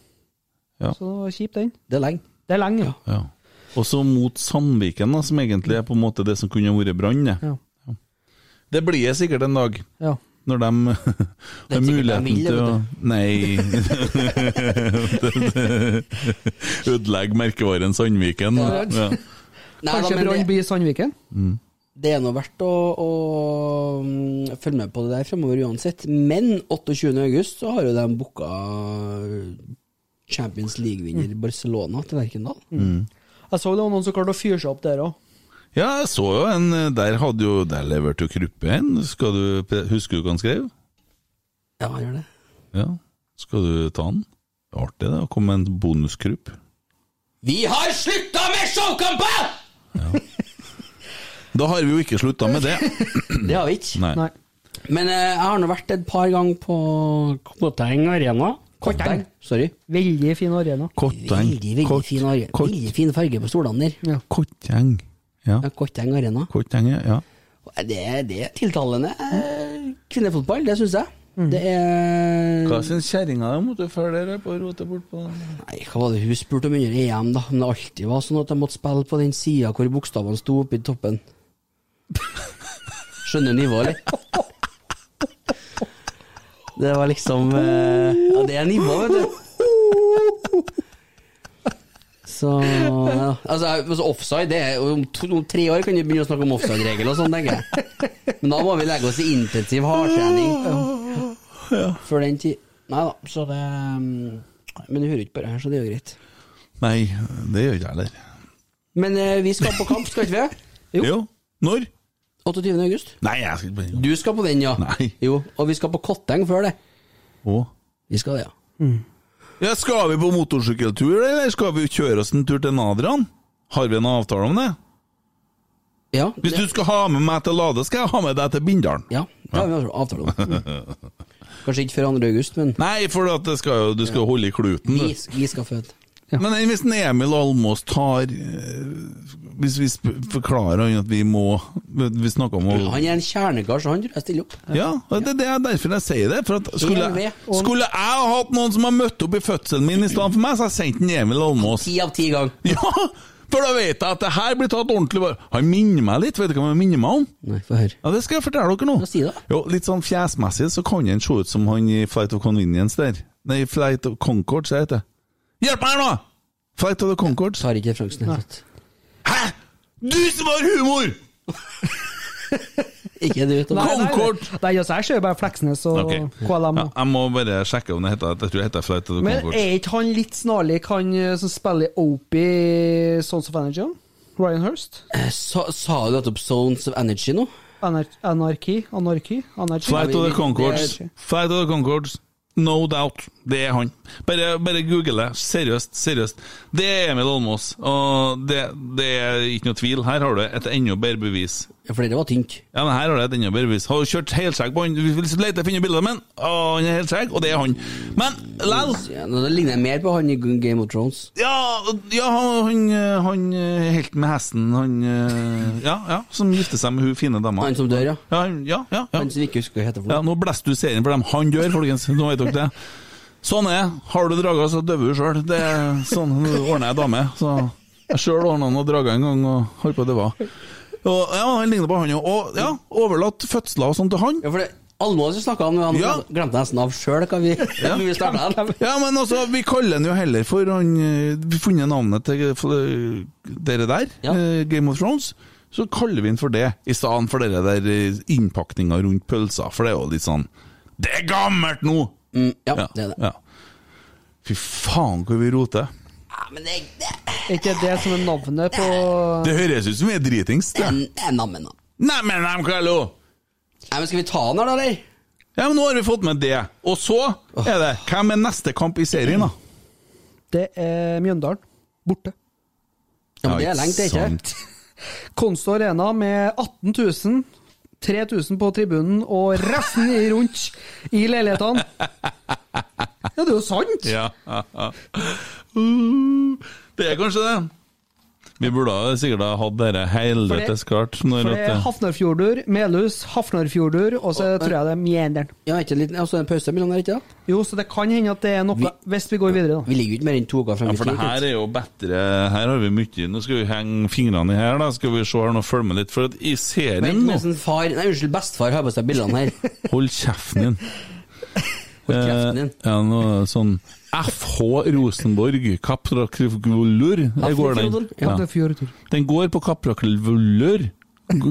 S3: Ja.
S6: Så det var kjipt, den.
S5: Det er lenge.
S6: Det er lenge, ja.
S3: ja. Og så mot Sandviken, da, som egentlig er på en måte det som kunne vært Brann. det.
S6: Ja.
S3: Ja. Det blir jeg sikkert en dag.
S6: Ja.
S3: Når de har
S5: Det er ikke sikkert
S3: muligheten
S5: de vil,
S3: til å
S5: vet
S3: Nei Ødelegge merkevaren Sandviken.
S5: Ja.
S3: Ja.
S5: Nei, da,
S6: Kanskje
S5: men
S6: Brann
S5: det,
S6: blir Sandviken?
S5: det er nå verdt å, å mm, følge med på det der fremover uansett. Men 28. august så har jo de booka Champions League-vinner
S6: Mm.
S5: Barcelona til Lerkendal.
S6: Jeg så det var noen som klarte å fyre seg opp der òg.
S3: ja, jeg så jo en Der hadde jo Der leverte jo Kruppe en. Skal du, husker du hva han skrev?
S5: Ja, han gjør det.
S3: Ja, skal du ta den? Det er Artig det, å komme med en bonuskrupp.
S5: Vi har slutta med showkamper!
S3: Da har vi jo ikke slutta med det.
S5: Det har vi ikke.
S3: Nei.
S6: Nei.
S5: Men eh, jeg har nå vært et par ganger på Kotteng Arena.
S6: Kotteng.
S5: Sorry.
S6: Veldig fin arena.
S3: Kotteng.
S5: Veldig, veldig
S3: Kott-
S5: fin, arena.
S3: kott-
S5: veldig fin farge på stolene der.
S3: Kotteng. Ja.
S5: Ja, Kotteng Arena. eh,
S3: Kotteng, ja.
S5: Det, det er tiltalende. eh, Kvinnefotball, det syns jeg.
S3: Mm.
S5: Det er
S3: Hva syns kjerringa om at du følger deg på å rote bort på den?
S5: Nei, hva var det hun spurte om under EM, da? Om det alltid var sånn at de måtte spille på den sida hvor bokstavene sto oppe i toppen. Skjønner nivået, eller? Det var liksom eh, Ja, det er nivå, vet du. Så ja. altså, altså, offside det er, om, to, om tre år kan vi begynne å snakke om offside-regel og sånn, tenker jeg. Men da må vi legge oss i intensiv hardtrening før den tid. Nei da, så det mm, Men du hører ikke på det her, så det er jo greit.
S3: Nei, det gjør ikke jeg heller.
S5: Men eh, vi skal på kamp, skal ikke vi?
S3: Jo. Når?
S5: 28. august.
S3: Nei, jeg skal ikke
S5: Du skal på den, ja. Jo, og vi skal på Kotteng før det.
S3: Å?
S5: Vi skal det, ja.
S3: Ja, Skal vi på motorsykkeltur, eller skal vi kjøre oss en tur til Nadran? Har vi en avtale om det?
S5: Ja.
S3: Hvis du skal ha med meg til Lade, skal jeg ha med deg til Bindalen.
S5: Ja, det har vi avtale om. Kanskje ikke før 2. august, men
S3: Nei, for at det skal, jo- du skal holde i kluten.
S5: vi,
S3: Du.
S5: vi skal føde.
S3: Men enn hvis en Emil Almås tar eh, Hvis vi sp- forklarer han at vi må Vi snakker om å
S5: Han er en kjernekar, så han tror jeg stiller opp.
S3: Ja, og det, det er derfor jeg sier det. For at skulle,
S5: Helt ved. Og-
S3: skulle jeg ha hatt noen som har møtt opp i fødselen min i stedet for meg, så hadde jeg sendt en Emil Almås.
S5: Ti av ti gang.
S3: Ja, for da vet jeg at det her blir tatt ordentlig vare Han minner meg litt, vet du hva han minner meg om?
S5: Nei, få høre.
S3: Ja, det skal jeg fortelle dere nå. Jo, litt sånn fjesmessig så kan han se ut som han i Flight of Convenience der. Nei, Flight of Concord, så heter det. Hjelp meg her nå! Flight of the Concord.
S5: Tar ikke referansen i det hele tatt.
S3: Hæ?! Du som har humor!
S5: Ikke du, Tom.
S3: Concord!
S6: Nei, nei, altså, jeg ser jo bare Fleksnes og
S3: Ok.
S6: KLM.
S3: Ja, jeg må bare sjekke om det heter Jeg tror det heter Flight of the
S6: Men
S3: Concord.
S6: er ikke han litt snarlik, han eh, som spiller i Opie i Sons of Energy? han? Ryan Hurst?
S5: Eh, Sa, sa du nettopp Zones of Energy nå?
S6: Anar anarki? Anarki? Anarki?
S3: Flight of the Concords.
S6: Det er-
S3: Flight of the Concords. No doubt. Det er han. Bare, bare google det. Seriøst, seriøst. Det er Emil Almås, og det, det er ikke noe tvil. Her har du et enda bedre bevis.
S5: Ja, For det var tynt.
S3: Ja, men Her har du et enda bedre bevis. Har du kjørt helskjegg på han? Hvis du leter, finner du bildet av ham. Han er helskjegg, og det er han. Men lell
S5: Ja, nå, det ligner jeg mer på han i Game of Thrones.
S3: ja, ja, han, han, han helten med hesten, han eh, Ja, ja, som gifter seg med hun fine dama.
S5: Han som dør, ja.
S3: Ja, ja, ja, ja.
S5: Han som vi ikke husker hva heter for
S3: Ja,
S5: noe.
S3: nå blåser du serien for dem. Han dør, folkens. Nå vet dere det. Sånn er det. Har du drager, så døver du sjøl. Det er sånn nå ordner jeg dame. Så jeg sjøl ordna noen drager en gang og holdt på å dø av. Og Ja, han ligner på han jo. Og ja, overlatt fødsler og sånt til han.
S5: Ja, for det Almås vi snakka om, men han
S3: Ja.
S5: glemte nesten av sjøl hva vi,
S3: Ja.
S5: vi starta den.
S3: Ja, men altså, vi kaller han jo heller for han eh, Vi har funnet navnet til eh, dere der,
S5: Ja.
S3: eh, Game of Thrones. Så kaller vi han for det, i stedet for dere der eh, innpakninga rundt pølser, for det er jo litt sånn Det er gammelt nå!
S5: Mm, ja, det er det.
S3: Ja. Fy faen, hvor vi roter.
S5: Ja, men det, det,
S6: Er ikke det som er navnet på
S3: Det høres ut som vi er dritings.
S5: det,
S3: det.
S5: er- det er nammen, da.
S3: Nei, men nei, Carlo!
S5: Nei, men Skal vi ta den her, da, eller?
S3: Ja, men nå har vi fått med det. Og så er det Hvem er neste kamp i serien, da?
S6: Det er Mjøndalen. Borte.
S5: Ja, men Det er lenge til, ikke
S3: sant.
S6: Konsto Arena med 18 000. 3000 på tribunen og resten i rundt i leilighetene. Ja, det er jo sant!
S3: Ja. Uh, Det er kanskje det. Vi burde ha- sikkert ha hatt dette helvetes klart. Når
S6: For det er
S3: at det-
S6: Hafnarfjordur, Melhus, Hafnarfjordur, og så tror jeg det er Mjenderen.
S5: Ja, ikke en liten, altså en pause mellom der, ikke da?
S6: Jo, så det kan hende at det er noe Hvis vi går videre, da.
S5: Vi ligger jo ikke mer enn to uker frem
S3: ja,
S5: i
S3: for det
S5: tid,
S3: her
S5: ikke?
S3: er jo bedre Her har vi mye Nå skal vi henge fingrene i her, da. Skal vi se her nå, følge med litt. For at i serien
S5: Vent
S3: nå
S5: mens en far, nei, unnskyld, bestefar har på seg bildene her.
S3: Hold kjeften din.
S5: Hold kjeften din.
S3: Eh, ja, noe sånn FH Rosenborg Kaprakrivulur. Det går den.
S5: Hafnarfjordur.
S3: Ja.
S6: Hafnarfjordur.
S3: Den går på Kaprakrivulur.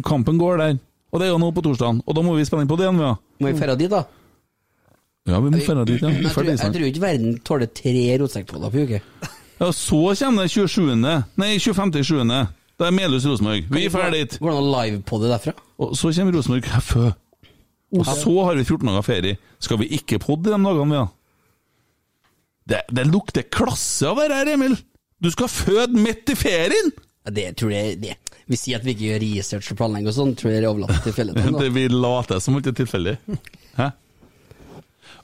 S3: Kampen går der. Og det er jo nå på torsdagen, og da må vi spille inn på det igjen, vi, ja.
S5: Må vi ferde dit, da?
S3: Ja, vi må dra dit, ja.
S5: Men Jeg tror,
S3: Ferdig
S5: jeg
S3: snart.
S5: tror ikke verden tåler tre rotsekkpåler på uke.
S3: Ja, så kommer det 27. Nei, 25.7. Da er Melhus Rosenborg. Vi drar dit.
S5: Går det an å livepodde derfra?
S3: Og så kommer Rosenborg FØ. Og så har vi 14 dager ferie. Skal vi ikke podde de dagene, vi da? Det, det lukter klasse av det her, Emil! Du skal føde midt i ferien!
S5: Ja, det tror jeg det. Vi sier at vi ikke gjør research og planlegger og sånn, tror jeg det er overlatt til fellene.
S3: Det vi later som ikke er tilfeldig. Hæ?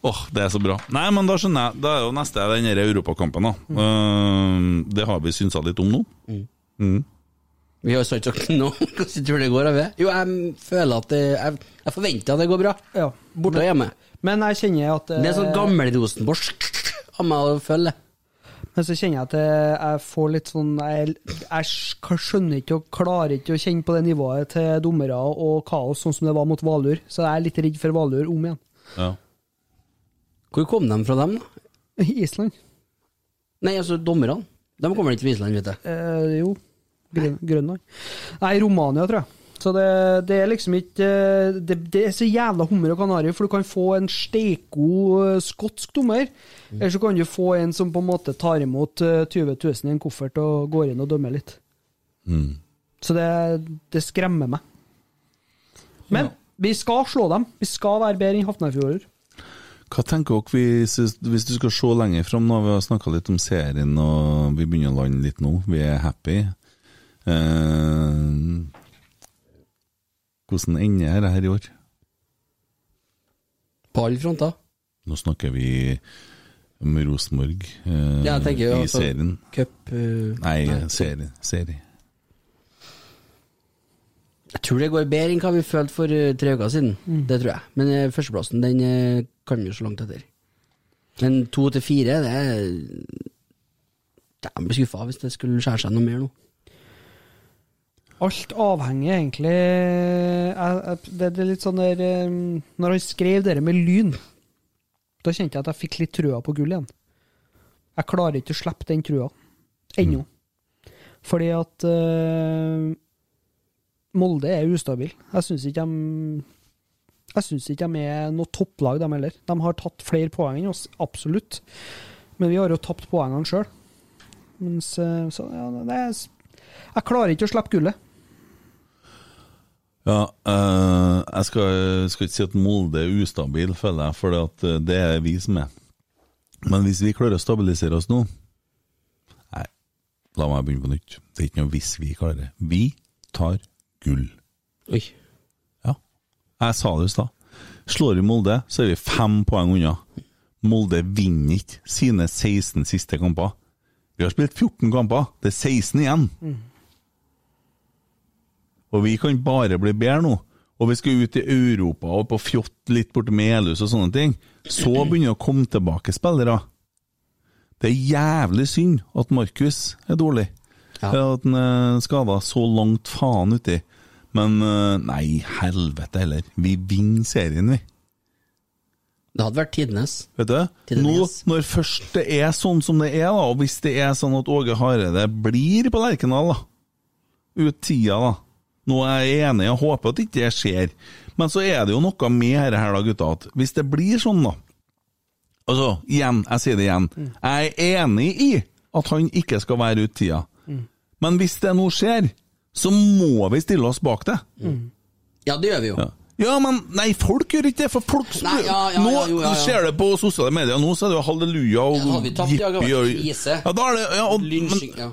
S3: Åh, det er så bra. Nei, men da skjønner jeg. Da er jo neste den her europakampen, da.
S5: Mm.
S3: Ehm, det har vi synsa litt om nå. Mm.
S5: Vi har jo sagt sagt nå, hvordan tror du det går? av det? Jo, jeg føler at det, jeg, jeg forventer at det går bra.
S6: Ja.
S5: Borte og hjemme.
S6: Men jeg kjenner at eh,
S5: Det er sånn gammel Rosenborg av meg å følge.
S6: Men så kjenner jeg at jeg- jeg får litt sånn Jeg, jeg sk- skjønner ikke og klarer ikke å kjenne på det nivået til dommere og kaos, sånn som det var mot Valur. Så jeg er litt redd for Valur om igjen.
S3: Ja.
S5: Hvor kom de fra, dem, da?
S6: Island.
S5: Nei, altså dommerne. De kommer vel ikke fra Island, vet jeg.
S6: Eh, jo. Grøn- Grønland. Nei, Romania, tror jeg. Så det, det er liksom ikke eh, det, det er så jævla hummer og kanari, for du kan få en steikgod eh, skotsk dommer, eller så kan du få en som på en måte tar imot eh, 20 000 i en koffert og går inn og dømmer litt.
S3: Mm.
S6: Så det, det skremmer meg. Men vi skal slå dem. Vi skal være bedre enn Hafnarfjorder.
S3: Hva tenker dere hvis, hvis du skal se lenger fram nå? Vi har snakka litt om serien, og vi begynner å lande litt nå. Vi er happy. Eh, hvordan ender dette her i år?
S5: På alle fronter.
S3: Nå snakker vi om Rosenborg eh,
S5: Ja, jeg tenker jo
S3: i
S5: altså,
S3: serien.
S5: Cup eh,
S3: Nei, serie. serie.
S5: Jeg tror det går bedre enn hva vi følte for eh, tre uker siden. Det tror jeg. Men eh, førsteplassen den eh, kan vi jo så langt etter. Men to til fire, det er Jeg blir skuffa hvis det skulle skjære seg noe mer nå.
S6: Alt avhenger egentlig jeg, jeg, det, det er litt sånn der eh, Når han skrev det med lyn, da kjente jeg at jeg fikk litt trua på gull igjen. Jeg klarer ikke å slippe den trua. Ennå. Fordi at eh, Molde er ustabil. Jeg syns ikke de jeg syns ikke de er noe topplag, de heller. De har tatt flere poeng enn oss, absolutt. Men vi har jo tapt poengene sjøl. Mens eh, Så ja, det er Jeg klarer ikke å slippe gullet.
S3: Ja, eh, jeg skal, skal ikke si at Molde er ustabil, føler jeg, for at eh, det er vi som er. Men hvis vi klarer å stabilisere oss nå Nei, la meg begynne på nytt. Det er ikke noe 'hvis vi klarer'. Vi tar gull.
S5: Oi.
S3: Ja. Jeg sa det i stad. Slår vi Molde, så er vi fem poeng unna. Molde vinner ikke sine 16 siste kamper. Vi har spilt 14 kamper. Det er 16 igjen. Og vi kan bare bli bedre nå. Og vi skal ut i Europa og på fjott litt bort til Melhus og sånne ting. Så begynner det å komme tilbake spillere. Det er jævlig synd at Markus er dårlig. Eller At han er skada så langt faen uti. Men eh, nei, helvete heller. Vi vinner serien, vi.
S5: Det hadde vært tidenes.
S3: Vet du? Nå, når først det er sånn som det er, da, og hvis det er sånn at Åge Hareide blir på Lerkendal, da, ut tida, da Nå er jeg enig, jeg håper at ikke det skjer, men så er det jo noe med dette her, da, gutta, at hvis det blir sånn, da Altså, igjen, jeg sier det igjen, jeg er enig i at han ikke skal være ut tida, men hvis det nå skjer, så må vi stille oss bak det.
S5: Ja, det gjør vi jo.
S3: Ja, men nei, folk gjør ikke det, for folk som
S5: Nei, ja, ja,
S3: Nå
S5: ja, jo, ja, ja.
S3: ser det på sosiale medier, nå så er det jo halleluja og
S5: Ja, da har vi tapt, ja, det har vært
S3: og-
S5: krise.
S3: Ja, da er det ja, og,
S5: Lynsjing, ja.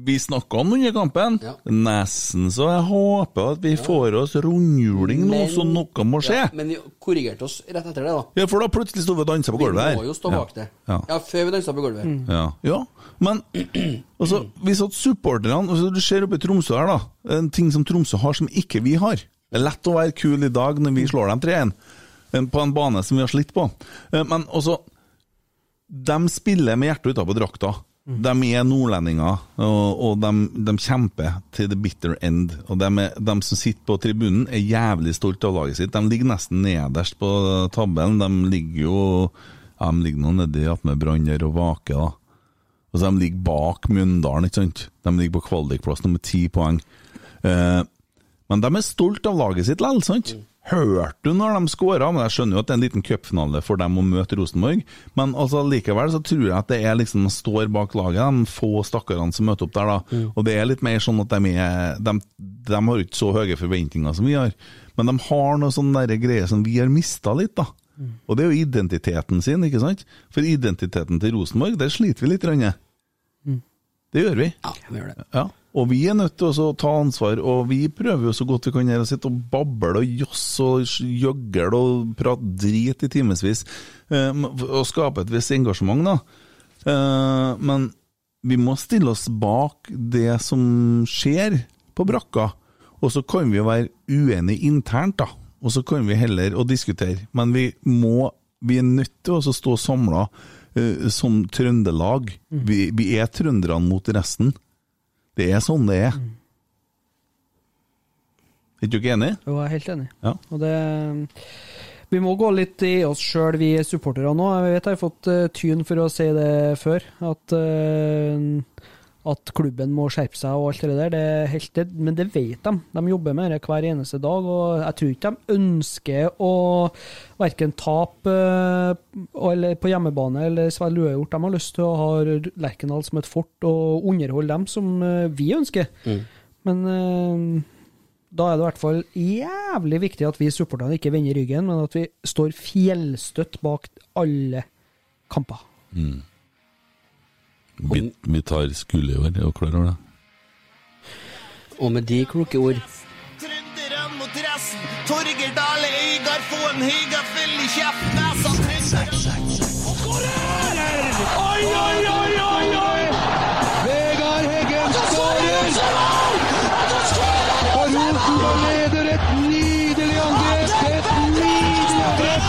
S3: Vi snakka om under kampen, nesten så jeg håper at vi får oss rundhjuling nå, så noe må skje.
S5: Ja,
S3: Ja,
S5: men vi korrigerte oss rett etter det, da.
S3: for da plutselig står vi og danser på
S5: Vi
S3: gulvet her.
S5: må jo stå bak det.
S3: Ja.
S5: Ja, før vi dansa på gulvet.
S3: Ja. ja. ja. Men altså, hvis at supporterne altså, Du ser oppe i Tromsø her, da. En ting som Tromsø har som ikke vi har. Det er lett å være kul i dag når vi slår dem 3-1, eh, på en bane som vi har slitt på. Eh, Men altså De spiller med hjertet utapå drakta. De er nordlendinger, og, og de, de kjemper til the bitter end. Og de, er, de som sitter på tribunen, er jævlig stolt av laget sitt. De ligger nesten nederst på tabellen. De ligger jo ja, De ligger nå nedi attmed Brann der og vaker, da. Altså, de ligger bak Mjøndalen, ikke sant? De ligger på kvalikplass nummer ti poeng. Eh, men de er stolt av laget sitt likevel, sant? Hørte du når de skåra? Men jeg skjønner jo at det er en liten cupfinale for dem å møte Rosenborg. Men altså, likevel så tror jeg at det er liksom de står bak laget, de få stakkarene som møter opp der, da. Og det er litt mer sånn at de er De, de har jo ikke så høye forventninger som vi har, men de har noe sånn derre greier som vi har mista litt, da. Og det er jo identiteten sin, ikke sant? For identiteten til Rosenborg, der sliter vi litt. Rønne. Det gjør vi.
S5: Ja, vi gjør det.
S3: Ja, og vi er nødt til også å ta ansvar, og vi prøver jo så godt vi kan her å sitte og bable og josse og jøgle og prate drit i timevis, eh, og skape et visst engasjement, da. Eh, Men vi må stille oss bak det som skjer på brakka, og så kan vi jo være uenige internt, da. Og så kan vi heller å diskutere, men vi må Vi er nødt til å stå samla som Trøndelag. Vi, vi er trønderne mot resten. Det er sånn det er. Er ikke du ikke enig?
S6: Jo, jeg er helt enig.
S3: Ja.
S6: Og det, Vi må gå litt i oss sjøl, vi supportere nå. Jeg vet jeg har fått eh, tyn for å si det før, at, eh, at klubben må skjerpe seg og alt det der. Det er helt, det, men det vet de. De jobber med det hver eneste dag, og jeg tror ikke de ønsker å verken tape eh, eller på hjemmebane eller Svein Luehjort. De har lyst til å ha Lerkendal som et fort og underholde dem som eh, vi ønsker.
S5: Mm.
S6: Men eh, da er det i hvert fall jævlig viktig at vi supporterne ikke vender ryggen, men at vi står fjellstøtt bak alle kamper.
S3: Mm. Vi, vi tar skulde i år, er du klar over det?
S5: Og med de kloke ord
S2: mot resten. Torger Dale Øygard få en høyga fyll i kjeften. Nesa Og skårer! Oi, oi, oi, oi, oi! Vegard Heggen skårer! Og Rosenborg leder et nydelig angrep! Et nydelig angrep!